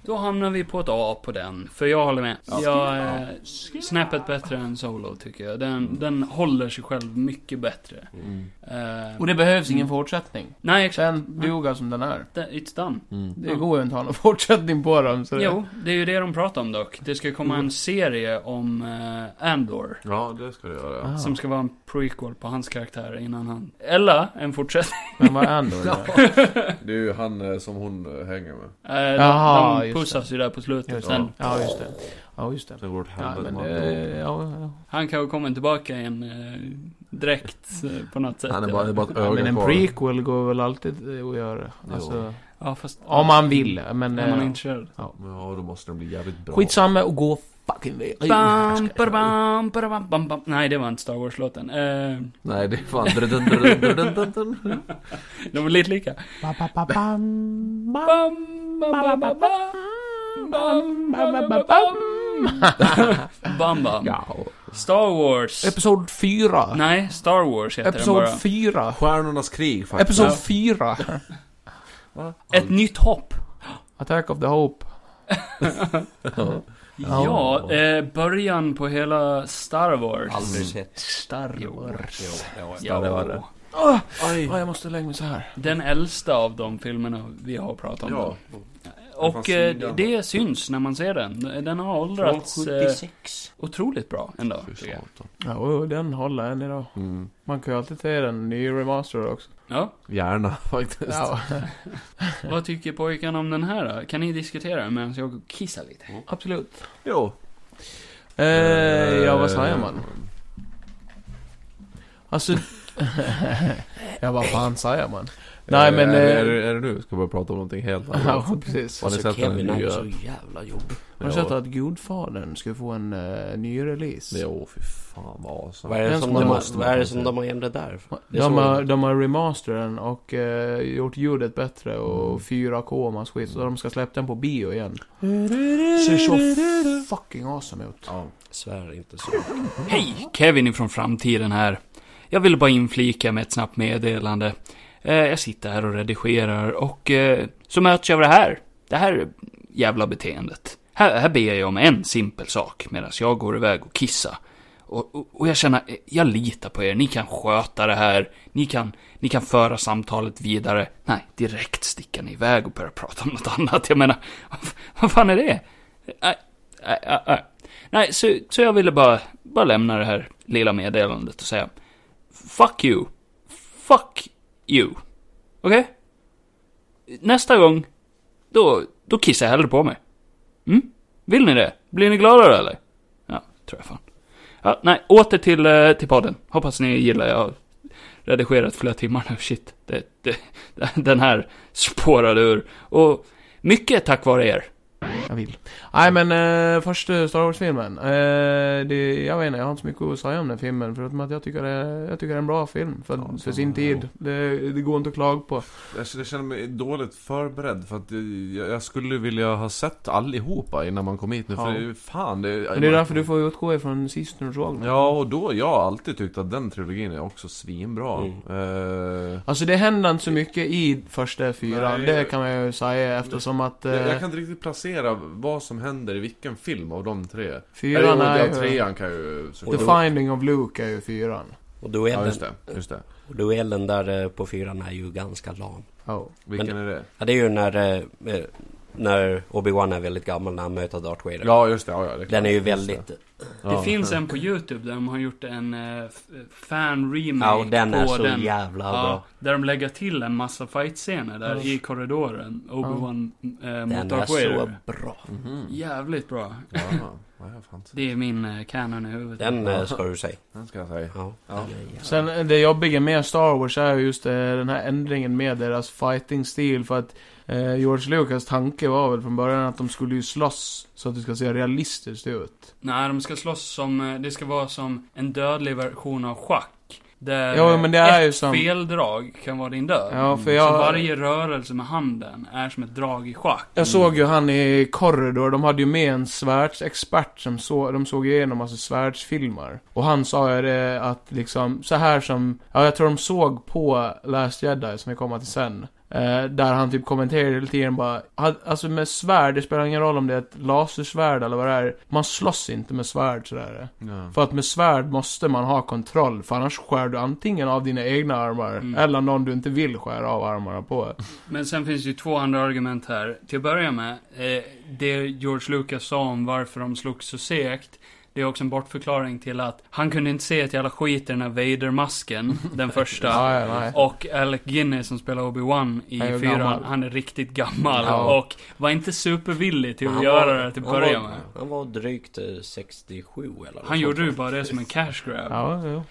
Speaker 4: Då hamnar vi på ett A på den, för jag håller med. Jag är snäppet bättre än Solo, tycker jag. Den, den håller sig själv mycket bättre.
Speaker 6: Mm.
Speaker 4: Eh,
Speaker 5: Och det behövs ingen fortsättning.
Speaker 4: nej, exakt.
Speaker 5: Den duger som den är.
Speaker 4: It's done.
Speaker 6: Mm.
Speaker 5: Det
Speaker 4: Mm. Ja.
Speaker 5: går ju inte att ha någon fortsättning på dem. Så det...
Speaker 4: Jo, det är ju det de pratar om dock. Det ska komma en serie om eh, Andor.
Speaker 6: ja, det ska du göra.
Speaker 5: Ah.
Speaker 4: Som ska vara en prequel på hans karaktär innan han... Eller en fortsättning.
Speaker 5: Men vad är Andor? då?
Speaker 6: Det är ju han eh, som hon eh, hänger med.
Speaker 4: Eh,
Speaker 5: Jaha,
Speaker 4: de, de
Speaker 5: just
Speaker 4: pussas ju där på slutet.
Speaker 5: Just
Speaker 4: Sen,
Speaker 5: det. Ja, just det. Ja, just det.
Speaker 6: Sen går det åt
Speaker 5: Ja,
Speaker 6: helvete
Speaker 5: men eh,
Speaker 6: med
Speaker 5: det...
Speaker 6: honom.
Speaker 5: Ja, ja.
Speaker 4: Han kanske kommer tillbaka i en eh, direkt eh, på något sätt.
Speaker 6: Han är bara, det är bara ett
Speaker 5: Ja, men
Speaker 6: öga
Speaker 5: en
Speaker 6: kvar.
Speaker 5: prequel går väl alltid eh, att göra. Alltså,
Speaker 4: Ja, fast...
Speaker 5: om man vill. Men...
Speaker 4: Om man är
Speaker 5: Eh,
Speaker 4: intresserad.
Speaker 6: Ja, då måste den bli jävligt bra.
Speaker 5: skitsamma och gå fucking vidare.
Speaker 4: Bam, ba-da-bam, ba-da-bam, bam, bam. Nej, det var inte Star Wars-låten. Eh,
Speaker 6: Nej, det är fan... drudun, drudun, drudun, drudun.
Speaker 4: de var lite lika.
Speaker 5: Ba, ba, ba, bam, bam,
Speaker 4: Bam, ba-ba-ba-bam, bam,
Speaker 5: bam, bam, bam,
Speaker 4: ba-ba-ba-bam.
Speaker 5: bam.
Speaker 4: Bam, bam.
Speaker 5: Ja.
Speaker 4: Star Wars.
Speaker 5: Episod 4.
Speaker 4: Nej, Star Wars heter den bara.
Speaker 5: Episod 4.
Speaker 6: Stjärnornas krig, faktiskt.
Speaker 5: Episod 4.
Speaker 4: Ett nytt hopp.
Speaker 5: Attack of the Hope.
Speaker 4: Ja, eh, början på hela Star Wars.
Speaker 2: Aldrig
Speaker 6: Mm.
Speaker 2: sett.
Speaker 4: Star Wars.
Speaker 2: Jo, jo, jo.
Speaker 4: Ja,
Speaker 5: Ah, Ja, jag måste lägga mig så här.
Speaker 4: Den äldsta av de filmerna vi har pratat om.
Speaker 6: Ja.
Speaker 4: Och
Speaker 6: fanns
Speaker 4: eh,
Speaker 6: sidan.
Speaker 4: det syns när man ser den. Den har
Speaker 2: Från
Speaker 4: åldrats eh,
Speaker 2: 76.
Speaker 4: otroligt bra ändå.
Speaker 6: Fy
Speaker 4: tycker jag.
Speaker 6: satan.
Speaker 5: Ja, och den håller än idag.
Speaker 6: Mm.
Speaker 5: Man kan ju alltid se den ny remaster också.
Speaker 4: Ja,
Speaker 6: Gärna, faktiskt.
Speaker 5: Ja,
Speaker 4: vad tycker pojkarna om den här då? Kan ni diskutera medan jag går och kissar lite?
Speaker 5: absolut.
Speaker 6: Jo.
Speaker 5: Eh, ja, vad säger
Speaker 6: Eh,
Speaker 5: man? Alltså... ja, vad fan säger man? Nej,
Speaker 6: är-
Speaker 5: men...
Speaker 6: Är, är,
Speaker 5: Eh,
Speaker 6: det- är det nu vi ska börja prata om någonting helt annat?
Speaker 5: ja, precis.
Speaker 6: Har ni
Speaker 2: Alltså
Speaker 6: sett den
Speaker 2: Kevin är ju
Speaker 6: nya?
Speaker 2: så jävla jobbig.
Speaker 5: Har du sett att Gudfadern ska få en eh, ny release?
Speaker 6: Jo, fy fan vad awesome.
Speaker 2: Vad är det
Speaker 5: Den
Speaker 2: som
Speaker 5: ska
Speaker 2: de
Speaker 5: man-
Speaker 2: har- vad är det som de har ändrat där? för? Det är
Speaker 5: De
Speaker 2: så-
Speaker 5: har, de har remasterat den och eh, gjort ljudet bättre och
Speaker 6: Mm.
Speaker 5: 4K och massa skit. Så de ska släppa den på bio igen. Ser så fucking awesome ut.
Speaker 2: Svär inte så.
Speaker 4: Hej! Kevin ifrån framtiden här. Jag ville bara inflika med ett snabbt meddelande. Eh, Jag sitter här och redigerar och eh, så möts jag av det här. Det här jävla beteendet. Här, här ber jag om en simpel sak medan jag går iväg och kissar. Och, och, och jag känner, eh, jag litar på er. Ni kan sköta det här. Ni kan, ni kan föra samtalet vidare. Nej, direkt sticker ni iväg och börjar prata om något annat. Jag menar, vad, f- vad fan är det? Äh, Nej, nej, nej, nej. Nej, så, så jag ville bara, bara lämna det här lilla meddelandet och säga Fuck you. Fuck you. Okej? Nästa gång, då, då kissar jag hellre på mig. Mm? Vill ni det? Blir ni gladare eller? Ja, tror jag fan. Ja, nej, åter till, eh, till podden. Hoppas ni gillar. Jag har redigerat flera timmar nu. Shit, det, det, den här spårade ur. Och mycket tack vare er.
Speaker 5: Jag vill. Nej men eh, första Star Wars-filmen. Eh, det, jag vet inte, jag har inte så mycket att säga om den filmen. Förutom att jag tycker det, jag tycker det är en bra film. För,
Speaker 6: Ja,
Speaker 5: för
Speaker 6: samma
Speaker 5: sin
Speaker 6: här.
Speaker 5: tid. Det, det går inte att klaga på.
Speaker 6: Jag känner- Alltså, jag känner mig dåligt förberedd för att eh, jag, jag skulle vilja ha sett allihopa innan man kom hit nu. För
Speaker 5: Ja.
Speaker 6: det är ju fan, det
Speaker 5: Men det är därför du får utgå ifrån sist när du såg den.
Speaker 6: Ja, och då, jag har alltid tyckt att den trilogin är också svinbra.
Speaker 2: Mm.
Speaker 6: Eh,
Speaker 5: Alltså det händer inte så mycket i första fyran.
Speaker 6: Nej,
Speaker 5: Det
Speaker 6: jag-
Speaker 5: kan man ju säga eftersom att... Eh,
Speaker 6: jag, jag kan inte riktigt placera vad som händer i vilken film av de tre. Eller,
Speaker 5: Fyran
Speaker 6: jo,
Speaker 5: är
Speaker 6: ja,
Speaker 5: ju...
Speaker 6: trean kan ju...
Speaker 5: The Finding of Luke är ju fyran.
Speaker 2: Och
Speaker 6: Ja,
Speaker 2: duellen,
Speaker 6: just det. Just det.
Speaker 2: och duellen där eh, på fyran är ju ganska lam.
Speaker 5: Ja.
Speaker 6: Vilken är det?
Speaker 2: Ja, det är ju när, eh, eh, när Obi-Wan är väldigt gammal när han möter Darth Vader.
Speaker 6: Ja, just det. Ja, ja, det är klart.
Speaker 2: Den är ju
Speaker 6: Just
Speaker 2: väldigt...
Speaker 6: Ja.
Speaker 4: Det finns en på YouTube där de har gjort en eh, f- fan remake
Speaker 2: Ja, och den
Speaker 4: på
Speaker 2: är så
Speaker 4: den.
Speaker 2: jävla
Speaker 4: Ja,
Speaker 2: bra.
Speaker 4: där de lägger till en massa fight-scener där i korridoren. Obi-Wan eh, mot
Speaker 2: Den är
Speaker 4: Darth
Speaker 2: så
Speaker 4: Vader.
Speaker 2: bra.
Speaker 6: Mhm.
Speaker 4: Jävligt bra.
Speaker 6: Ja, ja, fan.
Speaker 4: Det är min eh, canon i huvudet.
Speaker 2: Den eh, ska du säga.
Speaker 6: Den ska jag säga.
Speaker 2: Ja.
Speaker 6: Ja.
Speaker 2: den är jävla-
Speaker 5: Sen eh, det jobbiga med Star Wars är ju just eh, den här ändringen med deras fighting-stil för att eh, George Lucas tanke var väl från början att de skulle ju slåss så att det ska se realistiskt ut.
Speaker 4: Nej, de ska slåss som, eh, det ska vara som en dödlig version av schack. Där eh,
Speaker 5: Jo, men det är
Speaker 4: ett
Speaker 5: ju som-
Speaker 4: feldrag kan vara din död. Mm.
Speaker 5: Ja, för
Speaker 4: Så
Speaker 5: jag,
Speaker 4: varje rörelse med handen är som ett drag i schack.
Speaker 5: jag såg ju han i Corridor, de hade ju med en svärdsexpert som så, de såg igenom alltså svärdsfilmer. Och han sa ju det att liksom, så här som, ja jag tror de såg på Last Jedi som vi kommer till sen. Eh, där han typ kommenterade hela tiden bara, "Ha- alltså med svärd, det spelar ingen roll om det är ett lasersvärd eller vad det är. Man slåss inte med svärd sådär.
Speaker 6: Ja.
Speaker 5: För att med svärd måste man ha kontroll, för annars skär du antingen av dina egna armar,
Speaker 4: Mm.
Speaker 5: eller någon du inte vill skära av armarna på.
Speaker 4: Men sen finns ju två andra argument här. Till att börja med, eh, det George Lucas sa om varför de slogs så segt, det Det är också en bortförklaring till att han kunde inte se ett jävla skit i den här Vader-masken, den första.
Speaker 5: Ja, ja, nej.
Speaker 4: Och Alec Guinness som spelar Obi-Wan i
Speaker 5: Han är ju
Speaker 4: fyran,
Speaker 5: gammal.
Speaker 4: han är riktigt gammal
Speaker 5: Ja.
Speaker 4: och var inte supervillig till att
Speaker 2: Han
Speaker 4: göra
Speaker 2: var-
Speaker 4: det till att
Speaker 2: han
Speaker 4: börja
Speaker 2: var-
Speaker 4: med.
Speaker 2: Han var drygt eh, 67 eller något
Speaker 4: Han gjorde
Speaker 2: sånt.
Speaker 4: ju bara det som en cash grab.
Speaker 5: Ja, jo.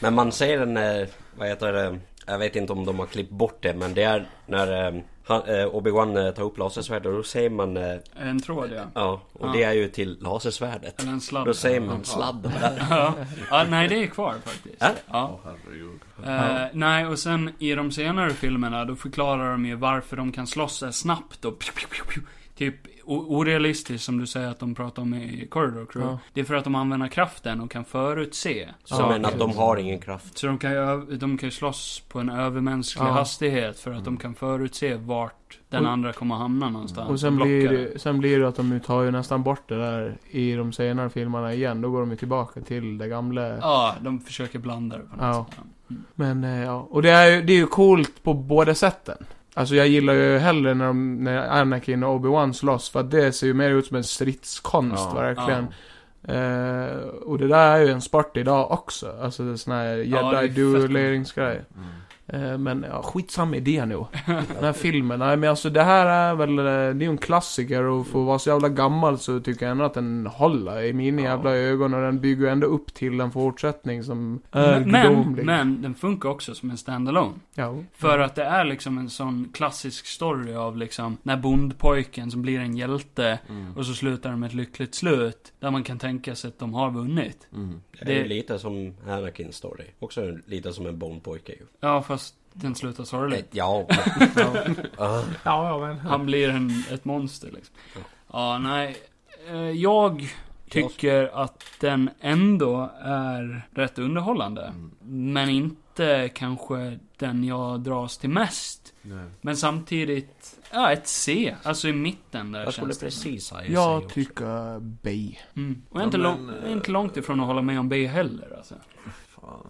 Speaker 2: Men man ser en, eh, vad heter det, jag vet inte om de har klippt bort det men det är när eh, han- eh, Obi-Wan eh, tar upp lasersvärdet och då säger man eh,
Speaker 4: En tråd ja.
Speaker 2: Ja, och
Speaker 4: Ja.
Speaker 2: det är ju till lasersvärdet.
Speaker 4: Eller en sladd.
Speaker 2: Då säger man
Speaker 4: Ja.
Speaker 2: sladden där.
Speaker 4: Ja. ja, nej det är kvar faktiskt.
Speaker 2: Är det?
Speaker 4: Ja. Eh, nej, och sen i de senare filmerna då förklarar de ju varför de kan slåss så här snabbt och pju, pju, pju, pju. Typ o- orealistiskt som du säger att de pratar om i Corridor Crew.
Speaker 5: Ja.
Speaker 4: Det är för att de använder kraften och kan förutse.
Speaker 2: Så
Speaker 5: Ja,
Speaker 2: men att
Speaker 5: okej.
Speaker 2: de har ingen kraft.
Speaker 4: Så de kan ju, ö- de kan ju slåss på en övermänsklig
Speaker 5: Ja.
Speaker 4: hastighet för att de kan förutse vart den
Speaker 5: Och-
Speaker 4: andra kommer hamna någonstans.
Speaker 5: Och sen
Speaker 4: Blocka
Speaker 5: blir,
Speaker 4: det.
Speaker 5: det, sen blir det att de ju tar ju nästan bort det där i de senare filmerna igen. Då går de ju tillbaka till det gamla.
Speaker 4: Ja, de försöker blanda det på något
Speaker 5: Ja.
Speaker 4: sätt.
Speaker 5: Men eh, ja, och det är ju, det är ju coolt på båda sätten. Alltså jag gillar ju hellre när, de, när Anakin och Obi-Wan slåss, för att det ser ju mer ut som en stridskonst
Speaker 6: Ja,
Speaker 5: verkligen. Eh, och det där är ju en sport idag också, alltså det är sån här
Speaker 4: Ja, det är
Speaker 5: jedi
Speaker 4: fett
Speaker 5: duelleringsgrej. Eh, men ja, skitsam idé nu. Den här filmen, nej men alltså det här är väl, eh, det är ju en klassiker och för att vara så jävla gammal så tycker jag ändå att den håller i mina
Speaker 6: Ja.
Speaker 5: jävla ögon och den bygger ju ändå upp till en fortsättning som är
Speaker 4: Men, men,
Speaker 5: gudomlig.
Speaker 4: men den funkar också som en standalone.
Speaker 5: Ja.
Speaker 4: För att det är liksom en sån klassisk story av liksom när bondpojken som blir en hjälte och så slutar de med ett lyckligt slut. Där man kan tänka sig att de har vunnit.
Speaker 2: Det är ju
Speaker 4: Det-
Speaker 2: lite som Anakins story. Också lite som en bondpojke ju.
Speaker 4: Ja, fast den slutar
Speaker 2: Eh,
Speaker 4: sorgligt.
Speaker 2: Ja. Ah,
Speaker 5: Ja, ja men.
Speaker 4: Han blir en, ett monster liksom. Ja, nej. Eh, Jag tycker att den ändå är rätt underhållande. Men inte kanske den jag dras till mest.
Speaker 6: Nej.
Speaker 4: Men samtidigt, ja, ett C. Alltså i mitten där
Speaker 2: jag skulle
Speaker 4: känns det.
Speaker 2: precis säga sig också.
Speaker 5: Jag tycker B.
Speaker 4: Mm. Och jag är inte,
Speaker 6: Ja,
Speaker 4: lång,
Speaker 6: men, eh,
Speaker 4: jag är inte långt ifrån att hålla med om B heller alltså.
Speaker 6: Fan.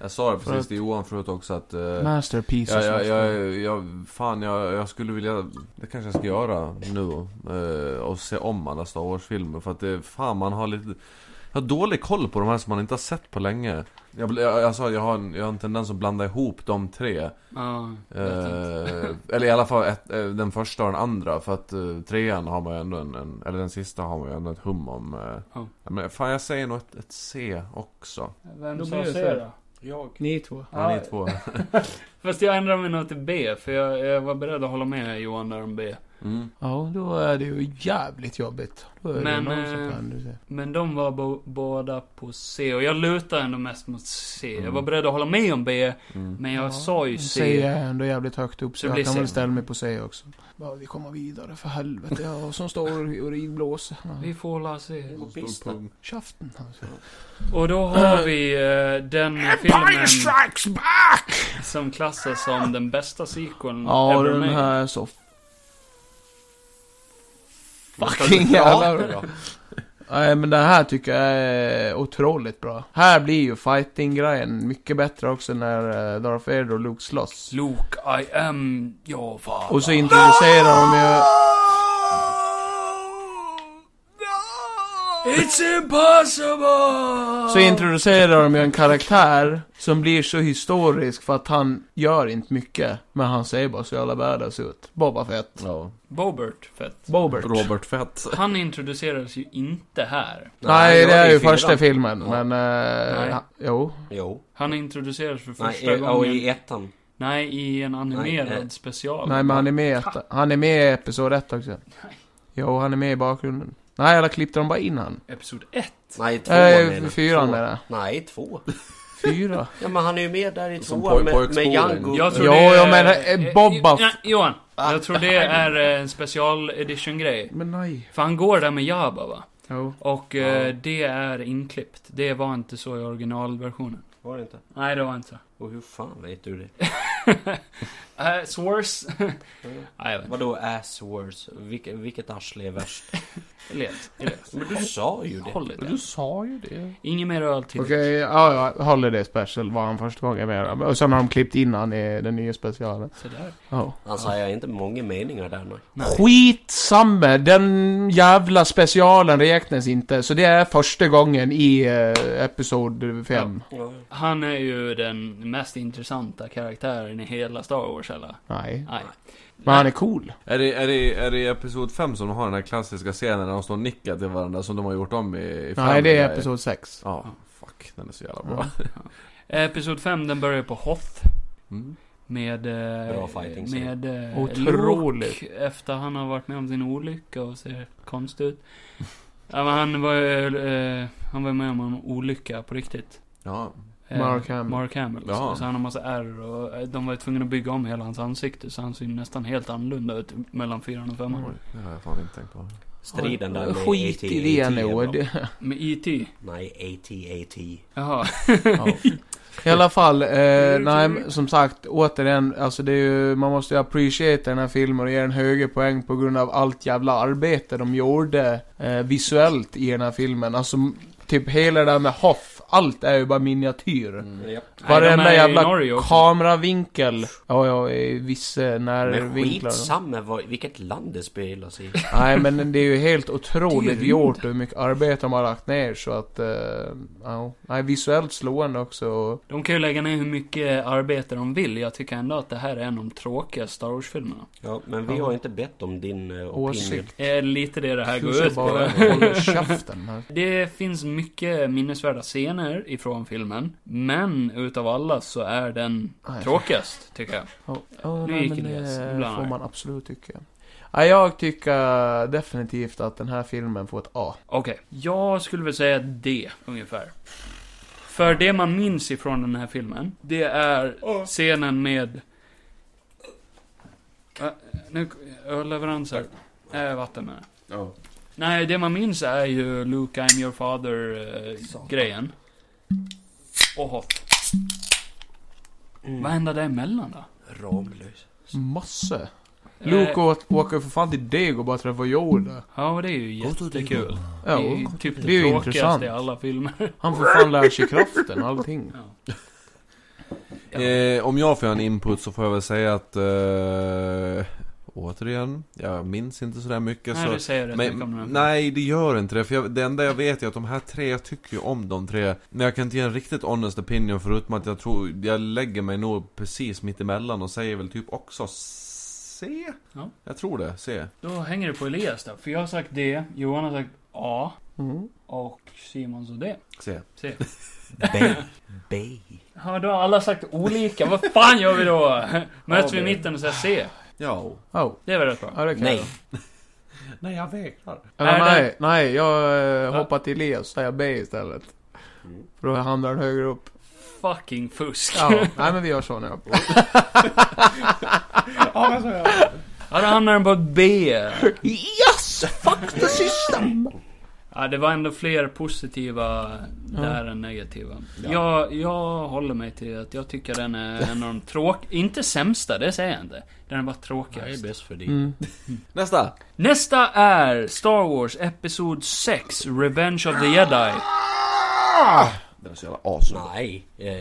Speaker 6: Jag sa det precis
Speaker 5: Förut.
Speaker 6: till Johan förut också att... eh,
Speaker 5: Masterpieces.
Speaker 6: jag, jag, jag, jag, fan, jag, jag skulle vilja... Det kanske jag ska göra nu. eh, och se om alla Star Wars-filmer. För att det, fan man har lite... Jag har dålig koll på de här som man inte har sett på länge. Jag, bl- jag, jag sa, jag har, en, jag har en tendens att blanda ihop de tre.
Speaker 4: Ja, jag vet inte.
Speaker 6: Eh, eller i alla fall ett, eh, den första och den andra. För att eh, trean har man ju ändå en, en... Eller den sista har man ju ändå ett hum om. Eh,
Speaker 4: Ja.
Speaker 6: ja, men fan, jag säger nog ett, ett C också.
Speaker 4: Eh, Vem
Speaker 5: Då
Speaker 4: sa
Speaker 5: blir
Speaker 4: C
Speaker 5: det så.
Speaker 4: då?
Speaker 2: Jag.
Speaker 5: Ni två.
Speaker 6: Ja, ni
Speaker 4: Ja,
Speaker 6: två.
Speaker 4: Fast jag ändrar mig nog till B, för jag, jag var beredd att hålla med Johan där om B.
Speaker 6: Mm.
Speaker 5: Ja, då är det ju jävligt jobbigt. Då är
Speaker 4: Men,
Speaker 5: det någon som
Speaker 4: eh,
Speaker 5: tänder sig.
Speaker 4: Men de var bo- båda på C, och jag lutar ändå mest mot C. Jag var beredd att hålla med om B,
Speaker 6: Mm.
Speaker 4: men jag
Speaker 5: Ja,
Speaker 4: sa ju
Speaker 5: Men
Speaker 4: C.
Speaker 5: C är ändå jävligt högt upp,
Speaker 4: Så
Speaker 5: så
Speaker 4: blir
Speaker 5: jag kan
Speaker 4: C.
Speaker 5: väl ställa mig på C också. Ja, vi kommer vidare, för helvete. Jag som står och urinblåser.
Speaker 4: Vi får la C.
Speaker 5: Käften. Alltså.
Speaker 4: Och då har vi eh, den filmen som klassas som den bästa sequeln
Speaker 5: Ja,
Speaker 4: ever
Speaker 5: den
Speaker 4: made.
Speaker 5: här är så... Fucking jävla bra. Nej men det här tycker jag är otroligt bra. Här blir ju fighting-grejen mycket bättre också när eh, Darth Vader och Luke slåss.
Speaker 4: Luke, I am your father.
Speaker 5: Och så introducerar de ju...
Speaker 2: Oh,
Speaker 4: It's impossible!
Speaker 5: Så introducerar de ju en karaktär som blir så historisk för att han gör inte mycket. Men han ser bara så jävla badass ut. Boba Fett.
Speaker 6: Ja.
Speaker 4: Bobert, fett.
Speaker 5: Bobert.
Speaker 6: Robert Fett.
Speaker 4: Han introduceras ju inte här.
Speaker 5: Nej, det
Speaker 2: jag
Speaker 5: är ju
Speaker 2: fyran.
Speaker 5: första filmen.
Speaker 2: Ja.
Speaker 5: Men... Eh,
Speaker 4: Nej.
Speaker 5: ha, jo.
Speaker 2: Jo.
Speaker 4: Han introduceras för första
Speaker 2: Nej, och
Speaker 4: gången.
Speaker 2: i ettan.
Speaker 4: Nej, i en animerad
Speaker 2: Nej, eh.
Speaker 4: special.
Speaker 5: Nej, men han är med i ett, Han är med i Episod 1 också. Jo, han är med i bakgrunden. Nej, eller klippte de bara in han?
Speaker 4: Episod 1.
Speaker 2: Nej, tvåan menar
Speaker 5: Äh,
Speaker 2: jag.
Speaker 5: fyran
Speaker 2: Två.
Speaker 5: menar jag.
Speaker 2: Nej, två.
Speaker 5: Fyra.
Speaker 2: Ja men han är ju med där i
Speaker 6: Som
Speaker 2: tvåan med,
Speaker 6: poj-
Speaker 2: med
Speaker 6: pojkskolan.
Speaker 2: Jango.
Speaker 4: Jag tror
Speaker 5: Jo,
Speaker 4: det
Speaker 5: jag menar, eh,
Speaker 4: eh,
Speaker 5: Boba
Speaker 4: Jo- nej, Johan, jag tror det är eh, en special edition grej.
Speaker 5: Men nej.
Speaker 4: För han går där med Jabba va?
Speaker 5: Jo.
Speaker 4: Och eh, det är inklippt. Det var inte så i originalversionen.
Speaker 2: Var det inte?
Speaker 4: Nej, det var inte så.
Speaker 2: Och hur fan vet du det?
Speaker 4: Eh, Source. Nej, jag vet inte.
Speaker 2: Mm. Vadå ass worse? Vilke, vilket arsle är värst?
Speaker 4: Elet. Elet.
Speaker 2: Men du sa ju det.
Speaker 4: Håll det.
Speaker 5: Du sa ju det.
Speaker 4: Inget mer öl till.
Speaker 5: Okej, ja, ja, Holiday Special var han första gången med. Och sen har de klippt in han i den nya specialen.
Speaker 4: Så där.
Speaker 5: Oh.
Speaker 2: Han säger inte många meningar där nu.
Speaker 5: Skitsamma! Den jävla specialen räknas inte. Så det är första gången i eh, Episod 5.
Speaker 4: Han är ju den mest intressanta karaktären i hela Star Wars eller?
Speaker 5: Nej.
Speaker 4: Nej.
Speaker 5: Men han är cool.
Speaker 6: Är det, är det, är det i Episod 5 som de har den här klassiska scenen när de står och nickar till varandra som de har gjort om i, i Family
Speaker 5: Nej, det är
Speaker 6: Guy?
Speaker 5: Episod 6.
Speaker 6: Ja, fuck. Den är så jävla bra.
Speaker 4: Episod 5, den börjar på Hoth.
Speaker 6: Mm.
Speaker 4: Med... eh,
Speaker 2: Bra fighting scene.
Speaker 4: Med... eh,
Speaker 5: Otroligt.
Speaker 4: Luke, Efter han har varit med om sin olycka och ser konstig ut. ja, men han var ju... eh, Han var med om en olycka på riktigt.
Speaker 6: Ja.
Speaker 4: Eh,
Speaker 5: Mark Hamill.
Speaker 4: Mark Hamill.
Speaker 6: Jaha.
Speaker 4: Så han har massa ärr och eh, de var ju tvungna att bygga om hela hans ansikte så han ser ju nästan helt annorlunda ut mellan fyran och femman.
Speaker 6: Oj, det har jag fan inte tänkt på.
Speaker 2: Striden där med
Speaker 5: Skit i det
Speaker 2: AT-AT är
Speaker 5: nu.
Speaker 2: bra.
Speaker 5: Det-
Speaker 4: Med E.T.
Speaker 2: Nej, AT-AT.
Speaker 4: Jaha.
Speaker 5: I alla fall, eh, nej men som sagt, återigen, alltså det är ju, man måste ju appreciate den här filmen och ge den höga poäng på grund av allt jävla arbete de gjorde eh, visuellt i den här filmen. Alltså, m- typ hela det där med Hoff, allt är ju bara miniatyr.
Speaker 2: Japp.
Speaker 4: Mm. Nej,
Speaker 5: Varenda
Speaker 4: de är i
Speaker 5: jävla
Speaker 4: Norge också.
Speaker 5: kameravinkel. Ja, ja, i vissa
Speaker 2: Men
Speaker 5: närvinklar.
Speaker 2: skitsamma vad, vilket land det spelas i.
Speaker 5: Nej, men det är ju helt otroligt
Speaker 4: Det är ju
Speaker 5: gjort hur mycket arbete de har lagt ner så att, eh, ja. Nej, visuellt slående också.
Speaker 4: De kan ju lägga ner hur mycket arbete de vill. Jag tycker ändå att det här är en av de tråkiga Star Wars-filmerna.
Speaker 2: Ja, men vi har inte bett om din eh, opinion.
Speaker 5: Åsikt.
Speaker 4: Det är lite det det här
Speaker 5: Du
Speaker 4: går
Speaker 5: ska
Speaker 4: ut på.
Speaker 5: bara hålla käften här.
Speaker 4: Det finns mycket minnesvärda scener ifrån filmen. Men utav alla så är den
Speaker 5: Nej.
Speaker 4: tråkigast, tycker jag.
Speaker 5: Ja, ja,
Speaker 4: Nu
Speaker 5: nej,
Speaker 4: gick
Speaker 5: men
Speaker 4: Elias. Nu
Speaker 5: det
Speaker 4: blandar
Speaker 5: får
Speaker 4: jag.
Speaker 5: man absolut tycka. Ja, jag tycker definitivt att den här filmen får ett A.
Speaker 4: Okej, jag skulle väl säga det, ungefär. För det man minns ifrån den här filmen, det är scenen med... Äh, nu, ölleveranser. Äh, vatten med.
Speaker 6: Ja.
Speaker 4: Nej, det man minns är ju Luke, I'm your father-grejen. och Hoth.
Speaker 6: Mm.
Speaker 4: Vad hände däremellan då?
Speaker 2: Mm. Ramlös.
Speaker 5: Masse.
Speaker 4: Eh,
Speaker 5: Luke åt- åker för fan till Dego och bara träffar Yoda.
Speaker 4: Ja, det är ju jättekul.
Speaker 5: Ja,
Speaker 4: det är ju typ det,
Speaker 5: det är ju intressant.
Speaker 4: tråkigaste i alla filmer.
Speaker 5: han får fan lära sig kraften och allting.
Speaker 6: Eh, om jag får göra en input så får jag väl säga att... Eh, återigen, jag minns inte sådär mycket
Speaker 4: Nej,
Speaker 6: så...
Speaker 4: du säger rätt mycket om den här
Speaker 6: Men,
Speaker 4: filmen.
Speaker 6: nej, det gör inte det. För jag, det enda jag vet är att de här tre, jag tycker ju om de tre. Men jag kan inte ge en riktigt honest opinion förutom att jag tror, jag lägger mig nog precis mitt emellan och säger väl typ också C?
Speaker 4: Ja.
Speaker 6: Jag tror det, C.
Speaker 4: Då hänger det på Elias då. För jag har sagt D, Johan har sagt A
Speaker 5: Mm.
Speaker 4: och Simon sa D.
Speaker 6: C.
Speaker 4: C.
Speaker 2: B. B.
Speaker 4: Ja, då har alla sagt olika. Vad fan gör vi då? Möts vi i
Speaker 6: det-
Speaker 4: mitten och säger C?
Speaker 6: Ja.
Speaker 5: Oh,
Speaker 4: Det är väl rätt bra?
Speaker 5: ja, det kan
Speaker 2: Nej.
Speaker 6: Nej, jag vägrar.
Speaker 5: Jag. Eller,
Speaker 4: Är det-
Speaker 5: nej, nej, jag eh, hoppar till Elias och säger B istället. För då hamnar den högre upp.
Speaker 4: Fucking fusk.
Speaker 5: Ja, nej men vi gör så nu.
Speaker 4: Ja, då hamnar den på B.
Speaker 1: Yes! Fuck the system!
Speaker 4: Ja, det var ändå fler positiva där än negativa. Jag, jag håller mig till att jag tycker den är en av de tråkiga... Inte sämsta, det säger jag inte. Den är bara
Speaker 2: Jag är
Speaker 4: tråkigast.
Speaker 2: bäst för dig.
Speaker 5: Mm.
Speaker 6: Nästa!
Speaker 4: Nästa är Star Wars Episod 6, Revenge of the Jedi.
Speaker 6: Den är så jävla awesome.
Speaker 2: Nej. Eh,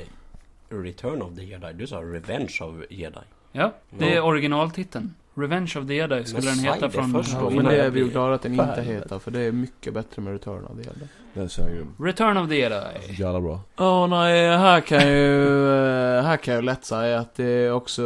Speaker 2: Return of the Jedi. Du sa Revenge of Jedi.
Speaker 4: Ja, det är originaltiteln. Revenge of the Jedi skulle
Speaker 2: Men
Speaker 4: den
Speaker 2: säg
Speaker 4: heta
Speaker 2: det
Speaker 4: från...
Speaker 2: först.
Speaker 5: Ja, men det är vi ju glada att den inte heter, för det är mycket bättre med Return of the Jedi.
Speaker 6: Den är så jävla grym.
Speaker 4: Return of the Jedi.
Speaker 6: Jävla bra.
Speaker 5: Ja, nej, här kan ju, eh, här kan jag lätt säga att det är också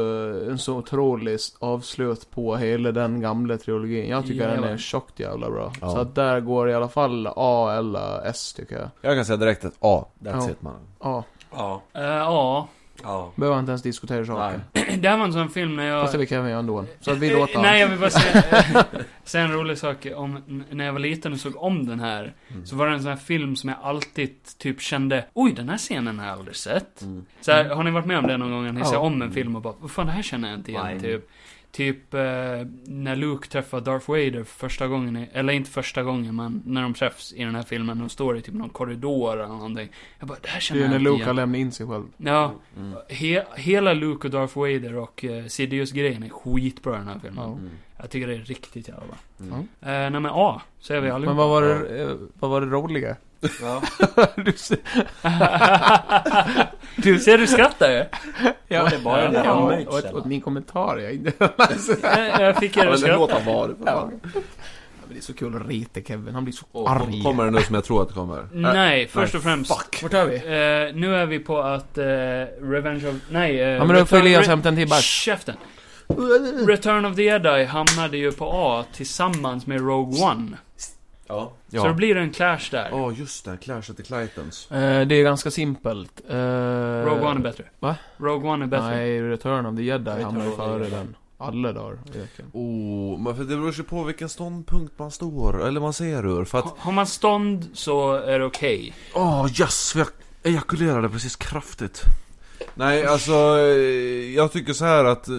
Speaker 5: en så otrolig avslut på hela den gamla trilogin. Jag tycker den är
Speaker 4: Jajamän.
Speaker 5: tjockt jävla bra.
Speaker 6: Ja.
Speaker 5: Så att där går i alla fall A eller S tycker jag.
Speaker 6: Jag kan säga direkt att A, that's
Speaker 5: Ja.
Speaker 6: it man.
Speaker 5: Ja,
Speaker 2: Ja.
Speaker 4: Eh, Ja,
Speaker 2: Ja.
Speaker 5: behöver inte ens diskutera saken.
Speaker 4: det här var en sån film när jag...
Speaker 5: Fast det vill Kevin göra ändå. Så att vi
Speaker 4: Eh,
Speaker 5: låter
Speaker 4: Nej,
Speaker 5: han.
Speaker 4: jag vill bara säga, eh, säga en rolig sak om n- när jag var liten och såg om den här.
Speaker 5: Mm.
Speaker 4: Så var det en sån här film som jag alltid typ kände, oj den här scenen har jag aldrig sett. Så här, har ni varit med om det någon gång? När ni
Speaker 5: Mm. Ja. Mm.
Speaker 4: ser om en film och bara, vad fan det här känner jag inte igen
Speaker 2: Nej.
Speaker 4: typ. Typ eh, när Luke träffar Darth Vader för första gången, i- eller inte första gången, men när de träffs i den här filmen. De står i typ någon korridor eller någonting. Jag bara, det här
Speaker 5: Det är
Speaker 4: känner
Speaker 5: ju
Speaker 4: jag
Speaker 5: när
Speaker 4: inte
Speaker 5: Luke har
Speaker 4: igen.
Speaker 5: lämnat in sig själv.
Speaker 4: Ja,
Speaker 6: Mm.
Speaker 4: he, hela Luke och Darth Vader och eh, Sidious-grejen är skitbra i den här filmen.
Speaker 5: Ja.
Speaker 6: Mm.
Speaker 4: Jag tycker det är riktigt jävla bra.
Speaker 6: Mm.
Speaker 4: Eh, nej men A, säger vi allihopa.
Speaker 5: Men vad var det, eh, vad var det roliga?
Speaker 2: Ja.
Speaker 5: du ser,
Speaker 4: du ser, du skrattar
Speaker 5: Äh,
Speaker 4: ju.
Speaker 2: Var det bara den där handmöjts,
Speaker 5: åt,
Speaker 2: eller?
Speaker 5: åt min kommentar. Jag, inte-
Speaker 4: Eh, Jag fick er att
Speaker 3: Eller låt
Speaker 4: skratta.
Speaker 3: han vara. för fan.
Speaker 5: Men det är så kul att reta Kevin. Han blir så
Speaker 6: Och,
Speaker 5: arg.
Speaker 6: kommer det nu som jag tror att det kommer?
Speaker 4: Nej, först och främst.
Speaker 5: Vart är vi?
Speaker 4: Eh, nu är vi på att eh, Revenge of... Nej, eh,
Speaker 5: Ja men då
Speaker 4: Return-
Speaker 5: följer jag
Speaker 4: Re-
Speaker 5: hämta en till bärs.
Speaker 4: Käften. Return of the Jedi hamnade ju på A tillsammans med Rogue One.
Speaker 6: Ja.
Speaker 4: Så då
Speaker 6: Ja,
Speaker 4: blir det en clash där.
Speaker 6: Ja, just det. Clash of the Clitons.
Speaker 5: Eh, det är ganska simpelt. Eh,
Speaker 4: Rogue One är bättre.
Speaker 5: va?
Speaker 4: Rogue One är bättre.
Speaker 5: Nej, Return of the Jedi
Speaker 6: Return
Speaker 5: hamnar
Speaker 6: of the
Speaker 5: före
Speaker 6: Jedi.
Speaker 5: den. Alla dagar. i veckan.
Speaker 6: Oh, men för det beror ju på vilken ståndpunkt man står, eller man ser ur. För att...
Speaker 4: Har- Har man stånd så är det okej.
Speaker 6: Åh, oh, yes! för Jag ejakulerade precis kraftigt. Nej, alltså eh, jag tycker så här att eh,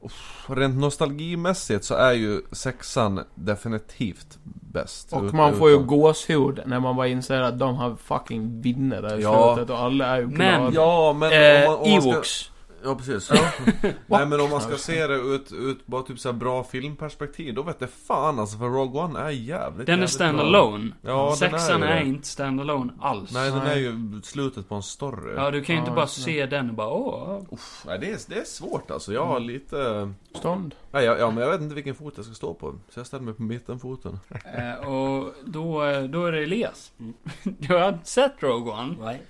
Speaker 6: uff, rent nostalgimässigt så är ju sexan definitivt bäst.
Speaker 5: Och
Speaker 6: Ut-
Speaker 5: man får ju
Speaker 6: utan-
Speaker 5: gåshud när man bara inser att de har fucking vinner där i
Speaker 6: Ja.
Speaker 5: slutet och alla är ju glada.
Speaker 4: Men-
Speaker 6: Ja, men
Speaker 4: Eh,
Speaker 6: om man, om man ska...
Speaker 4: Ewoks.
Speaker 6: Ja, precis. Nej, men om man ska se det ut, ut bara typ så här bra filmperspektiv, då vet jag fan alltså, för Rogue One är jävligt
Speaker 4: Den är
Speaker 6: jävligt bra.
Speaker 4: standalone.
Speaker 6: Ja, den
Speaker 4: Sexan
Speaker 6: är
Speaker 4: är,
Speaker 6: ju det.
Speaker 4: inte standalone alls.
Speaker 6: Nej, den är ju slutet på en story.
Speaker 4: Ja, du kan ju inte
Speaker 5: Ja,
Speaker 4: bara
Speaker 5: just det.
Speaker 4: se den och bara åh.
Speaker 6: Uff, nej, det, är, det är svårt alltså. Jag
Speaker 4: Mm.
Speaker 6: har lite...
Speaker 5: Stånd.
Speaker 6: Nej, jag, ja, men jag vet inte vilken fot jag ska stå på. Så jag ställer mig på mittenfoten.
Speaker 4: Eh, och då, eh, då är det Elias. Du har inte sett Rogue One.
Speaker 2: Nej.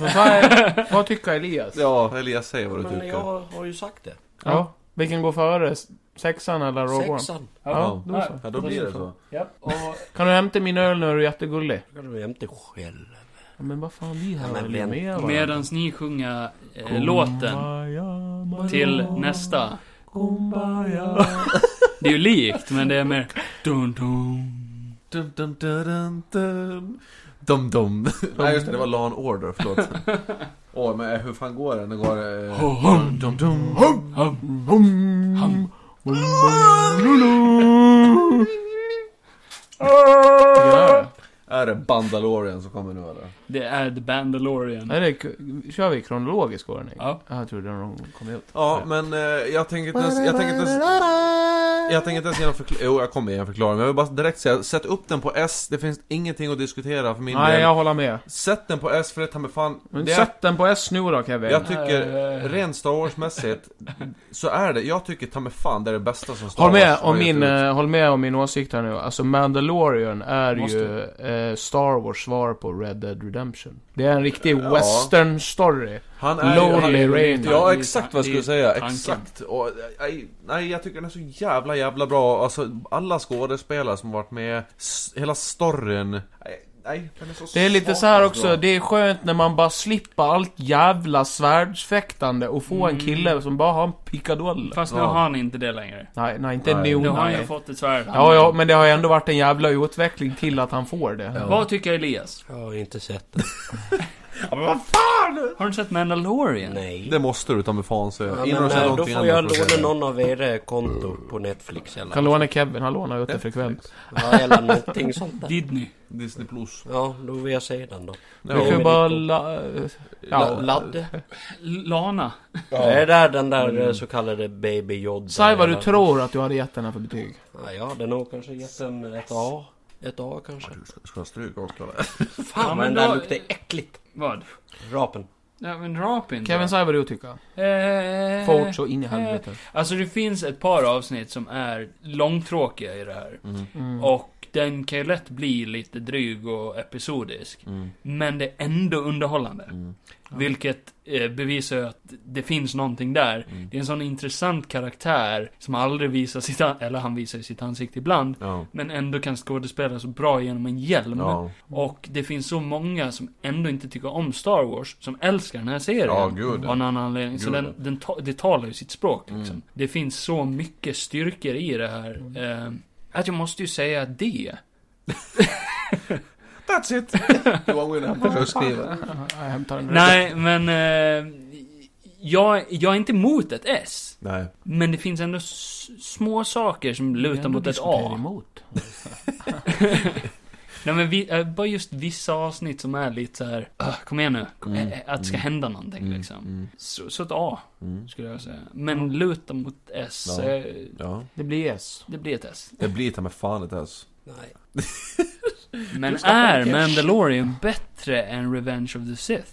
Speaker 5: Vad är- Vad tycker Elias?
Speaker 6: Ja, Elias, säg vad du
Speaker 2: Men
Speaker 6: tycker.
Speaker 2: jag har ju sagt det.
Speaker 5: Ja. Vilken går före? S- Sexan eller Rogue One?
Speaker 2: Sexan.
Speaker 6: Ja.
Speaker 5: då så.
Speaker 6: Ja, då blir det så.
Speaker 4: Japp. Och
Speaker 5: Kan du hämta min öl nu? Du är jättegullig.
Speaker 2: Då kan du hämta själv.
Speaker 5: Ja, men vad fan, vi
Speaker 2: Ja,
Speaker 5: här
Speaker 2: men
Speaker 5: håller ju
Speaker 2: vänta.
Speaker 5: med varandra.
Speaker 4: medans ni sjunger eh, låten
Speaker 5: Kumbaya,
Speaker 4: till nästa.
Speaker 5: Kumbaya.
Speaker 4: Det är ju likt, men det är mer... Dun, dun.
Speaker 6: Dun, dun, dun, dun, dun. Dum, dum. Nej, just det. Det var Law and Order. Förlåt. Åh, men eh, hur fan går den? Den går... Eh... Dum, dum, dum.
Speaker 5: Ja.
Speaker 6: Är det Bandalorian som kommer nu eller?
Speaker 4: Det är The Bandalorian.
Speaker 5: Är det, k- kör vi kronologisk ordning?
Speaker 4: Ja.
Speaker 5: Jag trodde de kom ut.
Speaker 6: Ja, men eh, jag tänker inte ens... Jag tänker inte ens... Jag tänker inte ens ge någon förklaring. Jo, jag kommer ge en förklaring. Men jag vill bara direkt säga, sätt upp den på S. Det finns ingenting att diskutera för min
Speaker 5: Nej,
Speaker 6: del.
Speaker 5: jag håller med.
Speaker 6: Sätt den på S för det ta mig fan...
Speaker 5: Men
Speaker 6: det är-
Speaker 5: sätt den på S nu då Kevin.
Speaker 6: Jag tycker,
Speaker 4: Eh.
Speaker 6: rent Star Wars-mässigt, så är det, jag tycker ta mig fan det är det bästa som Star
Speaker 5: Håll med,
Speaker 6: Wars har
Speaker 5: om
Speaker 6: gett
Speaker 5: min,
Speaker 6: ut.
Speaker 5: eh, håll med om min åsikt här nu. Alltså Mandalorian är
Speaker 4: Måste.
Speaker 5: ju eh, Star Wars svar på Red Dead Redemption. Det är en riktig
Speaker 6: Ja.
Speaker 5: western story.
Speaker 6: Han är ju- han-
Speaker 5: Lonely Ranger.
Speaker 6: Ja, exakt vad jag skulle
Speaker 4: Det är
Speaker 6: säga.
Speaker 4: tanken.
Speaker 6: Exakt. Och, nej, nej, jag tycker den är så jävla, jävla bra. Alltså, alla skådespelare som har varit med, s- hela storyn. Nej, Nej, den är så alltså.
Speaker 5: Det är lite
Speaker 6: satans
Speaker 5: så här också,
Speaker 6: bra.
Speaker 5: det är skönt när man bara slipper allt jävla svärdsfäktande och få
Speaker 4: Mm.
Speaker 5: en kille som bara har en pickadoll.
Speaker 4: Fast nu
Speaker 6: Ja.
Speaker 4: har ni inte det längre.
Speaker 5: Nej, nej inte
Speaker 6: Nej.
Speaker 5: nu.
Speaker 4: Nu har han ju
Speaker 5: Nej.
Speaker 4: fått ett svärd.
Speaker 5: Ja, ja, men det har ju ändå varit en jävla utveckling till att han får det.
Speaker 4: Vad tycker Elias?
Speaker 2: Jag har inte sett det.
Speaker 4: Har du sett Mandalorian?
Speaker 2: Nej.
Speaker 6: Det måste du ta mig fan säga.
Speaker 2: Ja,
Speaker 6: In och
Speaker 2: men,
Speaker 6: säg
Speaker 2: eh, då
Speaker 6: någonting
Speaker 2: får jag
Speaker 6: annat för
Speaker 2: låna
Speaker 6: att säga.
Speaker 2: någon av era konto på Netflix eller,
Speaker 5: Kan låna Kevin, han lånar ut det frekvent.
Speaker 2: ja, eller någonting sånt där.
Speaker 4: Disney.
Speaker 6: Disney plus.
Speaker 2: Ja, då vill jag se den då.
Speaker 5: Vi kan ju
Speaker 2: men
Speaker 5: bara
Speaker 2: det-
Speaker 5: la...
Speaker 2: La-
Speaker 5: Ja.
Speaker 2: Ladde.
Speaker 4: L- Lana.
Speaker 2: Är det där den där eh, så kallade Baby Yoda?
Speaker 5: Säg vad du
Speaker 2: eller-
Speaker 5: tror att du hade gett den här för betyg.
Speaker 2: Ja, jag hade nog kanske gett en ett A. Ett A kanske.
Speaker 6: Ska- Ska jag stryka också eller?
Speaker 2: Fan
Speaker 4: Ja,
Speaker 2: ja,
Speaker 4: men
Speaker 2: men den
Speaker 4: då-
Speaker 2: där luktar äckligt.
Speaker 4: Vad?
Speaker 2: Rapen.
Speaker 4: Ja, men rap inte.
Speaker 5: Kevin, säg vad du tycker.
Speaker 4: Eh,
Speaker 5: Fort så in i helvete.
Speaker 4: Alltså det finns ett par avsnitt som är långtråkiga i det här.
Speaker 5: Mm,
Speaker 4: Och den kan ju lätt bli lite dryg och episodisk.
Speaker 5: mm,
Speaker 4: Men det är ändå underhållande. Vilket eh, bevisar ju att det finns någonting där.
Speaker 6: Mm.
Speaker 4: Det är en sån intressant karaktär som aldrig visar sitt an- eller han visar ju sitt ansikte ibland.
Speaker 6: Ja.
Speaker 4: Men ändå kan skådespela så bra genom en hjälm.
Speaker 6: Ja.
Speaker 4: Och det finns så många som ändå inte tycker om Star Wars, som älskar den här serien.
Speaker 6: Ja, gud.
Speaker 4: Av någon anledning. Så
Speaker 6: Gud.
Speaker 4: den, den ta, det talar ju sitt språk
Speaker 6: Mm.
Speaker 4: liksom. Det finns så mycket styrkor i det här. Eh, att jag måste ju säga det.
Speaker 6: That's it! Johan går in och hämtar bröstskivan.
Speaker 5: Jag hämtar den.
Speaker 4: Nej, men... Eh, jag, jag är inte emot ett S.
Speaker 6: Nej.
Speaker 4: Men det finns ändå s- små saker som lutar mot ett A.
Speaker 5: Emot.
Speaker 4: Nej men vi, eh, bara just vissa avsnitt som är lite så här. "Ugh, kom igen nu. Kom, eh, eh, att det ska
Speaker 5: Mm.
Speaker 4: hända någonting
Speaker 6: Mm,
Speaker 4: liksom. Så, så ett A, skulle jag säga. Men luta mot S.
Speaker 6: Ja.
Speaker 4: eh,
Speaker 6: Ja.
Speaker 5: Det blir S.
Speaker 4: Det blir ett S.
Speaker 6: Det blir ta mig fan ett S.
Speaker 2: Nej.
Speaker 4: Men är Mandalorian bättre än Revenge of the Sith?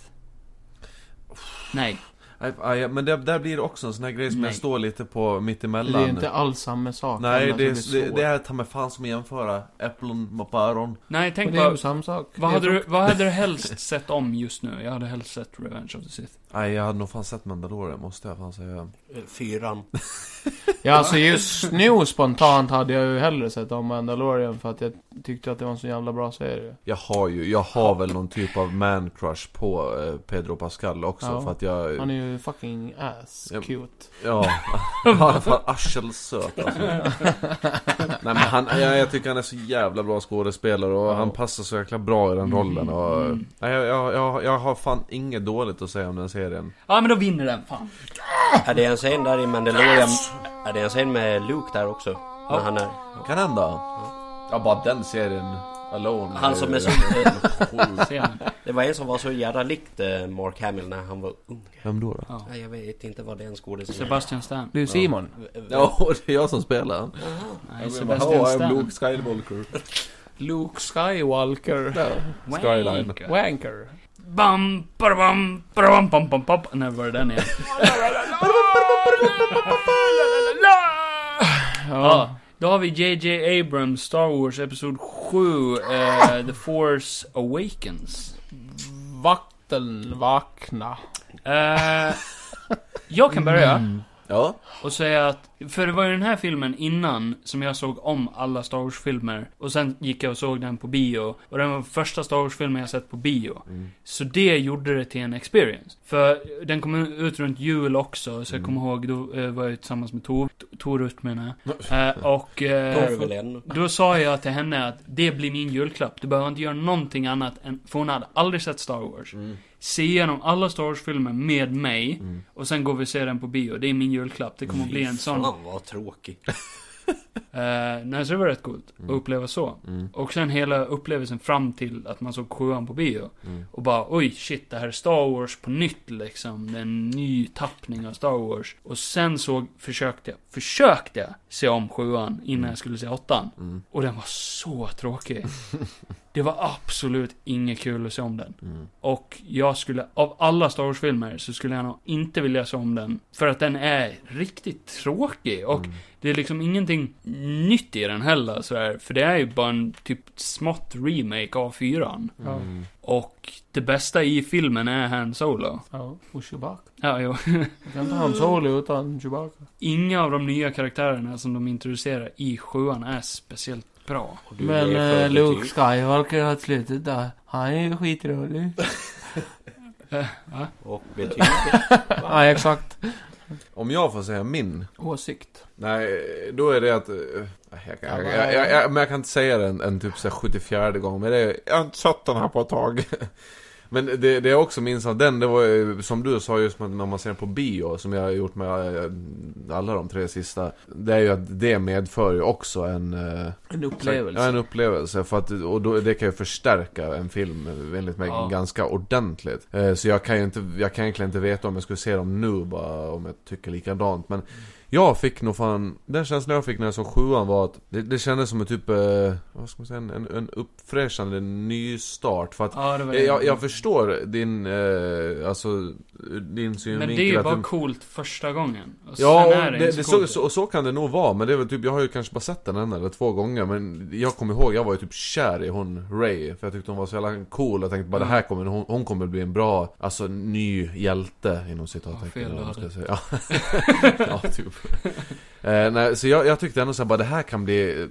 Speaker 4: Nej.
Speaker 6: Nej, nej, Men det, där blir det också en sån här grej som
Speaker 4: Nej.
Speaker 6: jag står lite på
Speaker 5: Det är
Speaker 6: mittemellan.
Speaker 5: inte alls samma sak.
Speaker 6: Nej,
Speaker 5: annars
Speaker 6: det,
Speaker 5: är
Speaker 6: är- det, det är ta mig fan som att jämföra äpplen med päron.
Speaker 4: Nej,
Speaker 5: svårt. Och
Speaker 4: tänk
Speaker 5: det är ju
Speaker 4: vad,
Speaker 5: samma sak.
Speaker 4: vad,
Speaker 5: Det är
Speaker 4: hade du, vad hade du helst sett om just nu? Jag hade helst sett Revenge of the Sith.
Speaker 6: Nej, jag hade nog fan sett Mandalorian, måste jag fan säga.
Speaker 2: Eh, Fyran.
Speaker 5: Ja, alltså just nu spontant hade jag ju hellre sett om Mandalorian för att jag tyckte att det var en så jävla bra serie.
Speaker 6: Jag har ju, jag har väl någon typ av man-crush på eh, Pedro Pascal också
Speaker 5: Ja.
Speaker 6: för att jag...
Speaker 5: Han är ju fucking ass
Speaker 6: Ja.
Speaker 5: cute.
Speaker 6: Ja, han är fan arselsöt alltså. Nej men han, jag, jag tycker han är så jävla bra skådespelare och han passar så jäkla bra i den rollen och...
Speaker 5: Mm.
Speaker 6: Nej, jag, jag, jag, jag har fan inget dåligt att säga om den serien.
Speaker 4: Ja, men då vinner den fan.
Speaker 2: Är det en scen där i Mandalorian? Är det en scen med Luke där också? När han är...
Speaker 6: Kan hända. Ja, bara den serien alone.
Speaker 2: Han som är så... eh,
Speaker 4: Ser man.
Speaker 2: Det var en som var så jävla likt eh, Mark Hamill när han var ung.
Speaker 6: Vem då? då?
Speaker 2: Nej, jag vet inte vad den skådespelaren...
Speaker 4: Sebastian Stan.
Speaker 5: Du Simon.
Speaker 6: Ja, det är jag som spelar han.
Speaker 4: Nej, Sebastian Stan.
Speaker 6: Skywalker.
Speaker 5: Luke Skywalker.
Speaker 6: Skyline.
Speaker 4: Wanker.
Speaker 5: Wanker.
Speaker 4: Bam, bam, bam, bam, bam, bam. Nej, var det den igen? Ja, då har vi JJ Abrams, Star Wars Episod 7, eh, The Force Awakens.
Speaker 5: Vakten vakna.
Speaker 4: Eh, jag kan börja
Speaker 6: Ja.
Speaker 4: och säga att, för det var ju den här filmen innan som jag såg om alla Star Wars-filmer. Och sen gick jag och såg den på bio. Och den var första Star Wars-filmen jag sett på bio. Så det gjorde det till en experience. För den kom ut runt jul också, så jag kommer ihåg, då eh, var jag tillsammans med Tor, Torut menar jag. Eh, och... eh,
Speaker 2: Torvelen.
Speaker 4: då sa jag till henne att det blir min julklapp. Du behöver inte göra någonting annat än, för hon hade aldrig sett Star Wars. Se igenom alla Star Wars-filmer med mig och sen går vi och ser den på bio. Det är min julklapp. Det kommer att bli en sån.
Speaker 2: Mm. Fan vad tråkig.
Speaker 4: Eh, nej, så det var rätt coolt att uppleva så.
Speaker 6: Mm,
Speaker 4: Och sen hela upplevelsen fram till att man såg sjuan på bio. Och bara oj shit, det här är Star Wars på nytt liksom. Det är en ny tappning av Star Wars. Och sen såg, försökte jag, försökte jag se om sjuan innan jag skulle se åttan.
Speaker 6: mm,
Speaker 4: Och den var så tråkig. det var absolut inget kul att se om den.
Speaker 6: mm,
Speaker 4: Och jag skulle, av alla Star Wars-filmer så skulle jag nog inte vilja se om den. För att den är riktigt tråkig.
Speaker 6: Mm.
Speaker 4: Och det är liksom ingenting nytt i den heller sådär. För det är ju bara en typ smått remake av fyran.
Speaker 5: Ja.
Speaker 6: Mm.
Speaker 4: Och det bästa i filmen är Han Solo.
Speaker 5: Ja. Och Chewbacca.
Speaker 4: Ja, jo.
Speaker 5: Jag kan inte ha en solo utan Chewbacca.
Speaker 4: Inga av de nya karaktärerna som de introducerar i sjuan är speciellt bra.
Speaker 2: Och du
Speaker 5: Men
Speaker 2: ger för
Speaker 5: eh, Luke
Speaker 2: betyg.
Speaker 5: Skywalker har slutet där. Han är ju skitrolig.
Speaker 2: Och betyg.
Speaker 5: ja, exakt.
Speaker 6: Om jag får säga min.
Speaker 5: Åsikt.
Speaker 6: Nej, då är det att... eh, Jag kan, jag, jag, jag, jag, men jag kan inte säga det en, en typ så här 74 gång, men det är, jag har inte sett den här på ett tag. Men det, det jag också minns av den, det var ju som du sa just med när man ser den på bio, som jag har gjort med eh, alla de tre sista. Det är ju att det medför ju också en... eh,
Speaker 5: En upplevelse.
Speaker 6: Ja, en upplevelse. För att, och då, det kan ju förstärka en film, enligt mig,
Speaker 4: Ja.
Speaker 6: ganska ordentligt. Eh, Så jag kan ju inte, jag kan egentligen inte veta om jag skulle se dem nu bara, om jag tycker likadant. Men jag fick nog fan, den känslan jag fick när jag såg sjuan var att det, det kändes som en typ, eh, vad ska man säga, en, en, en uppfräschande nystart. För att
Speaker 4: Ja, det var det.
Speaker 6: eh, jag, jag förstår din, eh, alltså, din
Speaker 4: Men
Speaker 6: synvinkel.
Speaker 4: det är ju
Speaker 6: att
Speaker 4: bara
Speaker 6: den-
Speaker 4: coolt första gången. Och
Speaker 6: Ja,
Speaker 4: sen är
Speaker 6: och
Speaker 4: det,
Speaker 6: det,
Speaker 4: inte
Speaker 6: det
Speaker 4: så,
Speaker 6: så,
Speaker 4: coolt.
Speaker 6: så, och så kan det nog vara, men det är väl typ, jag har ju kanske bara sett den en eller två gånger Men jag kommer ihåg, jag var ju typ kär i hon Ray För jag tyckte hon var så jävla cool, jag tänkte bara
Speaker 4: Mm.
Speaker 6: det här kommer, hon, hon kommer bli en bra, alltså ny hjälte inom
Speaker 4: fel
Speaker 6: citattecken eller
Speaker 4: du
Speaker 6: vad man ska
Speaker 4: hade.
Speaker 6: säga. Ja, ja typ eh, nej, Så jag, jag tyckte ändå så här, bara det här kan bli,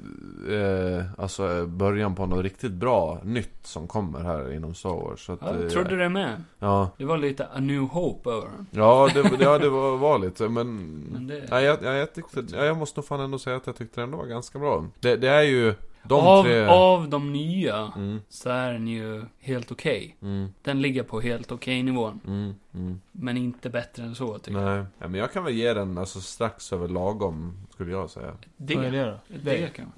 Speaker 6: eh, alltså eh, början på något riktigt bra nytt som kommer här inom Star Wars så att,
Speaker 4: Ja,
Speaker 6: eh,
Speaker 4: jag trodde det med.
Speaker 6: Ja,
Speaker 4: Det var lite A New Hope över den.
Speaker 6: ja det, ja, det var, var lite, men...
Speaker 4: Men det...
Speaker 6: Nej, jag, jag, jag, tyckte, ja, jag måste nog fan ändå säga att jag tyckte den ändå var ganska bra. Det, det är ju De
Speaker 4: av,
Speaker 6: tre...
Speaker 4: av de nya
Speaker 6: Mm,
Speaker 4: så är den ju helt okej.
Speaker 6: mm,
Speaker 4: Den ligger på helt okej nivån.
Speaker 6: mm, mm.
Speaker 4: Men inte bättre än så tycker jag.
Speaker 6: Nej, ja, men jag kan väl ge den alltså strax över lagom, skulle jag säga.
Speaker 5: Vad är
Speaker 4: Det,
Speaker 5: det då?
Speaker 4: det kan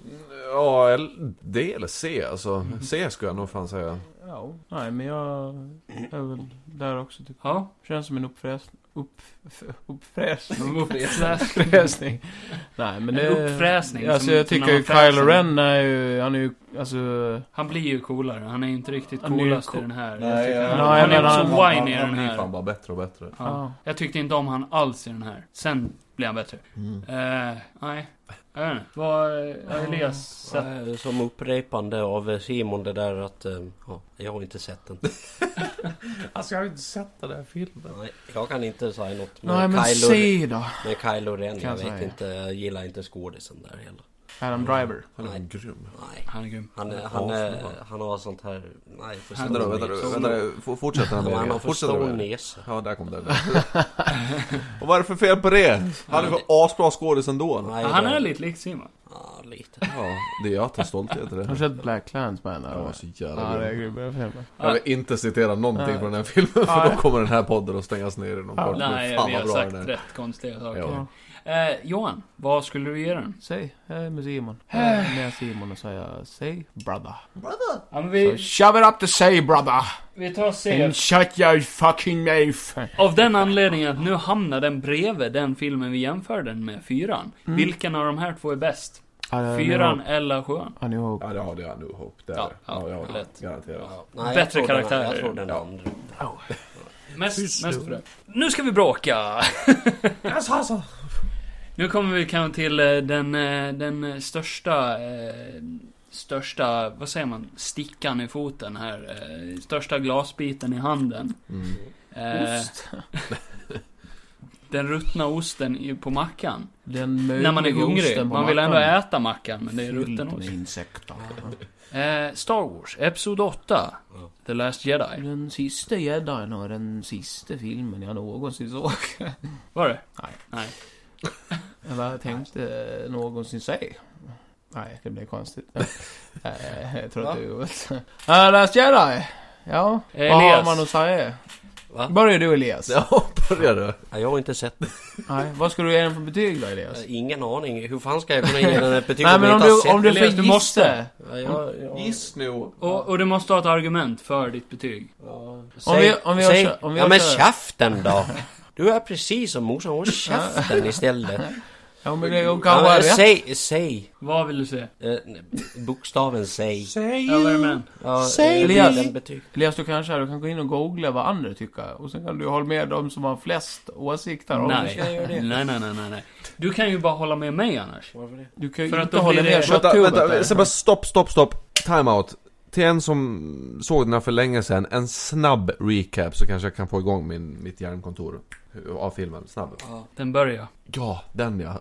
Speaker 6: Ja, eller- D eller C alltså. C skulle jag nog fan säga.
Speaker 5: Ja, nej men jag är väl där också tycker
Speaker 4: Ja.
Speaker 5: jag. Känns som en uppfräsning. Uppf... Uppfräsning?
Speaker 4: Uppfräsning.
Speaker 5: Uppfräsning. Nej men
Speaker 4: En
Speaker 5: det...
Speaker 4: uppfräsning
Speaker 5: Alltså
Speaker 4: som-
Speaker 5: jag
Speaker 4: som
Speaker 5: tycker ju
Speaker 4: när man
Speaker 5: Kylo
Speaker 4: fräser.
Speaker 5: Ren är ju, han är ju, alltså...
Speaker 4: Han blir ju coolare. Han är ju inte riktigt
Speaker 5: Han är ju
Speaker 4: coolast
Speaker 5: cool.
Speaker 4: i den här.
Speaker 2: Nej,
Speaker 4: jag
Speaker 2: ja.
Speaker 4: tycker,
Speaker 5: Nej,
Speaker 4: han, han
Speaker 5: men
Speaker 4: är
Speaker 5: han-
Speaker 4: också
Speaker 6: han,
Speaker 4: whiny i
Speaker 6: han
Speaker 4: den
Speaker 6: blir
Speaker 4: här.
Speaker 6: fan bara bättre och bättre.
Speaker 5: Ja.
Speaker 4: Ja. Jag tyckte inte om han alls i den här. Sen blev han bättre. Eh, nej. Jag vet inte. Vad har Elias sett?
Speaker 2: Eh, Som upprepande av eh, Simon det där att... eh, Ja, jag har inte sett den.
Speaker 6: Alltså jag har ju inte sett den där filmen.
Speaker 2: Nej, jag kan inte säga något med
Speaker 5: Nej men
Speaker 2: Kylo,
Speaker 5: se då!
Speaker 2: med Kylo Ren.
Speaker 5: Kan
Speaker 2: Jag
Speaker 5: jag
Speaker 2: vet
Speaker 5: säga.
Speaker 2: inte, jag gillar inte skådisen där heller.
Speaker 5: Adam Driver.
Speaker 6: Han är grym.
Speaker 2: Nej.
Speaker 4: Han är grym.
Speaker 2: Han, är- han, är-
Speaker 6: Asbra.
Speaker 2: han har sånt här... Nej,
Speaker 4: Han-
Speaker 2: förstånd.
Speaker 6: Vänta då, vänta då, vänta då. F- Fortsätt den
Speaker 2: Han
Speaker 6: här
Speaker 2: har för
Speaker 6: Fortsätt
Speaker 2: stor
Speaker 6: den
Speaker 2: näsa.
Speaker 6: Ja, där kom den. och vad är det för fel på det? Han är ju asbra skådis ändå.
Speaker 2: Nej,
Speaker 4: Han
Speaker 2: det-
Speaker 4: är lite lik Simon.
Speaker 2: Ja, lite.
Speaker 6: Ja, det är jag tar stolthet i
Speaker 5: Har du
Speaker 6: det.
Speaker 5: sett Black Clansman?
Speaker 6: Jag var så
Speaker 5: Ja,
Speaker 6: jävla
Speaker 5: det är
Speaker 6: grym.
Speaker 5: grym. Jag filmen.
Speaker 6: Jag vill inte citera någonting
Speaker 5: Nej.
Speaker 6: från den här filmen för
Speaker 5: Nej.
Speaker 6: då kommer den här podden att stängas ner inom
Speaker 5: Ja.
Speaker 6: kort. Men
Speaker 4: Nej,
Speaker 6: fan
Speaker 4: vi
Speaker 6: vad
Speaker 4: har
Speaker 6: bra
Speaker 4: sagt
Speaker 6: den är.
Speaker 4: rätt konstiga saker.
Speaker 6: Ja.
Speaker 4: Eh, Johan, vad skulle du ge den?
Speaker 5: Säg, jag är med Simon. Jag är med Simon och säger, säg brother.
Speaker 4: Ja, men
Speaker 5: Så
Speaker 4: vi,
Speaker 5: shove it up to say brother!
Speaker 4: vi tar
Speaker 5: And
Speaker 4: C.
Speaker 5: shut your fucking mouth!
Speaker 4: Av den anledningen att nu hamnar den bredvid den filmen vi jämför den med, fyran.
Speaker 2: Mm.
Speaker 4: Vilken av de här två är bäst?
Speaker 2: Eh,
Speaker 4: Fyran eller sjuan?
Speaker 5: Ja, nu har
Speaker 6: Ja, det hade jag nog hopp där.
Speaker 4: Ja,
Speaker 6: Ja,
Speaker 4: ja,
Speaker 6: ja, ja
Speaker 4: lätt.
Speaker 6: garanterat.
Speaker 2: Ja,
Speaker 4: Bättre
Speaker 2: jag tror den-
Speaker 4: karaktärer.
Speaker 2: Jag tror den
Speaker 6: Ja.
Speaker 2: andra.
Speaker 4: Mest, mest för det. Nu ska vi bråka! Nu kommer vi kanske till eh, den, eh, den eh, största, eh, största, vad säger man, stickan i foten här. eh, Största glasbiten i handen.
Speaker 6: Mm.
Speaker 4: Eh, Den ruttna osten i- på mackan.
Speaker 5: Den
Speaker 4: När man är hungrig. Man vill ändå äta mackan, men det är rutten ost.
Speaker 5: insekter.
Speaker 4: Eh, Star Wars, Episod 8.
Speaker 2: Ja.
Speaker 4: The Last Jedi.
Speaker 5: Den sista gäddan och den sista filmen jag någonsin såg.
Speaker 4: Var det?
Speaker 5: Eller jag tänkte eh, någonsin säg. Nej, det blev konstigt. Eh, jag tror att det är jobbigt. Ja, Last Jedi. Ja, vad har
Speaker 4: Elias.
Speaker 5: man att säga?
Speaker 2: Va?
Speaker 5: Börjar du Elias?
Speaker 6: Ja, börjar du?
Speaker 2: Ja, jag har inte sett den.
Speaker 5: Nej, vad ska du ge den för betyg då Elias?
Speaker 2: Eh, Ingen aning. Hur fan ska jag kunna ge den ett betyg
Speaker 5: Nej
Speaker 2: om
Speaker 5: men
Speaker 2: jag
Speaker 5: om
Speaker 2: inte har
Speaker 5: du,
Speaker 2: sett
Speaker 5: om du
Speaker 2: den?
Speaker 5: får
Speaker 4: Elias,
Speaker 5: gissa.
Speaker 4: du måste.
Speaker 2: Ja, jag, jag...
Speaker 6: Giss nu.
Speaker 4: Och, och du måste ha ett argument för ditt betyg.
Speaker 5: Om vi- om vi har
Speaker 2: säg,
Speaker 5: kö- om vi
Speaker 2: ja
Speaker 5: har
Speaker 2: men
Speaker 5: kö-
Speaker 2: käften då! Du är precis som morsan, håll käften istället.
Speaker 5: Ja men det hon
Speaker 2: Ja,
Speaker 5: kan vara
Speaker 2: men
Speaker 5: rätt.
Speaker 2: säg, säg.
Speaker 4: Vad vill du se?
Speaker 2: Eh, nej, bokstaven säg.
Speaker 4: Ja, vad är det med den?
Speaker 2: Ja,
Speaker 5: Säg
Speaker 2: eh,
Speaker 5: Elias.
Speaker 2: den betyg.
Speaker 5: Elias du kanske du kan gå in och googla vad andra tycker. Och sen kan du hålla med dem som har flest åsikter om
Speaker 4: Nej.
Speaker 5: det.
Speaker 4: nej, nej, nej, nej, nej. Du kan ju bara hålla med mig annars.
Speaker 5: Du kan ju
Speaker 4: För att
Speaker 5: inte
Speaker 4: då
Speaker 5: hålla
Speaker 4: blir
Speaker 5: med
Speaker 4: det-
Speaker 6: Vänta,
Speaker 5: kötthuvudet
Speaker 6: vänta,
Speaker 5: där.
Speaker 6: så bara stopp, stopp, stopp. Timeout. Till en som såg den här för länge sedan, en snabb recap så kanske jag kan få igång min, mitt hjärnkontor av filmen. Snabb.
Speaker 4: Den börjar.
Speaker 6: Ja, den ja.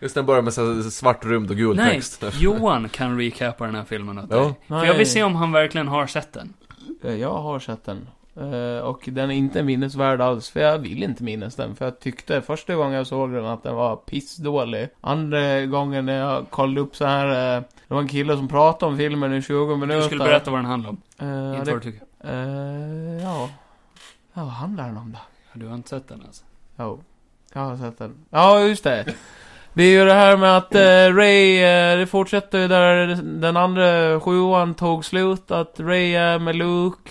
Speaker 6: Just den börjar med så här svart rymd och gul
Speaker 4: Nej,
Speaker 6: text.
Speaker 4: Johan kan recapa den här filmen åt
Speaker 6: Ja.
Speaker 4: dig. För
Speaker 5: Nej.
Speaker 4: jag vill se om han verkligen har sett den.
Speaker 5: Eh, Jag har sett den. Eh, Och den är inte minnesvärd alls, för jag vill inte minnas den. För jag tyckte första gången jag såg den att den var pissdålig. Andra gången när jag kollade upp så här eh, Det var en kille som pratade om filmen i 20 minuter.
Speaker 4: Du skulle berätta vad den handlar om.
Speaker 5: Eh,
Speaker 4: Inte vad
Speaker 5: det,
Speaker 4: du tycker.
Speaker 5: eh, ja. ja, vad handlar den om då?
Speaker 4: Du har inte sett den alltså.
Speaker 5: Jo, jag har sett den. Ja, just det. Det är ju det här med att eh, Ray, eh, det fortsätter ju där den andra sjuan tog slut, att Ray är med Luke.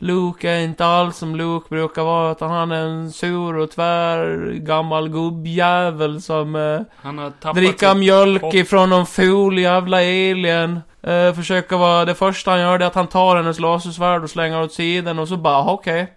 Speaker 5: Luke är inte alls som Luke brukar vara, utan han är en sur och tvär gammal gubbjävel som eh,
Speaker 4: Han har tappat
Speaker 5: dricka
Speaker 4: sitt-
Speaker 5: mjölk
Speaker 4: hopp.
Speaker 5: ifrån någon ful jävla alien. Eh, försöka vara, det första han gör det är att han tar hennes lasersvärd och slänger åt sidan och så bara, "Aha, okej.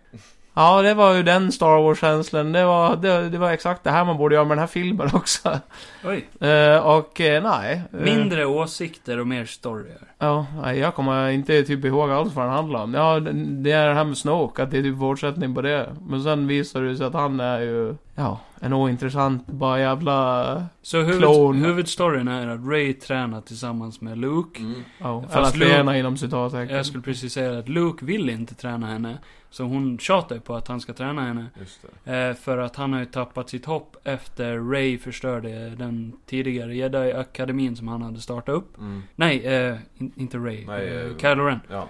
Speaker 5: Ja, det var ju den Star Wars-känslan. Det var, det, det var exakt det här man borde göra med den här filmen också.
Speaker 4: Oj.
Speaker 5: Eh, och eh, nej. Eh,
Speaker 4: Mindre åsikter och mer storyer.
Speaker 5: Ja, nej, jag kommer inte typ ihåg alls vad den handlar om. Ja, det det är det här med Snoke, att det är typ fortsättning på det. Men sen visar det sig att han är ju... Ja, en ointressant bara jävla...
Speaker 4: Så
Speaker 5: Clone.
Speaker 4: huvud, huvudstoryn är att Ray tränar tillsammans med Luke.
Speaker 5: Mm. Ja,
Speaker 4: Fast
Speaker 5: alla
Speaker 4: Luke-
Speaker 5: flerna inom citattecken.
Speaker 4: Jag skulle precis säga att Luke vill inte träna henne. Så hon tjatar ju på att han ska träna henne.
Speaker 6: Just det.
Speaker 4: Eh, för att han har ju tappat sitt hopp efter Ray förstörde den tidigare Jedi-akademin som han hade startat upp.
Speaker 6: Mm.
Speaker 4: Nej, eh, in, inte Ray.
Speaker 6: Nej,
Speaker 4: eh,
Speaker 6: eh,
Speaker 4: Kylo Ren.
Speaker 6: Ja.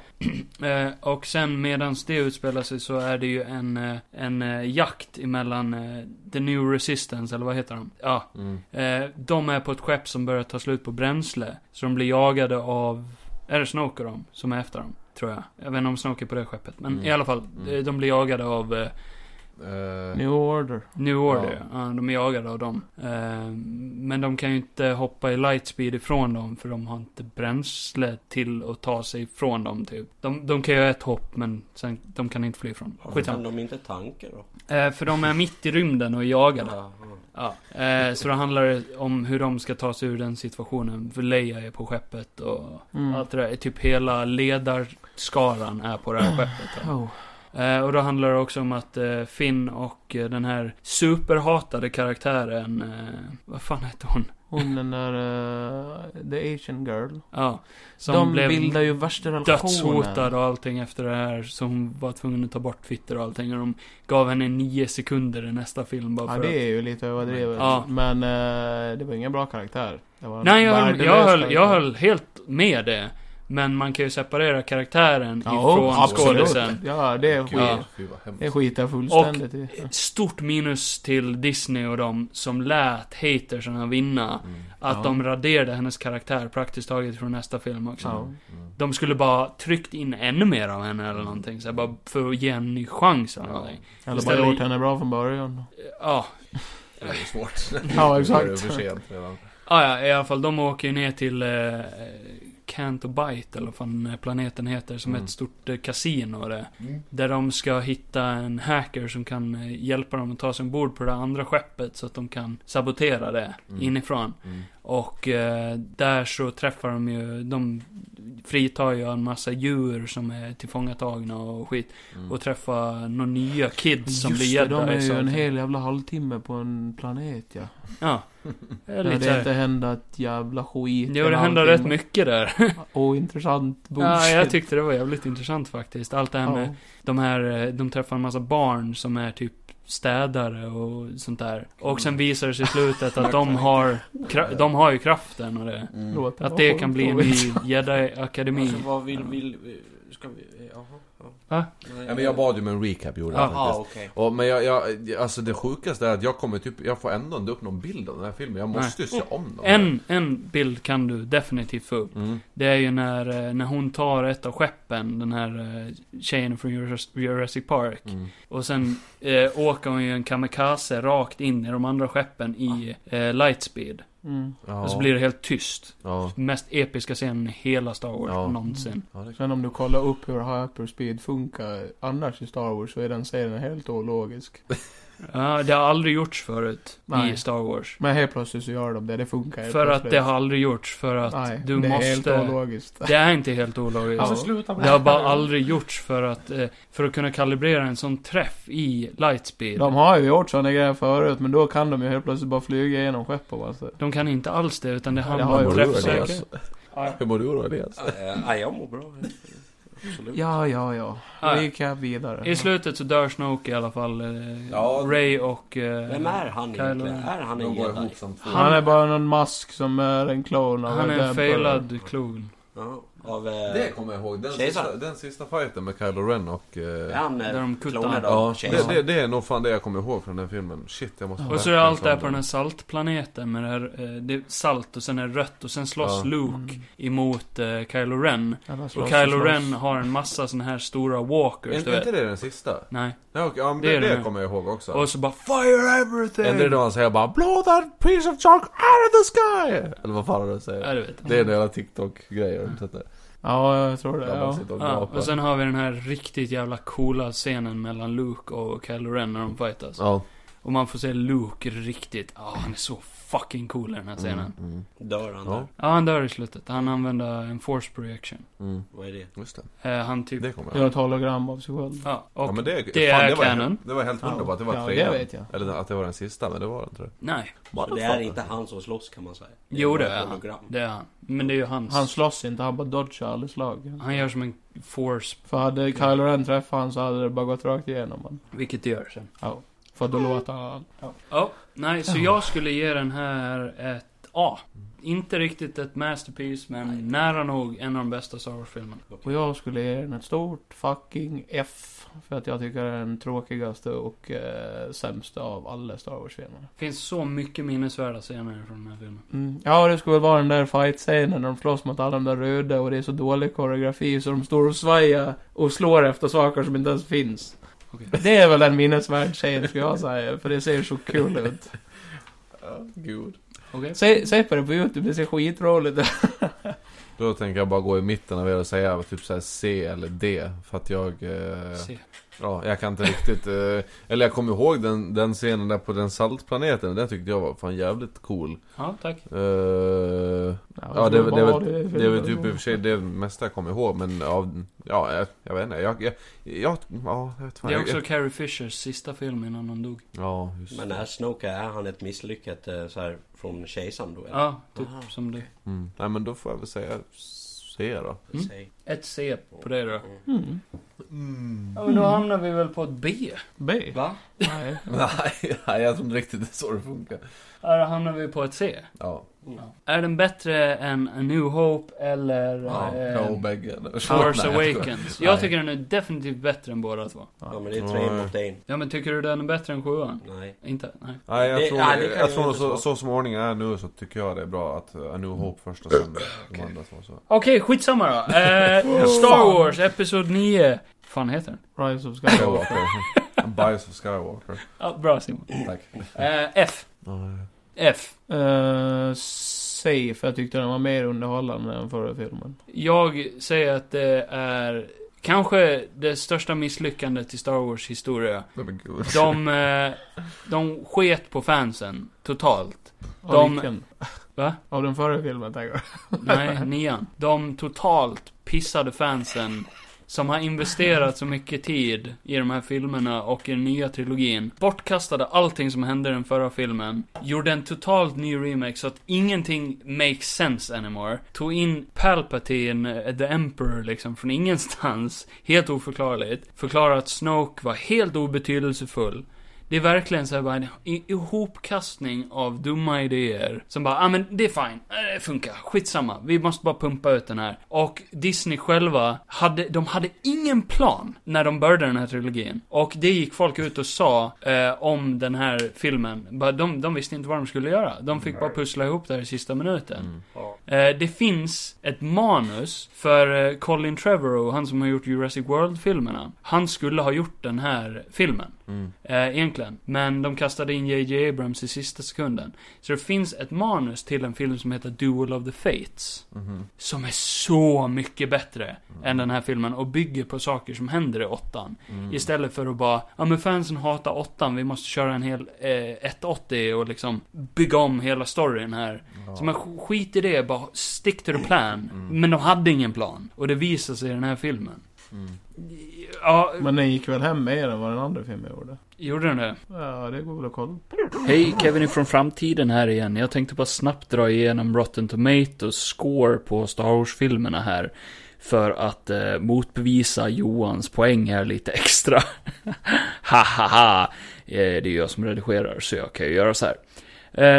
Speaker 4: Eh, och sen medan det utspelar sig så är det ju en, eh, en eh, jakt emellan eh, The New Resistance, eller vad heter de? Ja,
Speaker 6: Mm.
Speaker 4: Eh, de är på ett skepp som börjar ta slut på bränsle. Så de blir jagade av... Är det Snoke och dem som är efter dem? Tror jag. Jag vet inte om Snoke är på det skeppet. Men
Speaker 6: Mm.
Speaker 4: i alla fall,
Speaker 6: Mm.
Speaker 4: eh, de blir jagade av eh,
Speaker 6: Eh,
Speaker 5: New Order.
Speaker 4: New Order. Ja. de är jagade av dem. Eh, men de kan ju inte hoppa i lightspeed ifrån dem. För de har inte bränsle till att ta sig ifrån dem typ. De, de kan göra ett hopp men sen, de kan inte fly ifrån dem.
Speaker 2: Varför kan
Speaker 4: Skitsamma.
Speaker 2: de inte tanka då?
Speaker 4: Eh, för de är mitt i rymden och är jagade.
Speaker 2: Ja, ja.
Speaker 4: Ja, eh, så då handlar det om hur de ska ta sig ur den situationen. För Leia är på skeppet och
Speaker 5: Mm.
Speaker 4: allt det där. Typ hela ledarskaran är på det här skeppet. då.
Speaker 5: Oh.
Speaker 4: Eh, och då handlar det också om att eh, Finn och eh, den här superhatade karaktären, eh, vad fan hette hon?
Speaker 5: Hon den där... eh, the Asian Girl.
Speaker 4: Ja, som
Speaker 5: de
Speaker 4: blev
Speaker 5: bildar ju värsta relationen.
Speaker 4: dödshotad och allting efter det här. Så hon var tvungen att ta bort fitter och allting. Och de gav henne nio sekunder i nästa film bara
Speaker 5: Ja,
Speaker 4: för
Speaker 5: det
Speaker 4: att...
Speaker 5: är ju lite överdrivet.
Speaker 4: Ja.
Speaker 5: Men eh, det var ingen bra karaktär. Det var en
Speaker 4: Nej, jag höll,
Speaker 5: värdelös
Speaker 4: jag, höll, jag
Speaker 5: karaktär.
Speaker 4: höll helt med det. Men man kan ju separera karaktären
Speaker 5: Ja,
Speaker 4: ifrån
Speaker 5: absolut.
Speaker 4: skådisen.
Speaker 5: Ja, det är skit.
Speaker 4: Ja.
Speaker 6: Fy vad hemskt.
Speaker 5: Det skitar fullständigt i.
Speaker 4: Stort minus till Disney och dem som lät hatersarna vinna.
Speaker 6: Mm.
Speaker 4: Att
Speaker 5: Ja.
Speaker 4: de raderade hennes karaktär praktiskt taget från nästa film också.
Speaker 5: Ja.
Speaker 6: Mm.
Speaker 4: De skulle bara tryckt in ännu mer av henne eller någonting. Så här, bara för att ge henne en ny chans eller
Speaker 6: Ja.
Speaker 4: någonting.
Speaker 5: Eller bara
Speaker 4: Istället-
Speaker 5: gjort henne bra från början.
Speaker 4: Ja.
Speaker 6: Det är svårt.
Speaker 5: Ja,
Speaker 6: Nu är det för
Speaker 5: exakt.
Speaker 6: sent redan.
Speaker 4: Ah, ja, i alla fall. De åker ju ner till eh, Cantobite, eller vad fan planeten heter, som är
Speaker 6: Mm.
Speaker 4: ett stort eh, kasino. Det, Där de ska hitta en hacker som kan eh, hjälpa dem att ta sig ombord på det andra skeppet så att de kan sabotera det
Speaker 6: Mm.
Speaker 4: inifrån.
Speaker 6: Mm.
Speaker 4: Och eh, där så träffar de ju, de fritar ju en massa djur som är tillfångatagna och skit.
Speaker 6: Mm.
Speaker 4: Och träffar några nya kids som blir
Speaker 5: Just det, de är
Speaker 4: jedis
Speaker 5: ju
Speaker 4: och
Speaker 5: en
Speaker 4: allting.
Speaker 5: hel jävla halvtimme på en planet ja.
Speaker 4: Ja. Det är
Speaker 5: Där
Speaker 4: lite
Speaker 5: det
Speaker 4: såhär.
Speaker 5: inte händer ett jävla skit.
Speaker 4: Jo,
Speaker 5: eller
Speaker 4: det händer
Speaker 5: allting.
Speaker 4: rätt mycket där.
Speaker 5: Ointressant bullshit.
Speaker 4: Ja, jag tyckte det var jävligt intressant faktiskt. Allt det här med
Speaker 5: Ja.
Speaker 4: de här, eh, de träffar en massa barn som är typ städare och sånt där. Och
Speaker 6: Mm.
Speaker 4: sen visar det sig i slutet att de har, kra- de har ju kraften och
Speaker 6: Mm.
Speaker 4: det.
Speaker 5: Låter
Speaker 4: Att
Speaker 5: vara
Speaker 4: det
Speaker 5: sjukt
Speaker 4: kan bli en ny
Speaker 5: dåligt.
Speaker 4: jedi-akademi.
Speaker 2: Alltså, vad vill, vill, ska vi, jaha. ja.
Speaker 4: Va?
Speaker 2: Nej,
Speaker 6: Ja, men jag bad ju om en recap gjorde jag
Speaker 4: Ja.
Speaker 6: faktiskt.
Speaker 2: Ja, okej.
Speaker 6: Och, men jag, jag, alltså det sjukaste är att jag kommer typ, jag får ändå inte upp någon bild av den här filmen. Jag måste ju se om den.
Speaker 4: En, en bild kan du definitivt få upp.
Speaker 6: Mm.
Speaker 4: Det är ju när, eh, när hon tar ett av skeppen, den här eh, tjejen från Jurass- Jurassic Park.
Speaker 6: Mm.
Speaker 4: Och sen eh, åker hon ju en kamikaze rakt in i de andra skeppen i eh, lightspeed.
Speaker 5: Mm.
Speaker 6: Ja.
Speaker 4: Och så blir det helt tyst.
Speaker 6: Ja.
Speaker 4: Mest episka scenen i hela Star Wars
Speaker 6: Ja.
Speaker 4: någonsin.
Speaker 6: Ja, det...
Speaker 5: Sen om du kollar upp hur hyperspeed funkar annars i Star Wars så är den serien helt ologisk.
Speaker 4: Ja, det har aldrig gjorts förut i
Speaker 5: Nej.
Speaker 4: Star Wars.
Speaker 5: Men helt plötsligt så gör de det, det funkar helt
Speaker 4: För att
Speaker 5: plötsligt.
Speaker 4: det har aldrig gjorts, för att
Speaker 5: Nej,
Speaker 4: du
Speaker 5: det
Speaker 4: måste...
Speaker 5: är helt ologiskt.
Speaker 4: Det är inte helt ologiskt.
Speaker 5: Ja.
Speaker 3: sluta
Speaker 4: Alltså, Det har bara aldrig gjorts för att, eh, för att kunna kalibrera en sån träff i lightspeed.
Speaker 5: De
Speaker 4: De,
Speaker 5: har ju gjort sådana grejer förut, men då kan de ju helt plötsligt bara flyga genom skepp och bara så.
Speaker 4: kan inte alls det, utan det
Speaker 5: Ja,
Speaker 4: handlar
Speaker 5: det alltså. har
Speaker 4: om
Speaker 5: ju varit
Speaker 4: träffsäkerhet.
Speaker 6: Hur mår du då Elias?
Speaker 2: Eh, Nej, jag mår bra. Absolut.
Speaker 5: Ja, ja, ja.
Speaker 4: Ja.
Speaker 5: Recap vidare.
Speaker 4: I slutet så dör Snoke i alla fall. Eh,
Speaker 2: Ja.
Speaker 4: Ray och... Eh,
Speaker 2: Vem är han
Speaker 4: Kylo
Speaker 2: egentligen?
Speaker 4: Ren.
Speaker 2: Är liksom- han en
Speaker 6: De går
Speaker 2: jedi?
Speaker 6: ihop som två.
Speaker 5: Han är bara någon mask som är en klon av
Speaker 4: Han är en
Speaker 5: Emperor.
Speaker 4: failad klon.
Speaker 2: Ja, av... eh,
Speaker 6: Det kommer jag ihåg. Den
Speaker 2: Kejsaren.
Speaker 6: sista, den sista fighten med Kylo Ren och... eh,
Speaker 2: är han eh,
Speaker 4: Där de kuttar
Speaker 2: klonad
Speaker 4: han.
Speaker 2: av
Speaker 6: Ja, det,
Speaker 2: kejsaren?
Speaker 6: det, det är nog fan det jag kommer ihåg från den filmen. Shit, jag måste
Speaker 4: Och så är
Speaker 6: verkligen
Speaker 4: allt
Speaker 6: ta
Speaker 4: det här
Speaker 6: om
Speaker 4: på den här saltplaneten med det här, eh, det är salt och sen är det rött och sen slåss
Speaker 6: Ja.
Speaker 4: Luke emot eh, Kylo Ren.
Speaker 5: Alla
Speaker 4: Och
Speaker 5: Mm. slåss
Speaker 4: Kylo
Speaker 5: slåss.
Speaker 4: Ren har en massa såna här stora
Speaker 6: Är
Speaker 4: walkers, du
Speaker 6: inte- är
Speaker 4: vet.
Speaker 6: inte det den sista?
Speaker 4: Nej.
Speaker 6: Ja, okej, ja men
Speaker 4: Det
Speaker 6: det,
Speaker 4: är den
Speaker 6: det
Speaker 4: här.
Speaker 6: kommer jag ihåg också.
Speaker 4: Och så bara FIRE
Speaker 6: Är det
Speaker 4: EVERYTHING!
Speaker 6: då han säger bara 'Blow that piece of chalk out of the sky' Eller vad fan han säger.
Speaker 4: Ja, du vet.
Speaker 6: Det är en jävla TikTok-grej. har du sett det?
Speaker 5: Ja, jag tror det.
Speaker 6: Där man
Speaker 5: Ja.
Speaker 6: sitter och
Speaker 4: Ja,
Speaker 6: gapar.
Speaker 4: och sen har vi den här riktigt jävla coola scenen mellan Luke och Kylo Ren när de fightas.
Speaker 6: Ja.
Speaker 4: Och man får se Luke riktigt, ah han är så fucking cool i den här scenen.
Speaker 6: Mm,
Speaker 2: mm. Dör han
Speaker 6: Ja.
Speaker 2: där?
Speaker 4: Ja, han dör i slutet. Han använder en force projection.
Speaker 6: Mm.
Speaker 2: Vad är det?
Speaker 6: Just det.
Speaker 4: Eh, han typ...
Speaker 6: Det kommer jag.
Speaker 5: Gör ett hologram av sig själv.
Speaker 4: Ja, och
Speaker 6: ja, men det, fan,
Speaker 4: är
Speaker 6: det var,
Speaker 4: canon.
Speaker 6: Det var helt underbart att det var
Speaker 5: Ja,
Speaker 6: trean.
Speaker 5: det vet jag.
Speaker 6: Eller att det var den sista, men det var det inte. det.
Speaker 4: Nej,
Speaker 2: Så det är inte han som slåss kan man säga.
Speaker 4: Jo,
Speaker 2: bara
Speaker 4: det är
Speaker 2: ett
Speaker 4: han.
Speaker 2: hologram.
Speaker 4: det är han. Men det är ju hans.
Speaker 5: Han slåss inte, han bara dodgar alla slag.
Speaker 4: Han gör som en force,
Speaker 5: För hade Kylo Ren träffat han så hade det bara gått rakt igenom honom.
Speaker 4: vilket det gör sen.
Speaker 5: För då låter han... Ja.
Speaker 4: Ja, nej, så jag skulle ge den här ett A. Inte riktigt ett masterpiece, men nära nog en av de bästa Star Wars-filmerna.
Speaker 5: Och jag skulle ge den ett stort fucking F. För att jag tycker det är den tråkigaste och eh, sämsta av alla Star Wars-filmer.
Speaker 4: Finns så mycket minnesvärda scener från den här filmen.
Speaker 5: Mm. Ja, det skulle väl vara den där fight-scenen när de slåss mot alla de där röda och det är så dålig koreografi så de står och svajar och slår efter saker som inte ens finns.
Speaker 4: Okej.
Speaker 5: Det är väl en minnesvärd scen skulle jag säga, för det ser så kul ut.
Speaker 6: Gud.
Speaker 4: Okej?
Speaker 5: Se, se på det på YouTube, det ser skitroligt ut.
Speaker 6: Då tänker jag bara gå i mitten av er och säga typ såhär C eller D. För att jag... Eh,
Speaker 4: Se.
Speaker 6: ja, jag kan inte riktigt... Eh, eller jag kommer ihåg den, den scenen där på den saltplaneten. Den tyckte jag var fan jävligt cool.
Speaker 4: Ja, tack.
Speaker 6: Eh, Ja, det, är väl- det, är väl- det är väl typ i och för sig det mesta jag kommer ihåg, men av, ja, jag, jag vet inte, jag, jag, jag, ja, jag vet fan,
Speaker 4: Det är
Speaker 6: jag,
Speaker 4: också Carrie Fishers sista film innan hon dog.
Speaker 6: ja, just
Speaker 2: Men
Speaker 6: det.
Speaker 2: är Snoke, är han ett misslyckat eh, så här, från kejsaren då? Eller?
Speaker 4: Ja, typ
Speaker 2: Aha.
Speaker 4: som det.
Speaker 6: Mm. Nej men då får jag väl säga C då.
Speaker 4: Mm.
Speaker 2: Säg.
Speaker 4: Ett C på det då.
Speaker 5: Mm.
Speaker 6: Mm.
Speaker 4: Ja, men då hamnar vi väl på ett B.
Speaker 5: B?
Speaker 4: Va?
Speaker 5: Nej.
Speaker 6: Nej, nej, jag tror inte riktigt det är så det funkar.
Speaker 4: Ja, då hamnar vi på ett C.
Speaker 6: Ja,
Speaker 4: Är den bättre än A New Hope eller...
Speaker 6: ja,
Speaker 4: eh,
Speaker 6: no bägge. eller
Speaker 4: Force
Speaker 6: så. Nej, jag skojar.
Speaker 4: Awakens. Jag tycker den är definitivt bättre än båda två.
Speaker 2: Ja men det är tre mot en.
Speaker 4: Ja men tycker du den är bättre än sjuan?
Speaker 2: Nej.
Speaker 4: Inte? Nej.
Speaker 6: Nej, jag
Speaker 2: Det-
Speaker 6: tror,
Speaker 2: nej, det kan
Speaker 6: jag
Speaker 2: jag
Speaker 6: tror
Speaker 2: inte
Speaker 6: så,
Speaker 2: svara.
Speaker 6: så som ordningen är nu så tycker jag det är bra att uh, nu hopp först och sen de andra två. Så.
Speaker 4: Okej, skitsamma då. Eh, Star Wars, Episod 9. fan heter den?
Speaker 5: Rise of Skywalker.
Speaker 6: Skywalker. Bias of Skywalker.
Speaker 4: Ja, bra Simon.
Speaker 6: Tack.
Speaker 4: Eh, F.
Speaker 6: Ja, ja.
Speaker 4: F.
Speaker 5: Eh, C, för jag tyckte den var mer underhållande än förra filmen.
Speaker 4: Jag säger att det är kanske det största misslyckandet i Star Wars historia.
Speaker 6: Nej, men gud.
Speaker 4: De, eh, de sket på fansen totalt.
Speaker 5: Av
Speaker 4: De-
Speaker 5: vilken?
Speaker 4: Va?
Speaker 5: Av den förra filmen, tänker jag.
Speaker 4: Nej, nian. De totalt pissade fansen som har investerat så mycket tid i de här filmerna och i den nya trilogin. Bortkastade allting som hände i den förra filmen. Gjorde en totalt ny remake så att ingenting makes sense anymore. Tog in Palpatine, eh, the Emperor liksom, från ingenstans. Helt oförklarligt. Förklarade att Snoke var helt obetydelsefull. Det är verkligen så här bara en i- ihopkastning av dumma idéer. Som bara, ah men det är fine, Eh, det funkar, skitsamma. Vi måste bara pumpa ut den här. Och Disney själva, hade, de hade ingen plan när de började den här trilogin. Och det gick folk ut och sa eh, om den här filmen. Bara, de, de visste inte vad de skulle göra. De fick bara pussla ihop det här i sista minuten.
Speaker 6: Mm.
Speaker 4: Eh, det finns ett manus för eh, Colin Trevorrow, han som har gjort Jurassic World-filmerna. Han skulle ha gjort den här filmen.
Speaker 6: Mm.
Speaker 4: Eh, egentligen. Men de kastade in JJ Abrams i sista sekunden. Så det finns ett manus till en film som heter Duel of the Fates. Som är så mycket bättre än den här filmen och bygger på saker som händer i åttan.
Speaker 6: Mm.
Speaker 4: Istället för att bara, ja men fansen hatar åttan, vi måste köra en hel eh, 180 och liksom bygga om hela storyn här.
Speaker 6: Mm.
Speaker 4: Så man sk- skit i det, bara stick to the plan. Men de hade ingen plan. Och det visar sig i den här filmen.
Speaker 6: Mm.
Speaker 4: Ja,
Speaker 5: Men den gick väl hem mer än vad den andra filmen gjorde?
Speaker 4: gjorde den det?
Speaker 5: Ja, det går väl att kolla.
Speaker 4: Hej, Kevin från framtiden här igen. Jag tänkte bara snabbt dra igenom Rotten Tomatoes score på Star Wars-filmerna här. För att eh, motbevisa Johans poäng här lite extra. ha ha ha. Eh, det är jag som redigerar, så jag kan ju göra så här.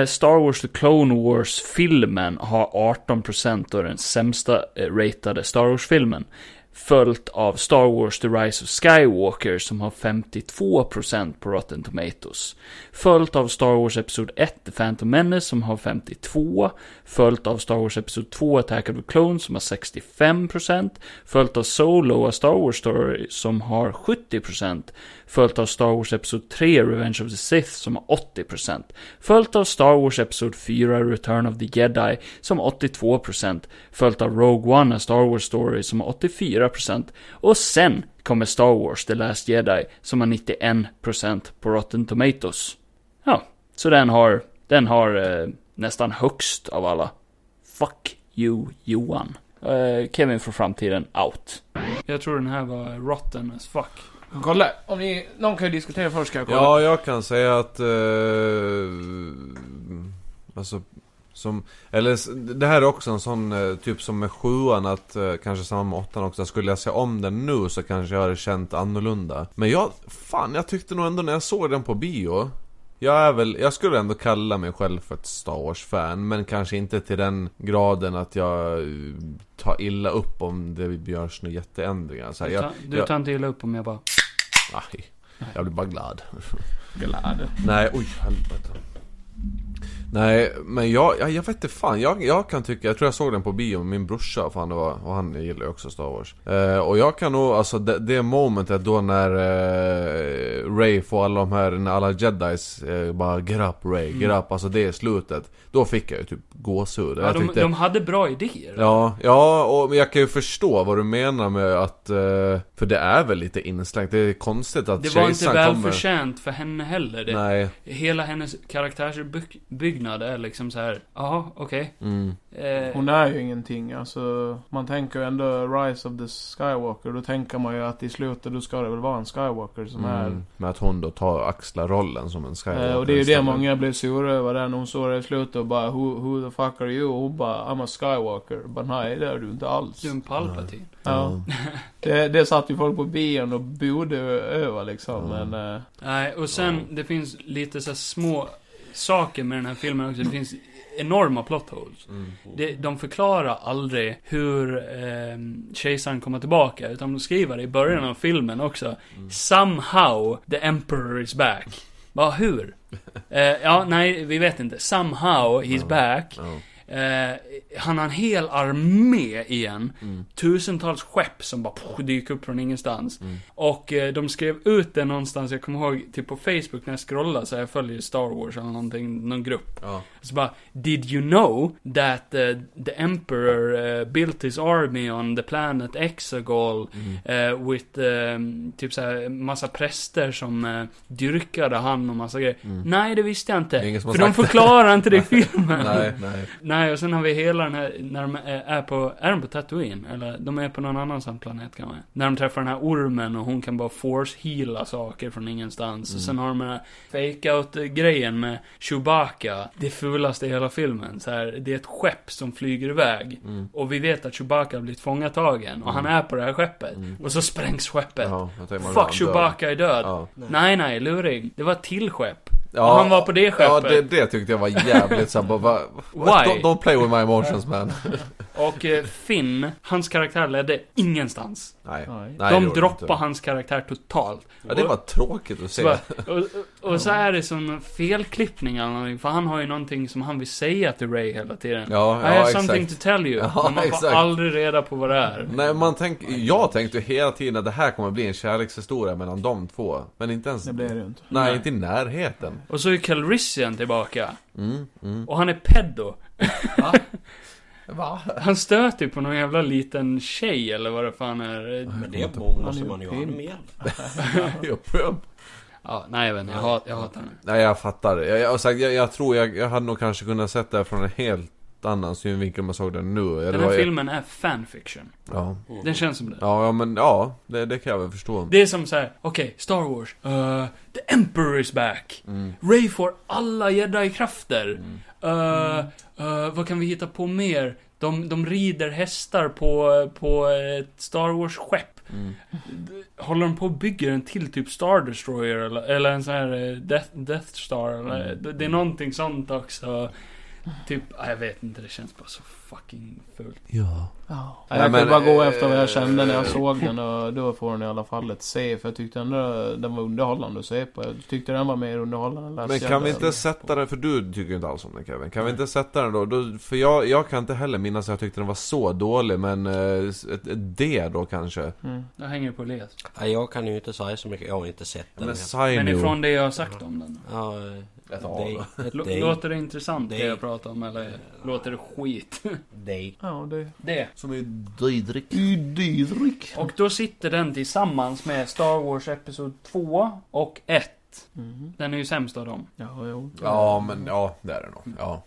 Speaker 4: Eh, Star Wars The Clone Wars-filmen har 18% och den sämsta eh, ratade Star Wars-filmen. Följt av Star Wars The Rise of Skywalker som har 52% på Rotten Tomatoes. Följt av Star Wars Episod 1, The Phantom Menace, som har 52. Följt av Star Wars Episod 2, Attack of the Clones, som har 65%. Följt av Solo, A Star Wars Story, som har 70%. Följt av Star Wars Episod 3, Revenge of the Sith, som har 80%. Följt av Star Wars Episod 4, Return of the Jedi, som har 82%. Följt av Rogue One, A Star Wars Story, som har 84%. Och sen kommer Star Wars The Last Jedi som har 91% på Rotten Tomatoes. Ja, så den har, den har eh, nästan högst av alla. Fuck you Johan. Eh, Kevin från framtiden, out. Jag tror den här var rotten as fuck.
Speaker 5: Kolla, om ni, någon kan ju diskutera först ska jag kolla.
Speaker 6: Ja, jag kan säga att... Eh, alltså, som... Eller s- det här är också en sån eh, typ som med sjuan att eh, kanske samma med åttan också. Skulle jag se om den nu så kanske jag hade känt annorlunda. Men jag... Fan, jag tyckte nog ändå när jag såg den på bio. Jag är väl, jag skulle ändå kalla mig själv för ett Star Wars-fan, men kanske inte till den graden att jag eh, tar illa upp om det görs några jätteändringar. Så här,
Speaker 4: Du
Speaker 6: jag,
Speaker 4: tar, du
Speaker 6: jag-
Speaker 4: tar inte illa upp om jag bara...
Speaker 6: Nej, jag blir bara glad. Glad? Nej, oj helvete. Nej, men jag, jag, jag vet inte fan. Jag, jag kan tycka, jag tror jag såg den på bio med min brorsa, fan det var, och han gillar ju också Star Wars. Eh, och jag kan nog, alltså det, det momentet då när eh, Ray får alla de här, när alla jedis eh, bara Get up Ray, get up, alltså det är slutet. Då fick jag ju typ gåshud.
Speaker 4: Mm. Ja,
Speaker 6: jag
Speaker 4: de,
Speaker 6: tyckte-
Speaker 4: de hade bra idéer.
Speaker 6: Ja, ja, och men jag kan ju förstå vad du menar med att... eh, För det är väl lite inslängt. Det är konstigt att
Speaker 4: det var inte
Speaker 6: kejsaren
Speaker 4: välförtjänt för henne heller. Det,
Speaker 6: Nej,
Speaker 4: hela hennes karaktärsbyggnad är liksom så här. jaha, okej.
Speaker 6: mm.
Speaker 4: Eh,
Speaker 5: Hon är ju ingenting. Alltså, man tänker ju ändå Rise of the Skywalker. Då tänker man ju att i slutet då ska det väl vara en Skywalker som
Speaker 6: Mm. Med att hon då tar axlar rollen som en
Speaker 5: är...
Speaker 6: skywalker
Speaker 5: Eh, och det är ju det
Speaker 6: istället.
Speaker 5: många blev sura över där när hon såg det i slutet och bara who, who the fuck are you? Och hon bara I'm a Skywalker. Bara nej det är du inte alls.
Speaker 4: du är en Palpatine.
Speaker 5: Ja.
Speaker 4: Mm.
Speaker 5: Det, det satt ju folk på bion och bodde över liksom.
Speaker 6: Ja.
Speaker 5: Men... Eh,
Speaker 4: Nej, och sen det finns lite så här små saker med den här filmen också. Det finns enorma plot holes.
Speaker 6: Mm.
Speaker 4: Det, de förklarar aldrig hur eh, kejsaren kommer tillbaka, utan de skriver det i början av filmen också.
Speaker 6: Mm.
Speaker 4: Somehow the emperor is back. Bara hur? Eh, ja, nej, vi vet inte. Somehow he's back.
Speaker 6: Ja.
Speaker 4: Eh, han har en hel armé igen.
Speaker 6: Mm.
Speaker 4: Tusentals skepp som bara pff, dyker upp från ingenstans. Och eh, de skrev ut det någonstans, jag kommer ihåg, typ på Facebook när jag scrollade så här, jag följer Star Wars eller någonting, någon grupp.
Speaker 6: Ja.
Speaker 4: Så bara, Did you know that eh, the Emperor eh, built his army on the planet Exegol
Speaker 6: Mm,
Speaker 4: eh, with eh, typ såhär massa präster som eh, dyrkade han och massa grejer?
Speaker 6: mm.
Speaker 4: Nej, det visste jag inte.
Speaker 6: Det är ingen som har
Speaker 4: För de
Speaker 6: sagt det.
Speaker 4: förklarar inte det i filmen.
Speaker 6: Nej, nej.
Speaker 4: Nej, och sen har vi hela den här, när de är är på, är de på Tatooine? Eller de är på någon annan sån planet kan man När de träffar den här ormen och hon kan bara force-heala saker från ingenstans. Och
Speaker 6: Mm.
Speaker 4: sen har de den här fake-out-grejen med Chewbacca. Det fulaste i hela filmen. Så här, det är ett skepp som flyger iväg.
Speaker 6: Mm.
Speaker 4: Och vi vet att Chewbacca har blivit fångatagen. Och han är på det här skeppet. Och så sprängs skeppet.
Speaker 6: Mm. Ja, jag tänker man
Speaker 4: Fuck
Speaker 6: dör.
Speaker 4: Chewbacca är död.
Speaker 6: Ja.
Speaker 4: Nej, nej, luring. Det var ett till skepp.
Speaker 6: Ja.
Speaker 4: Och han var på det
Speaker 6: Ja,
Speaker 4: skeppet.
Speaker 6: det, det tyckte jag var jävligt såhär bara, va,
Speaker 4: Why?
Speaker 6: don't, don't play with my emotions man.
Speaker 4: Och eh, Finn, hans karaktär ledde ingenstans.
Speaker 6: Nej.
Speaker 5: Nej.
Speaker 6: nej
Speaker 4: De
Speaker 6: det gjorde
Speaker 4: droppar
Speaker 6: inte.
Speaker 4: hans karaktär totalt.
Speaker 6: Ja, det var tråkigt att se.
Speaker 4: Så bara, och, och, och så är det som felklippning eller någonting, för han har ju någonting som han vill säga till Ray hela tiden.
Speaker 6: Ja,
Speaker 4: I
Speaker 6: ja,
Speaker 4: have
Speaker 6: exakt.
Speaker 4: something to tell you.
Speaker 6: Ja,
Speaker 4: men man får
Speaker 6: exakt.
Speaker 4: aldrig reda på vad det är.
Speaker 6: Nej, man tänk, jag tänkte ju hela tiden att det här kommer bli en kärlekshistoria mellan de två. Men inte ens...
Speaker 5: det blir det ju inte.
Speaker 6: Nej, inte i närheten.
Speaker 4: Och så är Calrissian tillbaka.
Speaker 6: Mm, mm.
Speaker 4: Och han är peddo.
Speaker 6: Va?
Speaker 4: Han stöter ju på någon jävla liten tjej eller vad det fan är.
Speaker 2: Men
Speaker 6: Mm.
Speaker 2: det måste man ju ha
Speaker 5: Han är ju
Speaker 2: med.
Speaker 4: Ja, nej jag vet inte. Jag, hat, jag hatar henne.
Speaker 6: Nej, jag fattar. Jag, jag, har sagt, jag, jag tror jag, jag hade nog kanske kunnat sett det här från en helt annan synvinkel om jag såg den nu.
Speaker 4: Den
Speaker 6: Eller vad
Speaker 4: här
Speaker 6: jag-
Speaker 4: filmen är fanfiction.
Speaker 6: Ja.
Speaker 4: Den känns som det.
Speaker 6: Ja, ja, men ja. Det, det kan jag väl förstå.
Speaker 4: Det är som så här, okej, Star Wars. eh, the Emperor is back.
Speaker 6: Mm.
Speaker 4: Ray får alla jedi-krafter. Eh, eh, vad kan vi hitta på mer? De, de rider hästar på, på ett Star Wars-skepp. D- Håller de på och bygger en till typ Star Destroyer eller, eller en sån här eh, Death, Death Star? Eller, det, det är någonting sånt också. Typ, ah, jag vet inte, det känns bara så fucking fult.
Speaker 6: Ja.
Speaker 5: Nej, jag
Speaker 6: Nej,
Speaker 5: kunde
Speaker 6: men,
Speaker 5: bara gå
Speaker 6: eh,
Speaker 5: efter vad jag kände när jag såg den och då får den i alla fall ett C. För jag tyckte ändå den var underhållande att se på. Jag tyckte den var mer underhållande än Last
Speaker 6: Men kan
Speaker 5: Jedi.
Speaker 6: vi inte sätta den, för du tycker ju inte alls om den Kevin. Kan vi inte sätta den då? då för jag, jag kan inte heller minnas att jag tyckte den var så dålig, men eh, ett, ett D då kanske.
Speaker 5: Mm.
Speaker 4: Jag hänger på Les.
Speaker 2: Nej, jag kan ju inte säga så mycket. Jag har inte sett den.
Speaker 6: Men
Speaker 2: Jag-
Speaker 4: Men
Speaker 6: Sino-
Speaker 4: ifrån det jag har sagt om den.
Speaker 2: Ja, ett
Speaker 6: A
Speaker 2: day, ett
Speaker 4: Lå-
Speaker 2: day,
Speaker 4: Låter det intressant det
Speaker 2: Nej.
Speaker 4: jag pratar om eller låter det skit?
Speaker 2: day.
Speaker 5: Ja, det...
Speaker 4: Det.
Speaker 6: Som är dydrik.
Speaker 4: Och då sitter den tillsammans med Star Wars Episod 2 och 1 1.
Speaker 5: mhm.
Speaker 4: Den är ju sämst av dem.
Speaker 5: Ja, jo.
Speaker 6: Ja, men ja, det är det nog. Ja.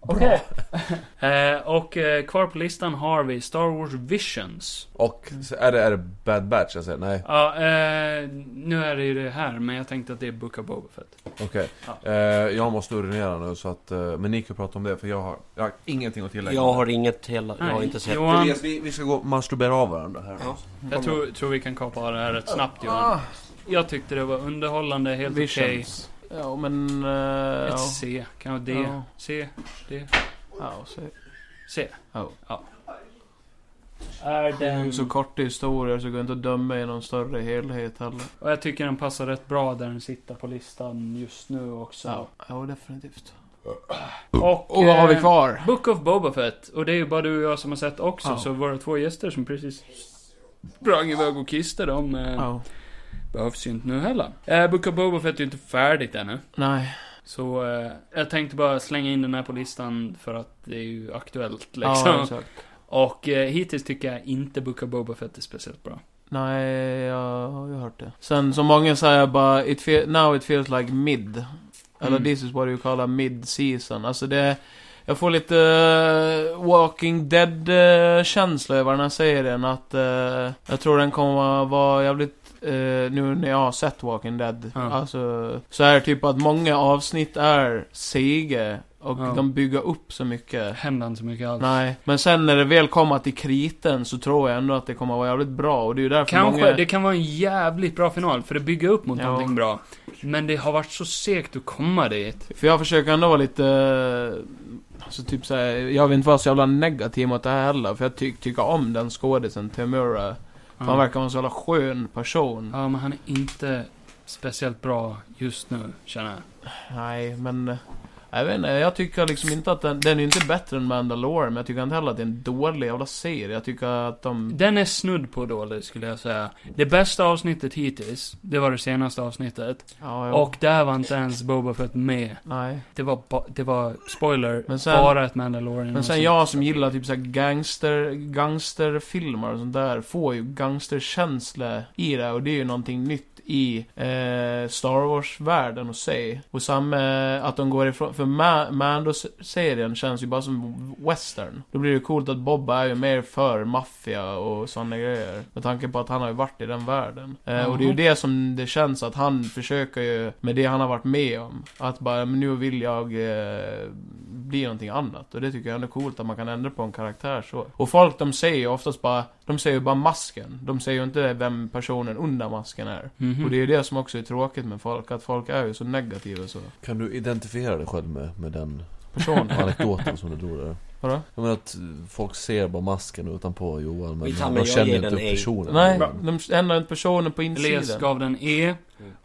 Speaker 4: Okej. eh, och eh, kvar på listan har vi Star Wars Visions.
Speaker 6: Och så är det, är det Bad Batch jag säger? Nej,
Speaker 4: Ja, eh, nu är det ju det här, men jag tänkte att det är Book of Boba Fett.
Speaker 6: okej. Eh, jag måste urinera nu så att... eh, Men ni kan prata om det för jag har, jag har ingenting att tillägga.
Speaker 2: Jag har inget hela... Jag har
Speaker 4: Nej,
Speaker 2: inte sett...
Speaker 4: Johan,
Speaker 6: Therese, vi, vi ska gå och masturbera av varandra här.
Speaker 4: jag tror, tror vi kan kapa det här rätt snabbt
Speaker 6: Ah,
Speaker 4: Johan. Jag tyckte det var underhållande, helt okej.
Speaker 5: Ah. Visions. Ja, men... eh,
Speaker 4: Ett
Speaker 5: ja.
Speaker 4: C, kanske D,
Speaker 5: Ja.
Speaker 4: C, D,
Speaker 5: Ja, så,
Speaker 4: C.
Speaker 5: Ja.
Speaker 4: Är
Speaker 5: det är ju
Speaker 4: den...
Speaker 5: så korta historier så går det inte att döma i någon större helhet heller.
Speaker 4: Och jag tycker den passar rätt bra där den sitter på listan just nu också.
Speaker 5: Ja, ja definitivt.
Speaker 4: Och,
Speaker 5: Och vad har vi
Speaker 4: eh,
Speaker 5: kvar?
Speaker 4: Book of Boba Fett. Och det är ju bara du och jag som har sett också,
Speaker 5: Ja.
Speaker 4: så våra två gäster som precis sprang iväg och kissade, de eh,
Speaker 5: Ja.
Speaker 4: behövs ju inte nu heller. Eh, Book of Boba Fett är ju inte färdigt ännu.
Speaker 5: Nej.
Speaker 4: Så eh, jag tänkte bara slänga in den här på listan för att det är ju aktuellt liksom.
Speaker 5: Ja, exakt.
Speaker 4: och eh, hittills tycker jag inte Book of Boba Fett är speciellt bra.
Speaker 5: Nej, jag har ju hört det. Sen som många säger bara, it feel, now it feels like mid. Eller
Speaker 4: Mm.
Speaker 5: this is what you call mid season. Alltså det... Jag får lite eh, Walking Dead-känsla över den här serien. Att eh, jag tror den kommer att vara jävligt... eh, nu när jag har sett Walking Dead.
Speaker 4: Ja.
Speaker 5: Alltså, så är det typ att många avsnitt är sege. Och
Speaker 4: Ja.
Speaker 5: de bygger upp så mycket.
Speaker 4: Händer inte så mycket alls.
Speaker 5: Nej, men sen när det väl kommer till kriten så tror jag ändå att det kommer att vara jävligt bra. Och det är ju därför
Speaker 4: Kanske,
Speaker 5: många...
Speaker 4: det kan vara en jävligt bra final, för det bygger upp mot
Speaker 5: Ja.
Speaker 4: någonting bra. Men det har varit så segt att komma dit.
Speaker 5: För jag försöker ändå vara lite... eh, Alltså typ såhär, jag vill inte vara så jävla negativ mot det här heller. För jag ty tycker om den skådisen, Temura. För Han
Speaker 4: Ja.
Speaker 5: verkar vara en så jävla skön person.
Speaker 4: Ja, men han är inte speciellt bra just nu, känner jag.
Speaker 5: Nej, men... eh, Jag vet inte, jag tycker liksom inte att den... Den är ju inte bättre än Mandalore, men jag tycker inte heller att det är en dålig jävla serie. Jag tycker att de...
Speaker 4: Den är snudd på dålig, skulle jag säga. Det bästa avsnittet hittills, det var det senaste avsnittet.
Speaker 5: Ja, jo.
Speaker 4: Och där var inte ens Boba Fett med.
Speaker 5: Nej.
Speaker 4: Det var, ba- det var spoiler,
Speaker 5: Men sen-
Speaker 4: bara ett Mandalorian.
Speaker 5: Men sen
Speaker 4: avsnitt.
Speaker 5: jag som gillar typ såhär gangster, gangsterfilmer och sånt där får ju gangsterkänsla i det och det är ju någonting nytt i eh, Star Wars-världen och sig. Och samma, eh, att de går ifrån, för Ma- Mando-serien känns ju bara som western. Då blir det coolt att Bobba är ju mer för maffia och sådana grejer. Med tanke på att han har ju varit i den världen. Eh, Och det är ju
Speaker 4: Mhm.
Speaker 5: det som det känns att han försöker ju, med det han har varit med om. Att bara, men nu vill jag eh, bli någonting annat. Och det tycker jag ändå är coolt att man kan ändra på en karaktär så. Och folk de säger ju oftast bara, de säger ju bara masken. De säger ju inte vem personen under masken är.
Speaker 4: Mhm.
Speaker 5: Och det är ju det som också är tråkigt med folk, att folk är ju så negativa så.
Speaker 6: Kan du identifiera dig själv med, med den
Speaker 5: Person.
Speaker 6: anekdoten som du drog där?
Speaker 5: Vadå?
Speaker 6: Jag menar att folk ser bara masken utanpå Johan men
Speaker 2: Vi tar-
Speaker 6: de
Speaker 2: men jag
Speaker 6: känner
Speaker 2: ger
Speaker 6: inte
Speaker 2: den A.
Speaker 6: personen.
Speaker 5: Nej, de ändrar inte personen på
Speaker 4: Elias
Speaker 5: insidan.
Speaker 4: gav den E.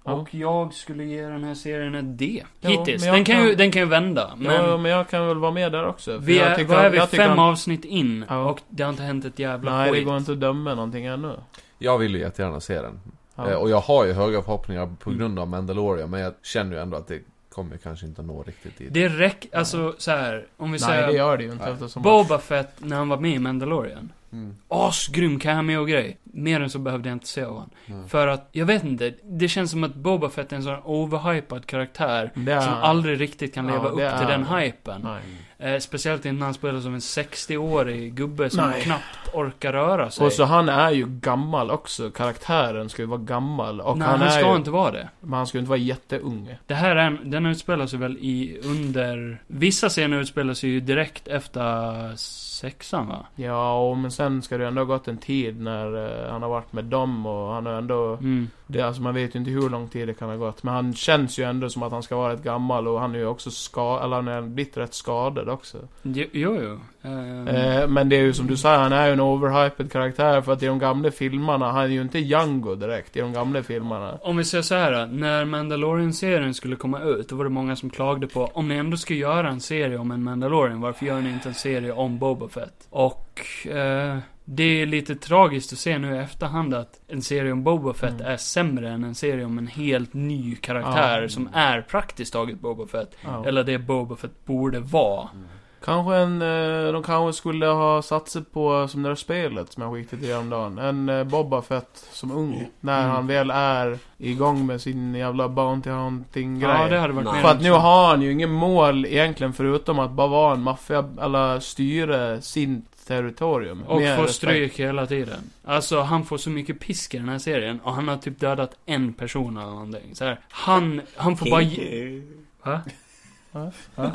Speaker 5: Ja.
Speaker 4: Och jag skulle ge den här serien ett D.
Speaker 5: Ja,
Speaker 4: Hittills.
Speaker 5: men jag
Speaker 4: Den kan, ju,
Speaker 5: kan-
Speaker 4: den kan ju vända. Men
Speaker 5: Ja, men jag kan väl vara med där också. för
Speaker 4: vi
Speaker 5: jag
Speaker 4: är,
Speaker 5: tycker-
Speaker 4: vad är vi?
Speaker 5: jag tycker
Speaker 4: Fem
Speaker 5: han-
Speaker 4: avsnitt in.
Speaker 5: Ja.
Speaker 4: Och det har inte hänt ett jävla
Speaker 5: Nej, det
Speaker 4: skit.
Speaker 5: går inte att döma någonting ännu.
Speaker 6: Jag vill ju jättegärna se den.
Speaker 5: Ja.
Speaker 6: Eh, Och jag har ju höga förhoppningar på grund av Mandalorian men jag känner ju ändå att det kommer kanske inte nå riktigt dit.
Speaker 4: Det räcker, alltså så här, om
Speaker 5: Nej,
Speaker 4: vi
Speaker 5: det
Speaker 4: säger
Speaker 5: gör det ju inte
Speaker 6: Nej.
Speaker 5: eftersom...
Speaker 4: Boba Fett när han var med i Mandalorian.
Speaker 6: Mm.
Speaker 4: Asgrym cameo-grej. Mer än så behövde jag inte se av honom.
Speaker 5: Mm.
Speaker 6: Nej.
Speaker 4: För att, jag vet inte. Det känns som att Boba Fett är en sån overhypad karaktär.
Speaker 5: det är...
Speaker 4: Som aldrig riktigt kan
Speaker 5: Ja,
Speaker 4: leva
Speaker 5: det
Speaker 4: upp till
Speaker 5: är-
Speaker 4: den hypen.
Speaker 5: Nej.
Speaker 4: Eh, speciellt inte när han spelar som en 60-årig gubbe som
Speaker 5: Nej.
Speaker 4: knappt orkar röra sig.
Speaker 5: Och så han är ju gammal också. Karaktären ska ju vara gammal. Och
Speaker 4: Nej,
Speaker 5: han,
Speaker 4: han,
Speaker 5: är
Speaker 4: ska
Speaker 5: ju...
Speaker 4: inte vara det.
Speaker 5: Men han ska ju inte vara jätteung.
Speaker 4: Det här är, en- den utspelar sig väl i under... Vissa scener utspelar sig ju direkt efter sexan va?
Speaker 5: Ja, och men sen ska det ju ändå ha gått en tid när eh, han har varit med dem och han har ändå...
Speaker 4: Mm.
Speaker 5: Det, alltså man vet ju inte hur lång tid det kan ha gått. Men han känns ju ändå som att han ska vara rätt gammal och han är ju också ska... Eller han är blivit rätt skadad också.
Speaker 4: Jo, jo. jo. Ehm,
Speaker 5: Eh, men det är ju som du säger, han är ju en overhyped karaktär för att i de gamla filmerna, han är ju inte Django direkt i de gamla filmerna.
Speaker 4: Om vi säger så här, när Mandalorian-serien skulle komma ut, då var det många som klagade på om ni ändå ska göra en serie om en Mandalorian, varför gör ni inte en serie om Boba Fett? Och eh, det är lite tragiskt att se nu i efterhand att en serie om Boba Fett
Speaker 5: Mm.
Speaker 4: är sämre än en serie om en helt ny karaktär
Speaker 5: Ja.
Speaker 4: som är praktiskt taget Boba Fett.
Speaker 5: Ja.
Speaker 4: Eller det Boba Fett borde vara.
Speaker 5: Kanske en... eh, De kanske skulle ha satsat på, som det där spelet som jag skickade till häromdagen. En eh, Boba Fett som
Speaker 4: Mm.
Speaker 5: ung. När han väl är igång med sin jävla Bounty Hunting-grej.
Speaker 4: Ja, det hade varit
Speaker 2: Nej.
Speaker 4: mer
Speaker 5: För att nu har han ju inget mål egentligen förutom att bara vara en maffia, eller styra sin territorium.
Speaker 4: Och
Speaker 5: Mer
Speaker 4: får
Speaker 5: respekt.
Speaker 4: stryk hela tiden. Alltså han får så mycket pisk i den här serien och han har typ dödat en person eller någonting. Så här, han, han får bara... Va?
Speaker 5: Va?
Speaker 4: Va?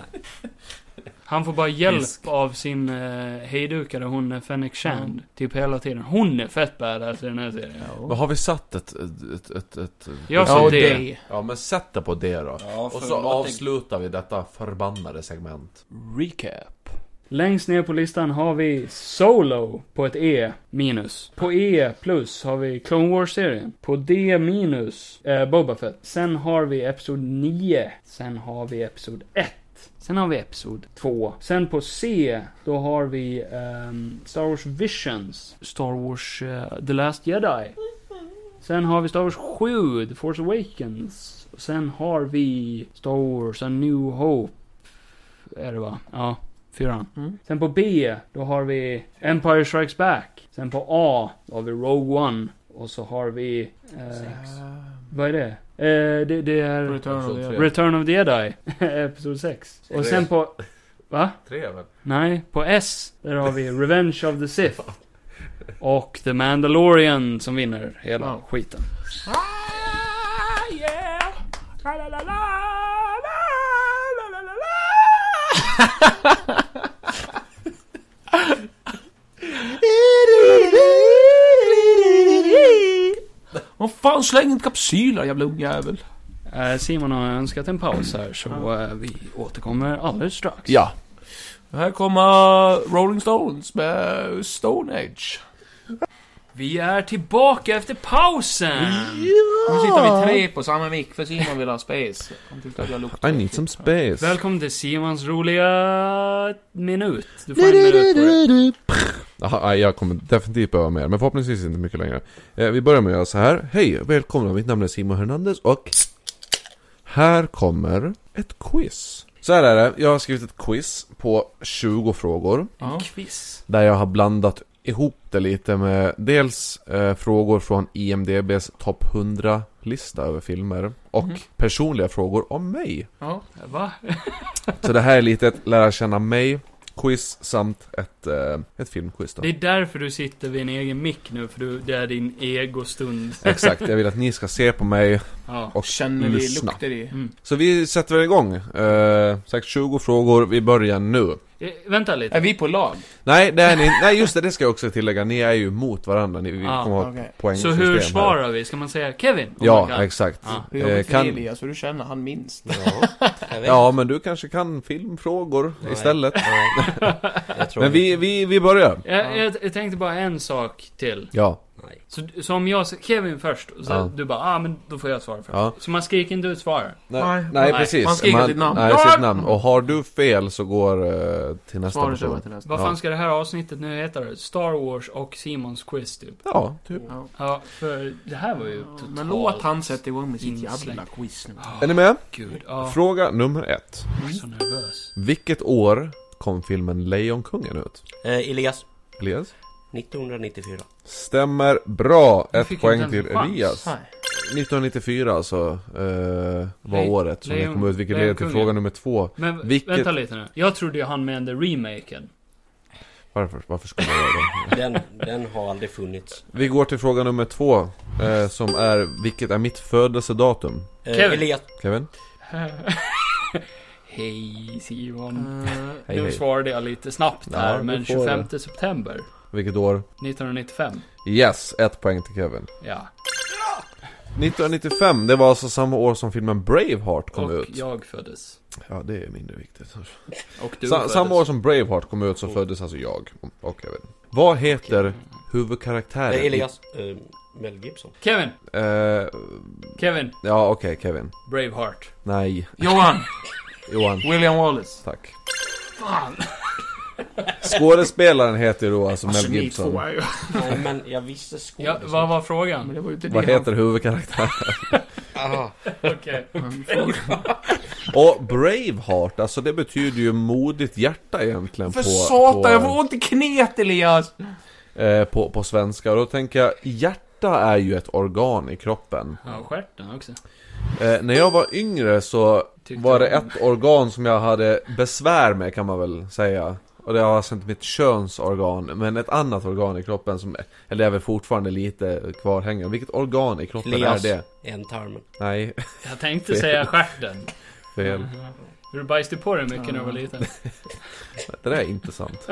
Speaker 4: Han får bara hjälp
Speaker 2: Pisk.
Speaker 4: av sin eh, hejdukare, hon är Fennec Shand. Typ hela tiden. Hon är fett badass i den här serien.
Speaker 6: Men har vi satt ett... ett, ett, ett
Speaker 4: Jag
Speaker 5: Ja,
Speaker 4: sa
Speaker 5: och
Speaker 4: det.
Speaker 5: det.
Speaker 6: Ja, men sätt det på det då.
Speaker 2: Ja,
Speaker 6: Och
Speaker 2: för
Speaker 6: så
Speaker 2: vad tänk-
Speaker 6: avslutar vi detta förbannade segment.
Speaker 4: Recap. Längst ner på listan har vi Solo på ett E minus. På E plus har vi Clone Wars-serien. På D minus eh, Boba Fett. Sen har vi Episod 9. Sen har vi Episod 1. Sen har vi Episod 2. Sen på C, då har vi ehm, Star Wars Visions. Star Wars eh, The Last Jedi. Sen har vi Star Wars 7, The Force Awakens. Och sen har vi Star Wars A New Hope. Är det va? Ja, fyran.
Speaker 5: Mm.
Speaker 4: Sen på B, då har vi Empire Strikes Back. Sen på A, då har vi Rogue One. Och så har vi... Eh, vad är det? Eh, det, det är...
Speaker 5: Return of the Jedi.
Speaker 4: Return of the Jedi, Episod 6. Och sen på... Va?
Speaker 6: Tre väl?
Speaker 4: Nej, på S, där har vi Revenge of the Sith. Och The Mandalorian som vinner hela
Speaker 5: Ja.
Speaker 4: skiten.
Speaker 5: Vad fan, släng inte kapsyler jävla ungjävel.
Speaker 4: Eh, Simon har önskat en paus här, så eh, vi återkommer alldeles strax.
Speaker 5: Ja. Här kommer Rolling Stones med Stone Age.
Speaker 4: Vi är tillbaka efter pausen!
Speaker 5: Nu sitter vi tre på samma mick för Simon vill ha space. Han tyckte att jag luktade.
Speaker 6: I need some space.
Speaker 4: Välkommen till Simons roliga minut. Du får en minut på dig.
Speaker 6: Aha, nej, jag kommer definitivt behöva mer, men förhoppningsvis inte mycket längre. Eh, vi börjar med att göra så här. Hej och välkomna, mitt namn är Simon Hernandez och här kommer ett quiz. Så här är det, jag har skrivit ett quiz på 20 frågor.
Speaker 5: Ja.
Speaker 4: Quiz.
Speaker 6: Där jag har blandat ihop det lite med dels eh, frågor från IMDBs topp 100-lista över filmer. Och personliga frågor om mig.
Speaker 5: Mhm. Ja.
Speaker 4: Va?
Speaker 6: Så det här är lite ett lära känna mig-quiz samt ett, eh, ett filmquiz då.
Speaker 4: Det är därför du sitter vid en egen mick nu, för du, det är din egostund.
Speaker 6: Exakt, jag vill att ni ska se på mig
Speaker 4: Ja.
Speaker 6: och
Speaker 5: Känner vi
Speaker 6: lyssna.
Speaker 5: lukter i.
Speaker 6: Så vi sätter väl igång. Eh, sagt 20 frågor, vi börjar nu.
Speaker 4: Eh, vänta lite.
Speaker 5: Är vi på lag?
Speaker 6: Nej, det är ni, nej just det, det ska jag också tillägga. Ni är ju mot varandra, ni, vi
Speaker 4: Ah,
Speaker 6: kommer ha
Speaker 5: okej.
Speaker 6: ett poängsystem
Speaker 4: Så hur
Speaker 6: här.
Speaker 4: svarar vi? Ska man säga Kevin? Oh my
Speaker 6: Ja,
Speaker 4: God.
Speaker 6: exakt.
Speaker 4: Ah.
Speaker 5: Hur
Speaker 6: Eh,
Speaker 5: jobbar
Speaker 6: kan-
Speaker 5: kan... Elias? Hur du känner han minst?
Speaker 6: Ja, men du kanske kan filmfrågor
Speaker 2: Nej.
Speaker 6: istället.
Speaker 2: Jag tror
Speaker 6: Men vi, vi, vi börjar.
Speaker 4: Jag, jag, jag tänkte bara en sak till.
Speaker 6: Ja.
Speaker 2: Nej.
Speaker 4: Så, så om jag säger Kevin först, och så
Speaker 6: Ja.
Speaker 4: du bara ah men då får jag svara först.
Speaker 6: Ja.
Speaker 4: Så man skriker inte ut svar.
Speaker 5: Nej.
Speaker 6: nej,
Speaker 4: Nej.
Speaker 6: precis.
Speaker 5: Man skriker sitt namn.
Speaker 6: Nej,
Speaker 5: Ja!
Speaker 6: sitt namn. Och har du fel så går eh, till nästa
Speaker 5: Svaret över
Speaker 6: person.
Speaker 5: till nästa.
Speaker 4: Vad
Speaker 6: Ja.
Speaker 4: fan ska det här avsnittet nu heta? Star Wars och Simons quiz typ.
Speaker 6: Ja, typ.
Speaker 4: Ja, för det här var ju totalt...
Speaker 5: Men låt han sätta igång med sitt
Speaker 4: insläkt.
Speaker 5: jävla quiz nu.
Speaker 6: Är ni med?
Speaker 4: Gud, ja.
Speaker 6: Fråga nummer ett.
Speaker 4: Jag är så nervös.
Speaker 6: Vilket år kom filmen Lejonkungen ut?
Speaker 2: Eh, Elias,
Speaker 6: Elias?
Speaker 2: 1994.
Speaker 6: Stämmer bra.
Speaker 4: Jag
Speaker 6: Ett
Speaker 4: fick
Speaker 6: poäng
Speaker 4: inte ens
Speaker 6: till
Speaker 4: en chans.
Speaker 6: Elias.
Speaker 5: Nej.
Speaker 6: 1994 alltså, eh, var
Speaker 4: Le-
Speaker 6: året som
Speaker 4: Lejon-
Speaker 6: den kom ut, vilket leder till
Speaker 4: Lejonkungen.
Speaker 6: fråga nummer två.
Speaker 4: Men
Speaker 6: Vilket-
Speaker 4: vänta lite nu. Jag trodde ju han menade remaken.
Speaker 6: Varför, varför skulle jag göra det?
Speaker 2: Den, den har aldrig funnits.
Speaker 6: Vi går till fråga nummer två, eh, som är vilket är mitt födelsedatum?
Speaker 2: Eh,
Speaker 4: Kevin.
Speaker 2: Elias,
Speaker 6: Kevin?
Speaker 4: Hej Simon.
Speaker 5: Eh,
Speaker 6: Hej,
Speaker 4: nu
Speaker 6: hej.
Speaker 4: svarade jag lite snabbt
Speaker 6: Ja,
Speaker 4: här,
Speaker 6: du
Speaker 4: men
Speaker 6: får det.
Speaker 4: 25 september
Speaker 6: Vilket år?
Speaker 4: 1995.
Speaker 6: Yes, ett poäng till Kevin.
Speaker 4: Ja.
Speaker 6: 1995, det var alltså samma år som filmen Braveheart kom
Speaker 4: och
Speaker 6: ut.
Speaker 4: jag föddes.
Speaker 6: Ja, det är mindre viktigt.
Speaker 4: Och du
Speaker 6: Sa
Speaker 4: föddes.
Speaker 6: samma år som Braveheart kom ut så föddes alltså jag och Kevin. Vad heter
Speaker 5: Eh,
Speaker 6: huvudkaraktären?
Speaker 2: eh,
Speaker 6: i-
Speaker 2: Elias eh, Mel Gibson.
Speaker 4: Kevin!
Speaker 6: Eh,
Speaker 4: Kevin!
Speaker 6: ja, okej Kevin.
Speaker 4: Braveheart.
Speaker 6: Nej,
Speaker 5: Johan!
Speaker 6: Johan.
Speaker 5: William Wallace.
Speaker 6: Tack. Skådespelaren heter då alltså Mel
Speaker 5: ni två
Speaker 6: Gibson.
Speaker 5: är ju...
Speaker 2: Nej, men jag visste skådis.
Speaker 4: Ja, vad var
Speaker 5: Men
Speaker 4: frågan?
Speaker 5: det var ju inte
Speaker 6: Vad
Speaker 5: det han-
Speaker 6: heter huvudkaraktären?
Speaker 2: Aha.
Speaker 4: Okej.
Speaker 5: han frågade.
Speaker 6: Och Braveheart, alltså det betyder ju modigt hjärta egentligen
Speaker 5: För
Speaker 6: på,
Speaker 5: satan,
Speaker 6: på,
Speaker 5: jag får ont i knät Elias!
Speaker 6: eh, på, på svenska. Och då tänker jag, hjärta är ju ett organ i kroppen.
Speaker 4: Ja, stjärten också.
Speaker 6: Eh, när jag var yngre så
Speaker 4: Tyckte
Speaker 6: var det
Speaker 4: jag.
Speaker 6: ett organ som jag hade besvär med kan man väl säga. Och det var alltså inte mitt könsorgan, men ett annat organ i kroppen som, eller är väl fortfarande lite kvarhängande. Vilket organ i kroppen
Speaker 2: Elias.
Speaker 6: är det?
Speaker 2: Ändtarmen.
Speaker 6: Nej,
Speaker 4: Jag tänkte säga stjärten.
Speaker 6: fel.
Speaker 4: Hur du bajsade på dig mycket när du var liten.
Speaker 6: Det där är inte sant.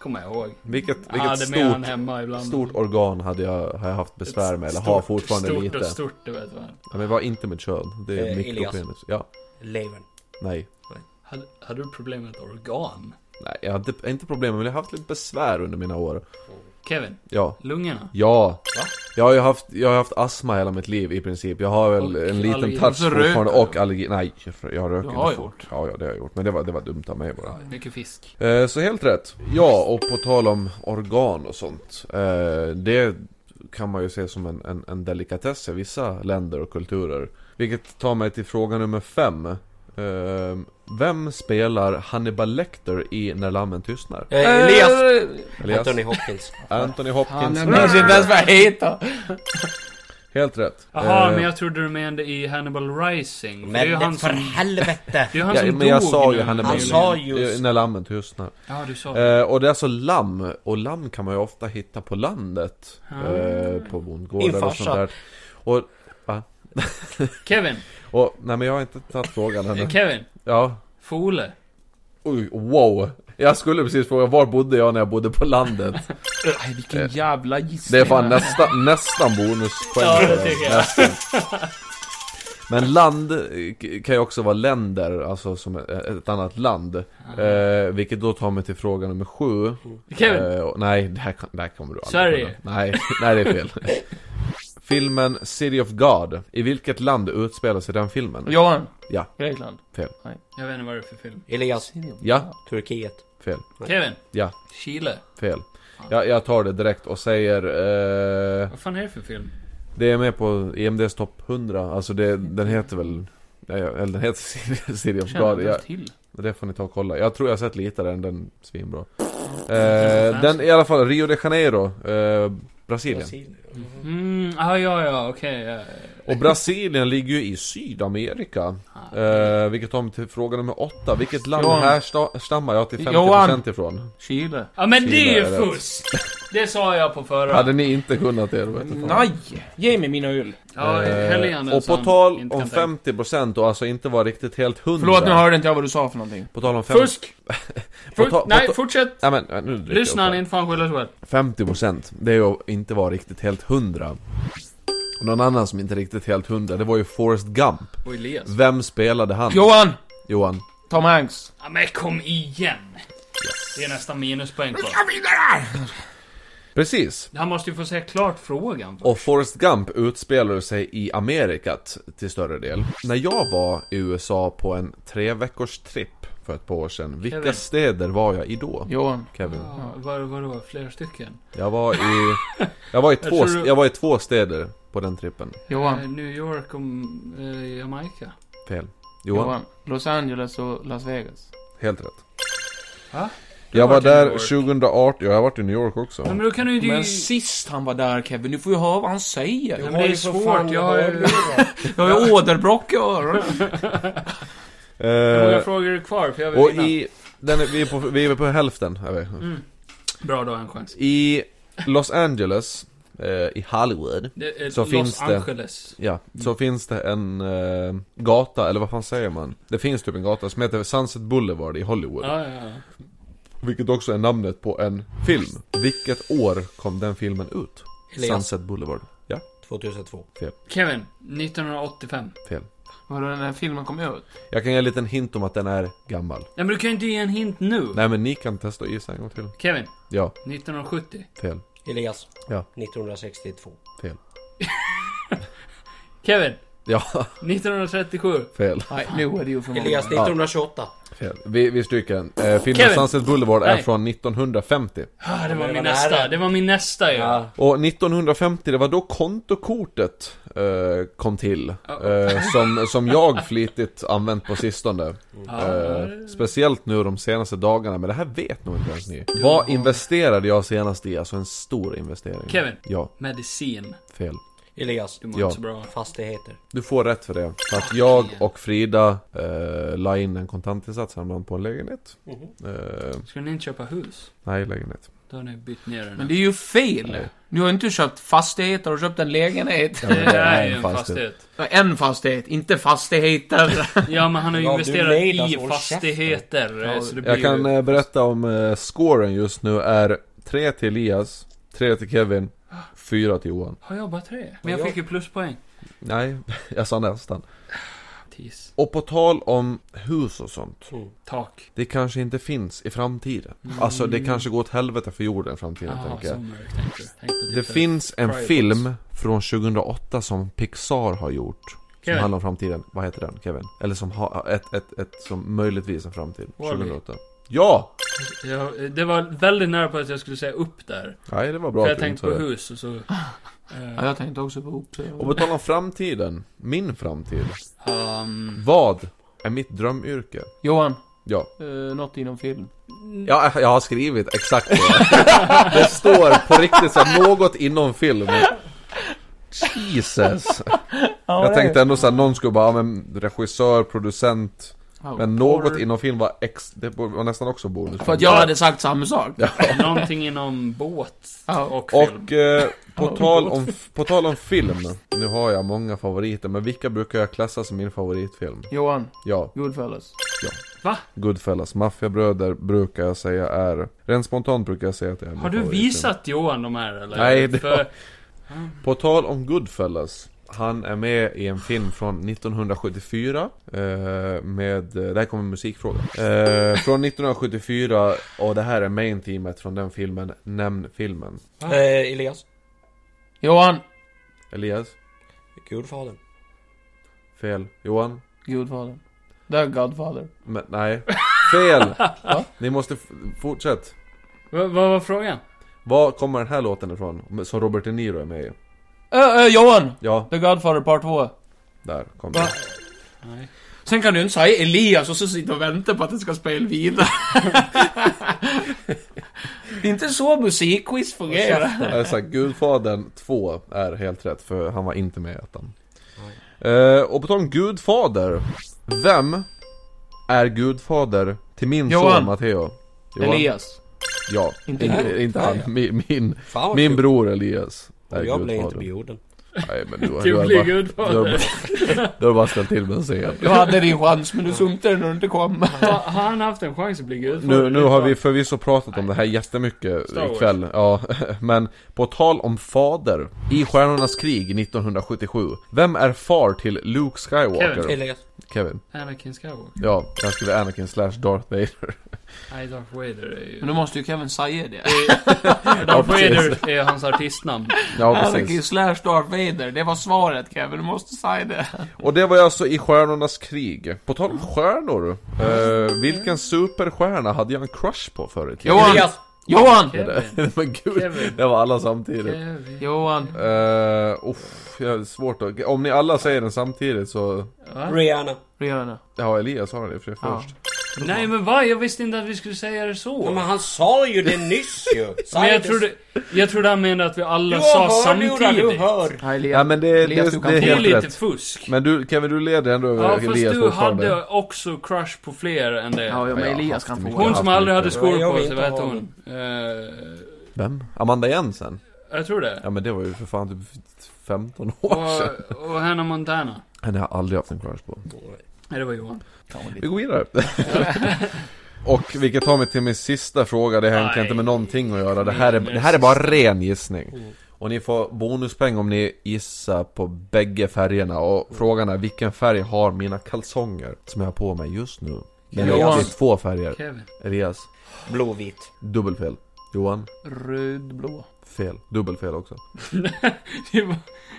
Speaker 4: Kommer jag ihåg.
Speaker 6: Vilket, vilket
Speaker 4: Jag hade med han
Speaker 6: stort,
Speaker 4: hemma ibland.
Speaker 6: stort organ hade jag, har jag haft besvär med, eller har
Speaker 4: Stort-
Speaker 6: fortfarande
Speaker 4: stort
Speaker 6: lite.
Speaker 4: Stort och stort, du vet vad.
Speaker 6: Ja, men det var inte mitt kön, det är
Speaker 2: Eh, Elias.
Speaker 6: mikropenis. Ja,
Speaker 2: Levern.
Speaker 6: nej.
Speaker 4: Hade, hade du problem med ett organ?
Speaker 6: Nej, jag hade inte problem men jag har haft lite besvär under mina år.
Speaker 4: Kevin,
Speaker 6: Ja.
Speaker 4: lungorna?
Speaker 6: Ja. Jag har ju haft, jag har haft astma hela mitt liv i princip. Jag har väl
Speaker 4: Och
Speaker 6: en liten
Speaker 4: allergi.
Speaker 6: touch
Speaker 5: Så röker
Speaker 6: fortfarande
Speaker 5: du?
Speaker 6: och allergi. Nej, jag rö- jag röker
Speaker 5: Du har
Speaker 6: inte
Speaker 5: gjort.
Speaker 6: fort. Ja, ja, det har jag gjort. Men det var, det var dumt av mig bara.
Speaker 4: Mycket fisk.
Speaker 6: Eh, så helt rätt. Ja, och på tal om organ och sånt. Eh, det kan man ju se som en, en, en delikatess i vissa länder och kulturer. Vilket tar mig till fråga nummer fem. Eh, vem spelar Hannibal Lecter i När Lammen Tystnar?
Speaker 2: Eh, Elias!
Speaker 6: Elias?
Speaker 2: Anthony Hopkins.
Speaker 6: Anthony Hopkins.
Speaker 5: Jag vet inte ens vad jag heter!
Speaker 6: Helt rätt.
Speaker 4: Jaha,
Speaker 6: Eh,
Speaker 4: men jag trodde du menade i Hannibal Rising. För det är ju
Speaker 2: Men
Speaker 4: han
Speaker 2: för
Speaker 4: som...
Speaker 2: helvete!
Speaker 4: Det är ju han
Speaker 6: Ja,
Speaker 4: som
Speaker 6: men jag
Speaker 4: dog
Speaker 6: sa ju
Speaker 4: nu.
Speaker 6: Hannibal.
Speaker 2: Han sa ju...
Speaker 6: Eh, När lammen tystnar.
Speaker 4: Ja, du sa det.
Speaker 6: Eh, och det är alltså lamm, och lamm kan man ju ofta hitta på landet.
Speaker 4: Ah.
Speaker 6: Eh, på
Speaker 2: Min
Speaker 6: bondgårdar och
Speaker 2: farsa.
Speaker 6: sånt där. Och,
Speaker 4: Kevin,
Speaker 6: och, nej men jag har inte tagit frågan ännu.
Speaker 4: Kevin.
Speaker 6: Ja.
Speaker 4: Fole.
Speaker 6: Oj, wow. Jag skulle precis fråga, var bodde jag när jag bodde på landet?
Speaker 5: Nej, vilken jävla gissning.
Speaker 6: Eh, Det är fan nästa, nästan bonuspoäng.
Speaker 4: Ja, det tycker jag.
Speaker 6: Nästan. Men land eh, kan ju också vara länder, alltså som ett- ett annat land.
Speaker 4: Ah.
Speaker 6: Eh, vilket då tar mig till fråga nummer sju.
Speaker 4: Kevin,
Speaker 6: Eh, och- nej, det här, kan- det här kommer du aldrig
Speaker 4: Sverige.
Speaker 6: kunna. Nej, nej, det är fel. Filmen City of God. I vilket land utspelar sig den filmen?
Speaker 5: Johan.
Speaker 6: Ja.
Speaker 5: Grekland.
Speaker 4: jag vet inte vad det är för film.
Speaker 2: Elias.
Speaker 6: Ja,
Speaker 2: Turkiet.
Speaker 6: fel.
Speaker 4: Kevin,
Speaker 6: Ja,
Speaker 4: Chile.
Speaker 6: fel. Jag, jag tar det direkt och säger... Eh,
Speaker 4: Vad fan är det för film?
Speaker 6: det är med på EMDs topp 100. Alltså det, den heter väl... Nej, jag- eller den heter City- City of
Speaker 4: Känner
Speaker 6: God.
Speaker 4: inte
Speaker 6: Jag,
Speaker 4: ens till.
Speaker 6: det får ni ta och kolla. Jag tror jag har sett lite av den, den är svinbra. Eh, den i alla fall, Rio de Janeiro. Eh, Brasilien.
Speaker 4: Mm, ah, ja, ja, okej. ja.
Speaker 6: Och Brasilien ligger ju i Sydamerika. Eh, vilket om till fråga nummer åtta. Vilket land
Speaker 5: Johan.
Speaker 6: härstammar jag till 50%
Speaker 5: Johan.
Speaker 6: ifrån?
Speaker 5: Chile.
Speaker 4: Ja, men det är
Speaker 6: Chile är
Speaker 4: ju
Speaker 6: rätt.
Speaker 4: fusk! Det sa jag på förra.
Speaker 6: Hade ni inte kunnat det, då vet jag fan. Eh,
Speaker 5: Nej! Ge mig mina öl.
Speaker 4: Ja, häll i han den
Speaker 6: och på
Speaker 4: som
Speaker 6: tal
Speaker 4: inte
Speaker 6: om
Speaker 4: kan tänka.
Speaker 6: 50% och alltså inte var riktigt helt 100
Speaker 5: Förlåt, nu hörde inte jag vad du sa för någonting.
Speaker 6: På tal om 50...
Speaker 4: Fusk!
Speaker 6: På
Speaker 4: Fusk!
Speaker 6: ta- på
Speaker 4: Nej,
Speaker 6: ta-
Speaker 4: fortsätt!
Speaker 6: Nej men, nu dricker jag
Speaker 4: Lyssna,
Speaker 6: upp
Speaker 4: han
Speaker 6: här.
Speaker 4: är inte fan skylla sig själv.
Speaker 6: 50% Det är ju att inte vara riktigt helt 100 Och någon annan som inte riktigt helt 100 Det var ju Forrest Gump
Speaker 4: Och Elias.
Speaker 6: Vem spelade han?
Speaker 5: Johan!
Speaker 6: Johan
Speaker 5: Tom Hanks.
Speaker 4: Ja, men kom igen! Det är nästan minuspoäng kvar.
Speaker 6: Precis
Speaker 4: Han måste ju få säga klart frågan.
Speaker 6: Och Forrest Gump utspelar sig i Amerikat till större del. När jag var i USA på en tre veckors tripp för ett par år sedan, vilka
Speaker 4: Kevin.
Speaker 6: städer var jag i då?
Speaker 5: Johan.
Speaker 6: Kevin.
Speaker 4: Ja, Vad var det var? Flera stycken?
Speaker 6: Jag var i... Jag var i, två,
Speaker 4: tror du-
Speaker 6: jag var i två städer på den trippen.
Speaker 4: Eh,
Speaker 5: Johan.
Speaker 4: New York och eh, Jamaica.
Speaker 6: Fel. Johan,
Speaker 5: Johan. Los Angeles och Las Vegas.
Speaker 6: helt rätt.
Speaker 4: Va? Du
Speaker 6: Jag
Speaker 4: har
Speaker 6: var
Speaker 4: varit i
Speaker 6: där
Speaker 4: New York.
Speaker 6: 2018, ja, jag har varit i New York också.
Speaker 4: Ja, men då kan du ju...
Speaker 5: Men sist han var där Kevin, du får ju höra vad han säger.
Speaker 4: Ja, men det är svårt. Jag har ju...
Speaker 5: Jag har ju åderbråck i öronen.
Speaker 4: Hur många
Speaker 6: Eh,
Speaker 4: frågor är kvar? För jag
Speaker 6: och
Speaker 4: vill vinna. Mm.
Speaker 6: i... Den är, vi, är på, vi är på hälften, är vi.
Speaker 4: Bra, då har jag en chans.
Speaker 6: I Los Angeles, eh, i Hollywood.
Speaker 4: Det är
Speaker 6: Så
Speaker 4: Los
Speaker 6: finns det-
Speaker 4: Angeles.
Speaker 6: Ja, Mm. så finns det en eh, gata, eller vad fan säger man? Det finns typ en gata som heter Sunset Boulevard i Hollywood.
Speaker 4: Ja, ja, ja.
Speaker 6: Vilket också är namnet på en film. Vilket år kom den filmen ut?
Speaker 2: Elias.
Speaker 6: Sunset Boulevard. Ja,
Speaker 2: 2002.
Speaker 4: Kevin, 1985.
Speaker 6: fel.
Speaker 5: Vadå, den här filmen kom ut?
Speaker 6: Jag kan ge en liten hint om att den är gammal.
Speaker 4: Nej, men du kan ju inte ge en hint nu.
Speaker 6: Nej men ni kan testa och gissa en gång till.
Speaker 4: Kevin,
Speaker 6: Ja,
Speaker 4: 1970.
Speaker 6: fel.
Speaker 2: Elias.
Speaker 6: Ja.
Speaker 2: 1962.
Speaker 6: Fel.
Speaker 4: Kevin,
Speaker 6: Ja,
Speaker 4: 1937.
Speaker 6: fel.
Speaker 5: Nej, nu är det ju för många.
Speaker 2: Elias 1928.
Speaker 6: Fel. Vi, vi stryker den. Eh, filmen
Speaker 4: Kevin.
Speaker 6: Sunset Boulevard är
Speaker 4: Nej.
Speaker 6: från 1950.
Speaker 4: Ah, det var min
Speaker 2: det här
Speaker 4: nästa.
Speaker 2: är-
Speaker 4: Det var min nästa ju. Ja.
Speaker 6: Och 1950, det var då kontokortet eh, kom till. Eh, som, som jag flitigt använt på sistone. Eh, speciellt nu de senaste dagarna, men det här vet nog inte ens ni. Vad investerade jag senast i? Alltså en stor investering.
Speaker 4: Kevin.
Speaker 6: Ja,
Speaker 4: Medicin.
Speaker 6: fel.
Speaker 2: Elias, du
Speaker 4: Det var
Speaker 6: Ja.
Speaker 4: inte så bra.
Speaker 2: Fastigheter.
Speaker 6: Du får rätt för det. För att jag och Frida eh, la in en kontantinsats häromdagen på en lägenhet. Eh,
Speaker 4: Ska ni inte köpa hus?
Speaker 6: nej, lägenhet.
Speaker 4: Då har ni bytt ner den.
Speaker 5: Men det är ju fel. Du har inte köpt fastigheter, du har köpt en lägenhet.
Speaker 6: men
Speaker 4: det är ju en fastighet.
Speaker 5: En fastighet, inte fastigheter.
Speaker 4: Ja, men han har ju
Speaker 2: Ja, du
Speaker 4: investerat
Speaker 2: nej, alltså,
Speaker 4: i
Speaker 2: håll
Speaker 4: fastigheter. eh, Så det blir
Speaker 6: Jag kan
Speaker 4: ju...
Speaker 6: eh, berätta om eh, scoren just nu är 3 till Elias, 3 till Kevin, 4 till Johan.
Speaker 4: Har jag bara tre? Men jag
Speaker 2: jag-
Speaker 4: fick ju pluspoäng.
Speaker 6: Nej, jag sa nästan.
Speaker 4: Tis.
Speaker 6: Och på tal om hus och sånt.
Speaker 4: Tak.
Speaker 6: Det kanske inte finns i framtiden. Alltså det kanske går åt helvete för jorden i framtiden
Speaker 4: Jaha,
Speaker 6: tänker jag.
Speaker 4: så mörkt tänker du. Tänk på
Speaker 6: Det
Speaker 4: för-
Speaker 6: finns en
Speaker 4: Private.
Speaker 6: film från 2008 som Pixar har gjort. Som
Speaker 4: Kevin.
Speaker 6: handlar om framtiden. Vad heter den Kevin? Eller som har ett, ett, ett som möjligtvis en framtid.
Speaker 4: Wall-E.
Speaker 6: 2008. Ja!
Speaker 4: Ja, det var väldigt nära på att jag skulle säga upp där.
Speaker 6: Nej det var bra
Speaker 4: För
Speaker 6: att
Speaker 4: jag
Speaker 6: du inte
Speaker 4: tänkte
Speaker 6: sa
Speaker 4: på
Speaker 6: det.
Speaker 4: hus och så...
Speaker 5: Ja,
Speaker 4: eh,
Speaker 5: jag tänkte också på ihop sig.
Speaker 6: Och på tal om framtiden. Min framtid.
Speaker 4: um,
Speaker 6: Vad är mitt drömyrke?
Speaker 5: Johan,
Speaker 6: Ja.
Speaker 5: uh, något inom film.
Speaker 6: ja, jag har skrivit exakt det. Det står på riktigt så här, något inom film. Jesus. Jag tänkte ändå såhär, någon skulle bara, ja, men regissör, producent. Men något inom film var ex, det var nästan också bonus.
Speaker 5: För att jag hade sagt samma sak.
Speaker 4: någonting inom båt
Speaker 5: Ja.
Speaker 4: och film.
Speaker 6: Och eh, på, tal om, på tal om film, nu har jag många favoriter, men vilka brukar jag klassa som min favoritfilm?
Speaker 5: Johan,
Speaker 6: Ja,
Speaker 5: Goodfellas.
Speaker 6: Goodfellas, Maffiabröder brukar jag säga är, rent spontant brukar jag säga att det är min
Speaker 4: Har du
Speaker 6: favoritfilm.
Speaker 4: visat Johan de här eller?
Speaker 6: Nej, det
Speaker 4: För,
Speaker 6: På tal om Goodfellas han är med i en film från 1974 eh, Med, eh, där kommer musikfrågan eh, Från 1974 och det här är main teamet från den filmen Nämn filmen
Speaker 2: Eh, Elias,
Speaker 5: Johan,
Speaker 6: Elias?
Speaker 2: Gudfadern.
Speaker 6: Fel Johan?
Speaker 5: Gudfadern. Det är Godfather.
Speaker 6: Men, nej Fel! Ni måste f- fortsätt
Speaker 4: vad, vad var frågan?
Speaker 6: Var kommer den här låten ifrån? Som Robert De Niro är med i
Speaker 5: Ö, ö, Johan!
Speaker 6: Ja,
Speaker 5: The Godfather Part 2.
Speaker 6: där kom den
Speaker 4: Nej.
Speaker 5: Sen kan du inte säga Elias och så sitta och vänta på att det ska spela vidare. det är inte så musikquiz fungerar.
Speaker 6: Alltså, Gudfadern 2 är helt rätt, för han var inte med i ettan. Eh, och på tal om Gudfader, vem är Gudfader till min
Speaker 5: Johan.
Speaker 6: son Matteo?
Speaker 5: Elias.
Speaker 6: Ja,
Speaker 5: Inte
Speaker 6: inte, inte, han, min, min,
Speaker 2: Fan vad
Speaker 6: min
Speaker 2: kul.
Speaker 6: bror Elias. är
Speaker 2: Och jag blev inte
Speaker 6: Gudfadern.
Speaker 2: bjuden.
Speaker 6: Nej men du, har- du,
Speaker 4: Du
Speaker 6: har
Speaker 4: blir
Speaker 6: bara, du, har
Speaker 4: gudfader.
Speaker 6: bara, du har bara ställt till med en scen.
Speaker 5: Du hade din chans men du sunkte den när du inte kom.
Speaker 4: Har har han haft en chans att bli gudfader?
Speaker 6: Nu, nu har vi förvisso pratat om det här jättemycket
Speaker 4: Star Wars.
Speaker 6: ikväll, ja, men på tal om fader, i Stjärnornas krig 1977, vem är far till Luke Skywalker?
Speaker 4: Kevin.
Speaker 2: Elias.
Speaker 6: Kevin.
Speaker 4: Anakin Skywalker.
Speaker 6: Ja, jag skriver Anakin slash Darth Vader.
Speaker 4: Nej, Darth Vader är ju...
Speaker 5: Men då måste ju Kevin säga det.
Speaker 4: Darth Vader är hans artistnamn.
Speaker 6: Ja,
Speaker 5: Anakin
Speaker 6: precis.
Speaker 5: Alltså, slash Darth Vader, det var svaret Kevin, du måste säga det.
Speaker 6: Och det var ju alltså i Stjärnornas krig. På tal om stjärnor, eh, vilken superstjärna hade jag en crush på förr i tiden?
Speaker 5: Johan! Johan!
Speaker 4: Kevin.
Speaker 6: Men gud,
Speaker 4: Kevin.
Speaker 6: det var alla samtidigt.
Speaker 4: Kevin.
Speaker 5: Johan!
Speaker 6: Uh, uff, jag har svårt att... Om ni alla säger den samtidigt så...
Speaker 4: Va?
Speaker 2: Rihanna.
Speaker 5: Rihanna.
Speaker 6: Ja, Elias har det för det
Speaker 5: Ja.
Speaker 6: först.
Speaker 4: Nej, men vad? Jag visste inte att vi skulle säga det så.
Speaker 2: Ja, men han sa ju det nyss ju. Sa
Speaker 4: Men jag
Speaker 2: det-
Speaker 4: trodde, jag trodde han menade att vi alla
Speaker 2: Du
Speaker 4: sa
Speaker 2: hör nu då, du
Speaker 4: samtidigt.
Speaker 2: hör.
Speaker 5: Nej,
Speaker 6: Ja, men det, det,
Speaker 5: Elias,
Speaker 6: det,
Speaker 5: du kan
Speaker 6: är
Speaker 5: få-
Speaker 4: Det är
Speaker 6: helt
Speaker 4: lite
Speaker 6: rätt.
Speaker 4: fusk.
Speaker 6: Men du, Kevin, du leder ändå över
Speaker 4: Ja, fast
Speaker 6: Elias
Speaker 4: du hade också crush på fler än
Speaker 5: Ja,
Speaker 4: det.
Speaker 5: ja,
Speaker 6: Ja,
Speaker 5: men
Speaker 6: jag har
Speaker 5: Elias
Speaker 6: haft
Speaker 5: kan få
Speaker 6: mycket.
Speaker 5: vara.
Speaker 4: Hon som aldrig hade
Speaker 6: lite-
Speaker 4: skor
Speaker 2: Ja, jag
Speaker 4: på
Speaker 2: vill
Speaker 4: sig,
Speaker 2: inte
Speaker 4: vad hette
Speaker 2: ha
Speaker 4: hon? Eh,
Speaker 6: Vem? Amanda Jensen?
Speaker 4: jag tror det.
Speaker 6: Ja men det var ju för fan typ 15 år sedan.
Speaker 4: Och, och Hannah Montana.
Speaker 6: Henne har jag aldrig haft en crush på.
Speaker 4: Nej, det var Johan.
Speaker 6: Vi går vidare. Och vilket tar mig till min sista fråga, det här har
Speaker 4: Nej. Mm.
Speaker 6: inte med någonting att göra. Det här är, det här är bara ren gissning. Och ni får bonuspeng om ni gissar på bägge färgerna. Och frågan är vilken färg har mina kalsonger som jag har på mig just nu? Det är
Speaker 5: Johan.
Speaker 6: alltid två färger.
Speaker 4: Kevin.
Speaker 6: Elias,
Speaker 2: Blåvit.
Speaker 6: dubbelfel. Johan,
Speaker 5: Rödblå.
Speaker 6: fel. Dubbelfel också.
Speaker 4: Det var,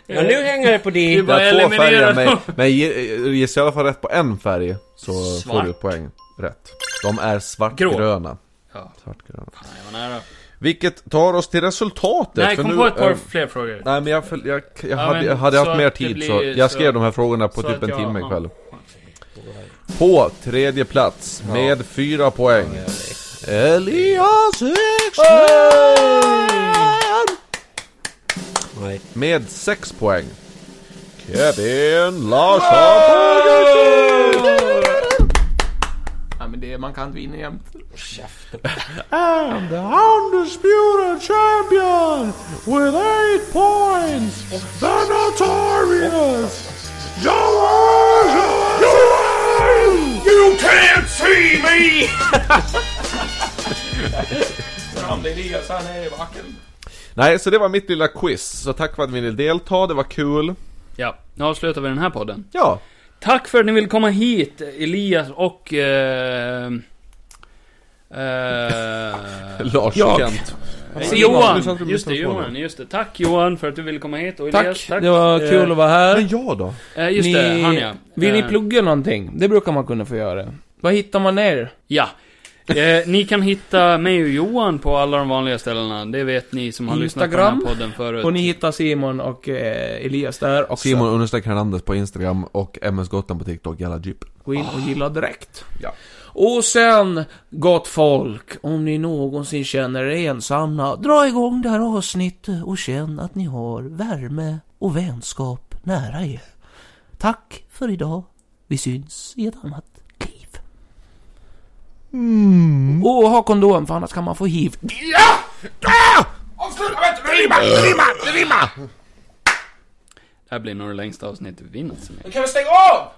Speaker 2: Ja, nu hänger det på
Speaker 4: Det
Speaker 2: dig.
Speaker 4: var- Bara
Speaker 6: Jag har två
Speaker 4: eliminera
Speaker 6: färger, men,
Speaker 4: dem.
Speaker 6: men ge- gissa i alla fall rätt på en färg så
Speaker 4: Svart.
Speaker 6: får du ett poäng. rätt. De är svartgröna.
Speaker 4: Ja.
Speaker 6: Svartgröna.
Speaker 4: Nej, jag var nära.
Speaker 6: Vilket tar oss till resultatet.
Speaker 4: Nej,
Speaker 6: för
Speaker 4: kom
Speaker 6: nu,
Speaker 4: på ett par
Speaker 6: eh,
Speaker 4: fler frågor.
Speaker 6: Nej men jag, föl- jag, jag hade,
Speaker 4: men
Speaker 6: jag hade
Speaker 4: så
Speaker 6: haft
Speaker 4: att
Speaker 6: mer
Speaker 4: det
Speaker 6: tid
Speaker 4: blir-
Speaker 6: så jag
Speaker 4: så-
Speaker 6: skrev de här frågorna på
Speaker 4: så
Speaker 6: typ
Speaker 4: att
Speaker 6: en
Speaker 4: jag-
Speaker 6: timme
Speaker 4: ja.
Speaker 6: ikväll. På tredje plats med fyra poäng. Elias Ekström!
Speaker 2: Nej.
Speaker 6: Med sex poäng. Kevin Larsson!
Speaker 5: Ja, men det, man kan inte vinna jämt.
Speaker 6: And the undisputed champion with eight points, the notorious Joel! You can't see me! Nej, så det var mitt lilla quiz. Så tack för att ni ville delta, det var kul.
Speaker 4: Ja, nu avslutar vi den här podden.
Speaker 6: Ja,
Speaker 4: Tack för att ni vill komma hit, Elias och... Eh, eh,
Speaker 6: Lars och
Speaker 3: Jag.
Speaker 6: Kent.
Speaker 4: Johan!
Speaker 6: Du satt och
Speaker 4: Just det,
Speaker 6: lyssnade på
Speaker 4: Johan. Just det. Tack Johan för att du ville komma hit. Och Elias,
Speaker 5: Tack,
Speaker 4: tack.
Speaker 5: det var kul att vara här.
Speaker 6: Men jag då?
Speaker 4: Eh, just det, han ja.
Speaker 5: Vill ni
Speaker 4: Eh,
Speaker 5: plugga någonting? Det brukar man kunna få göra. Vad hittar man ner?
Speaker 4: Ja. Eh, ni kan hitta mig och Johan på alla de vanliga ställena. Det vet ni som har lyssnat på den
Speaker 5: Instagram.
Speaker 4: här podden förut.
Speaker 5: Och ni hittar Simon och eh, Elias där också.
Speaker 6: Simon understreck Hernandez på Instagram och MS Gotland på TikTok, jalla jeep.
Speaker 5: Gå in och gilla direkt.
Speaker 6: Ja.
Speaker 5: Och sen, gott folk, om ni någonsin känner er ensamma, dra igång det här avsnittet och känn att ni har värme och vänskap nära er. Tack för idag. Vi syns i ett annat liv. Och ha kondom, för annars kan man få hiv.
Speaker 4: Det här blir nog det längsta avsnittet vi någonsin har
Speaker 7: Kan vi stänga av?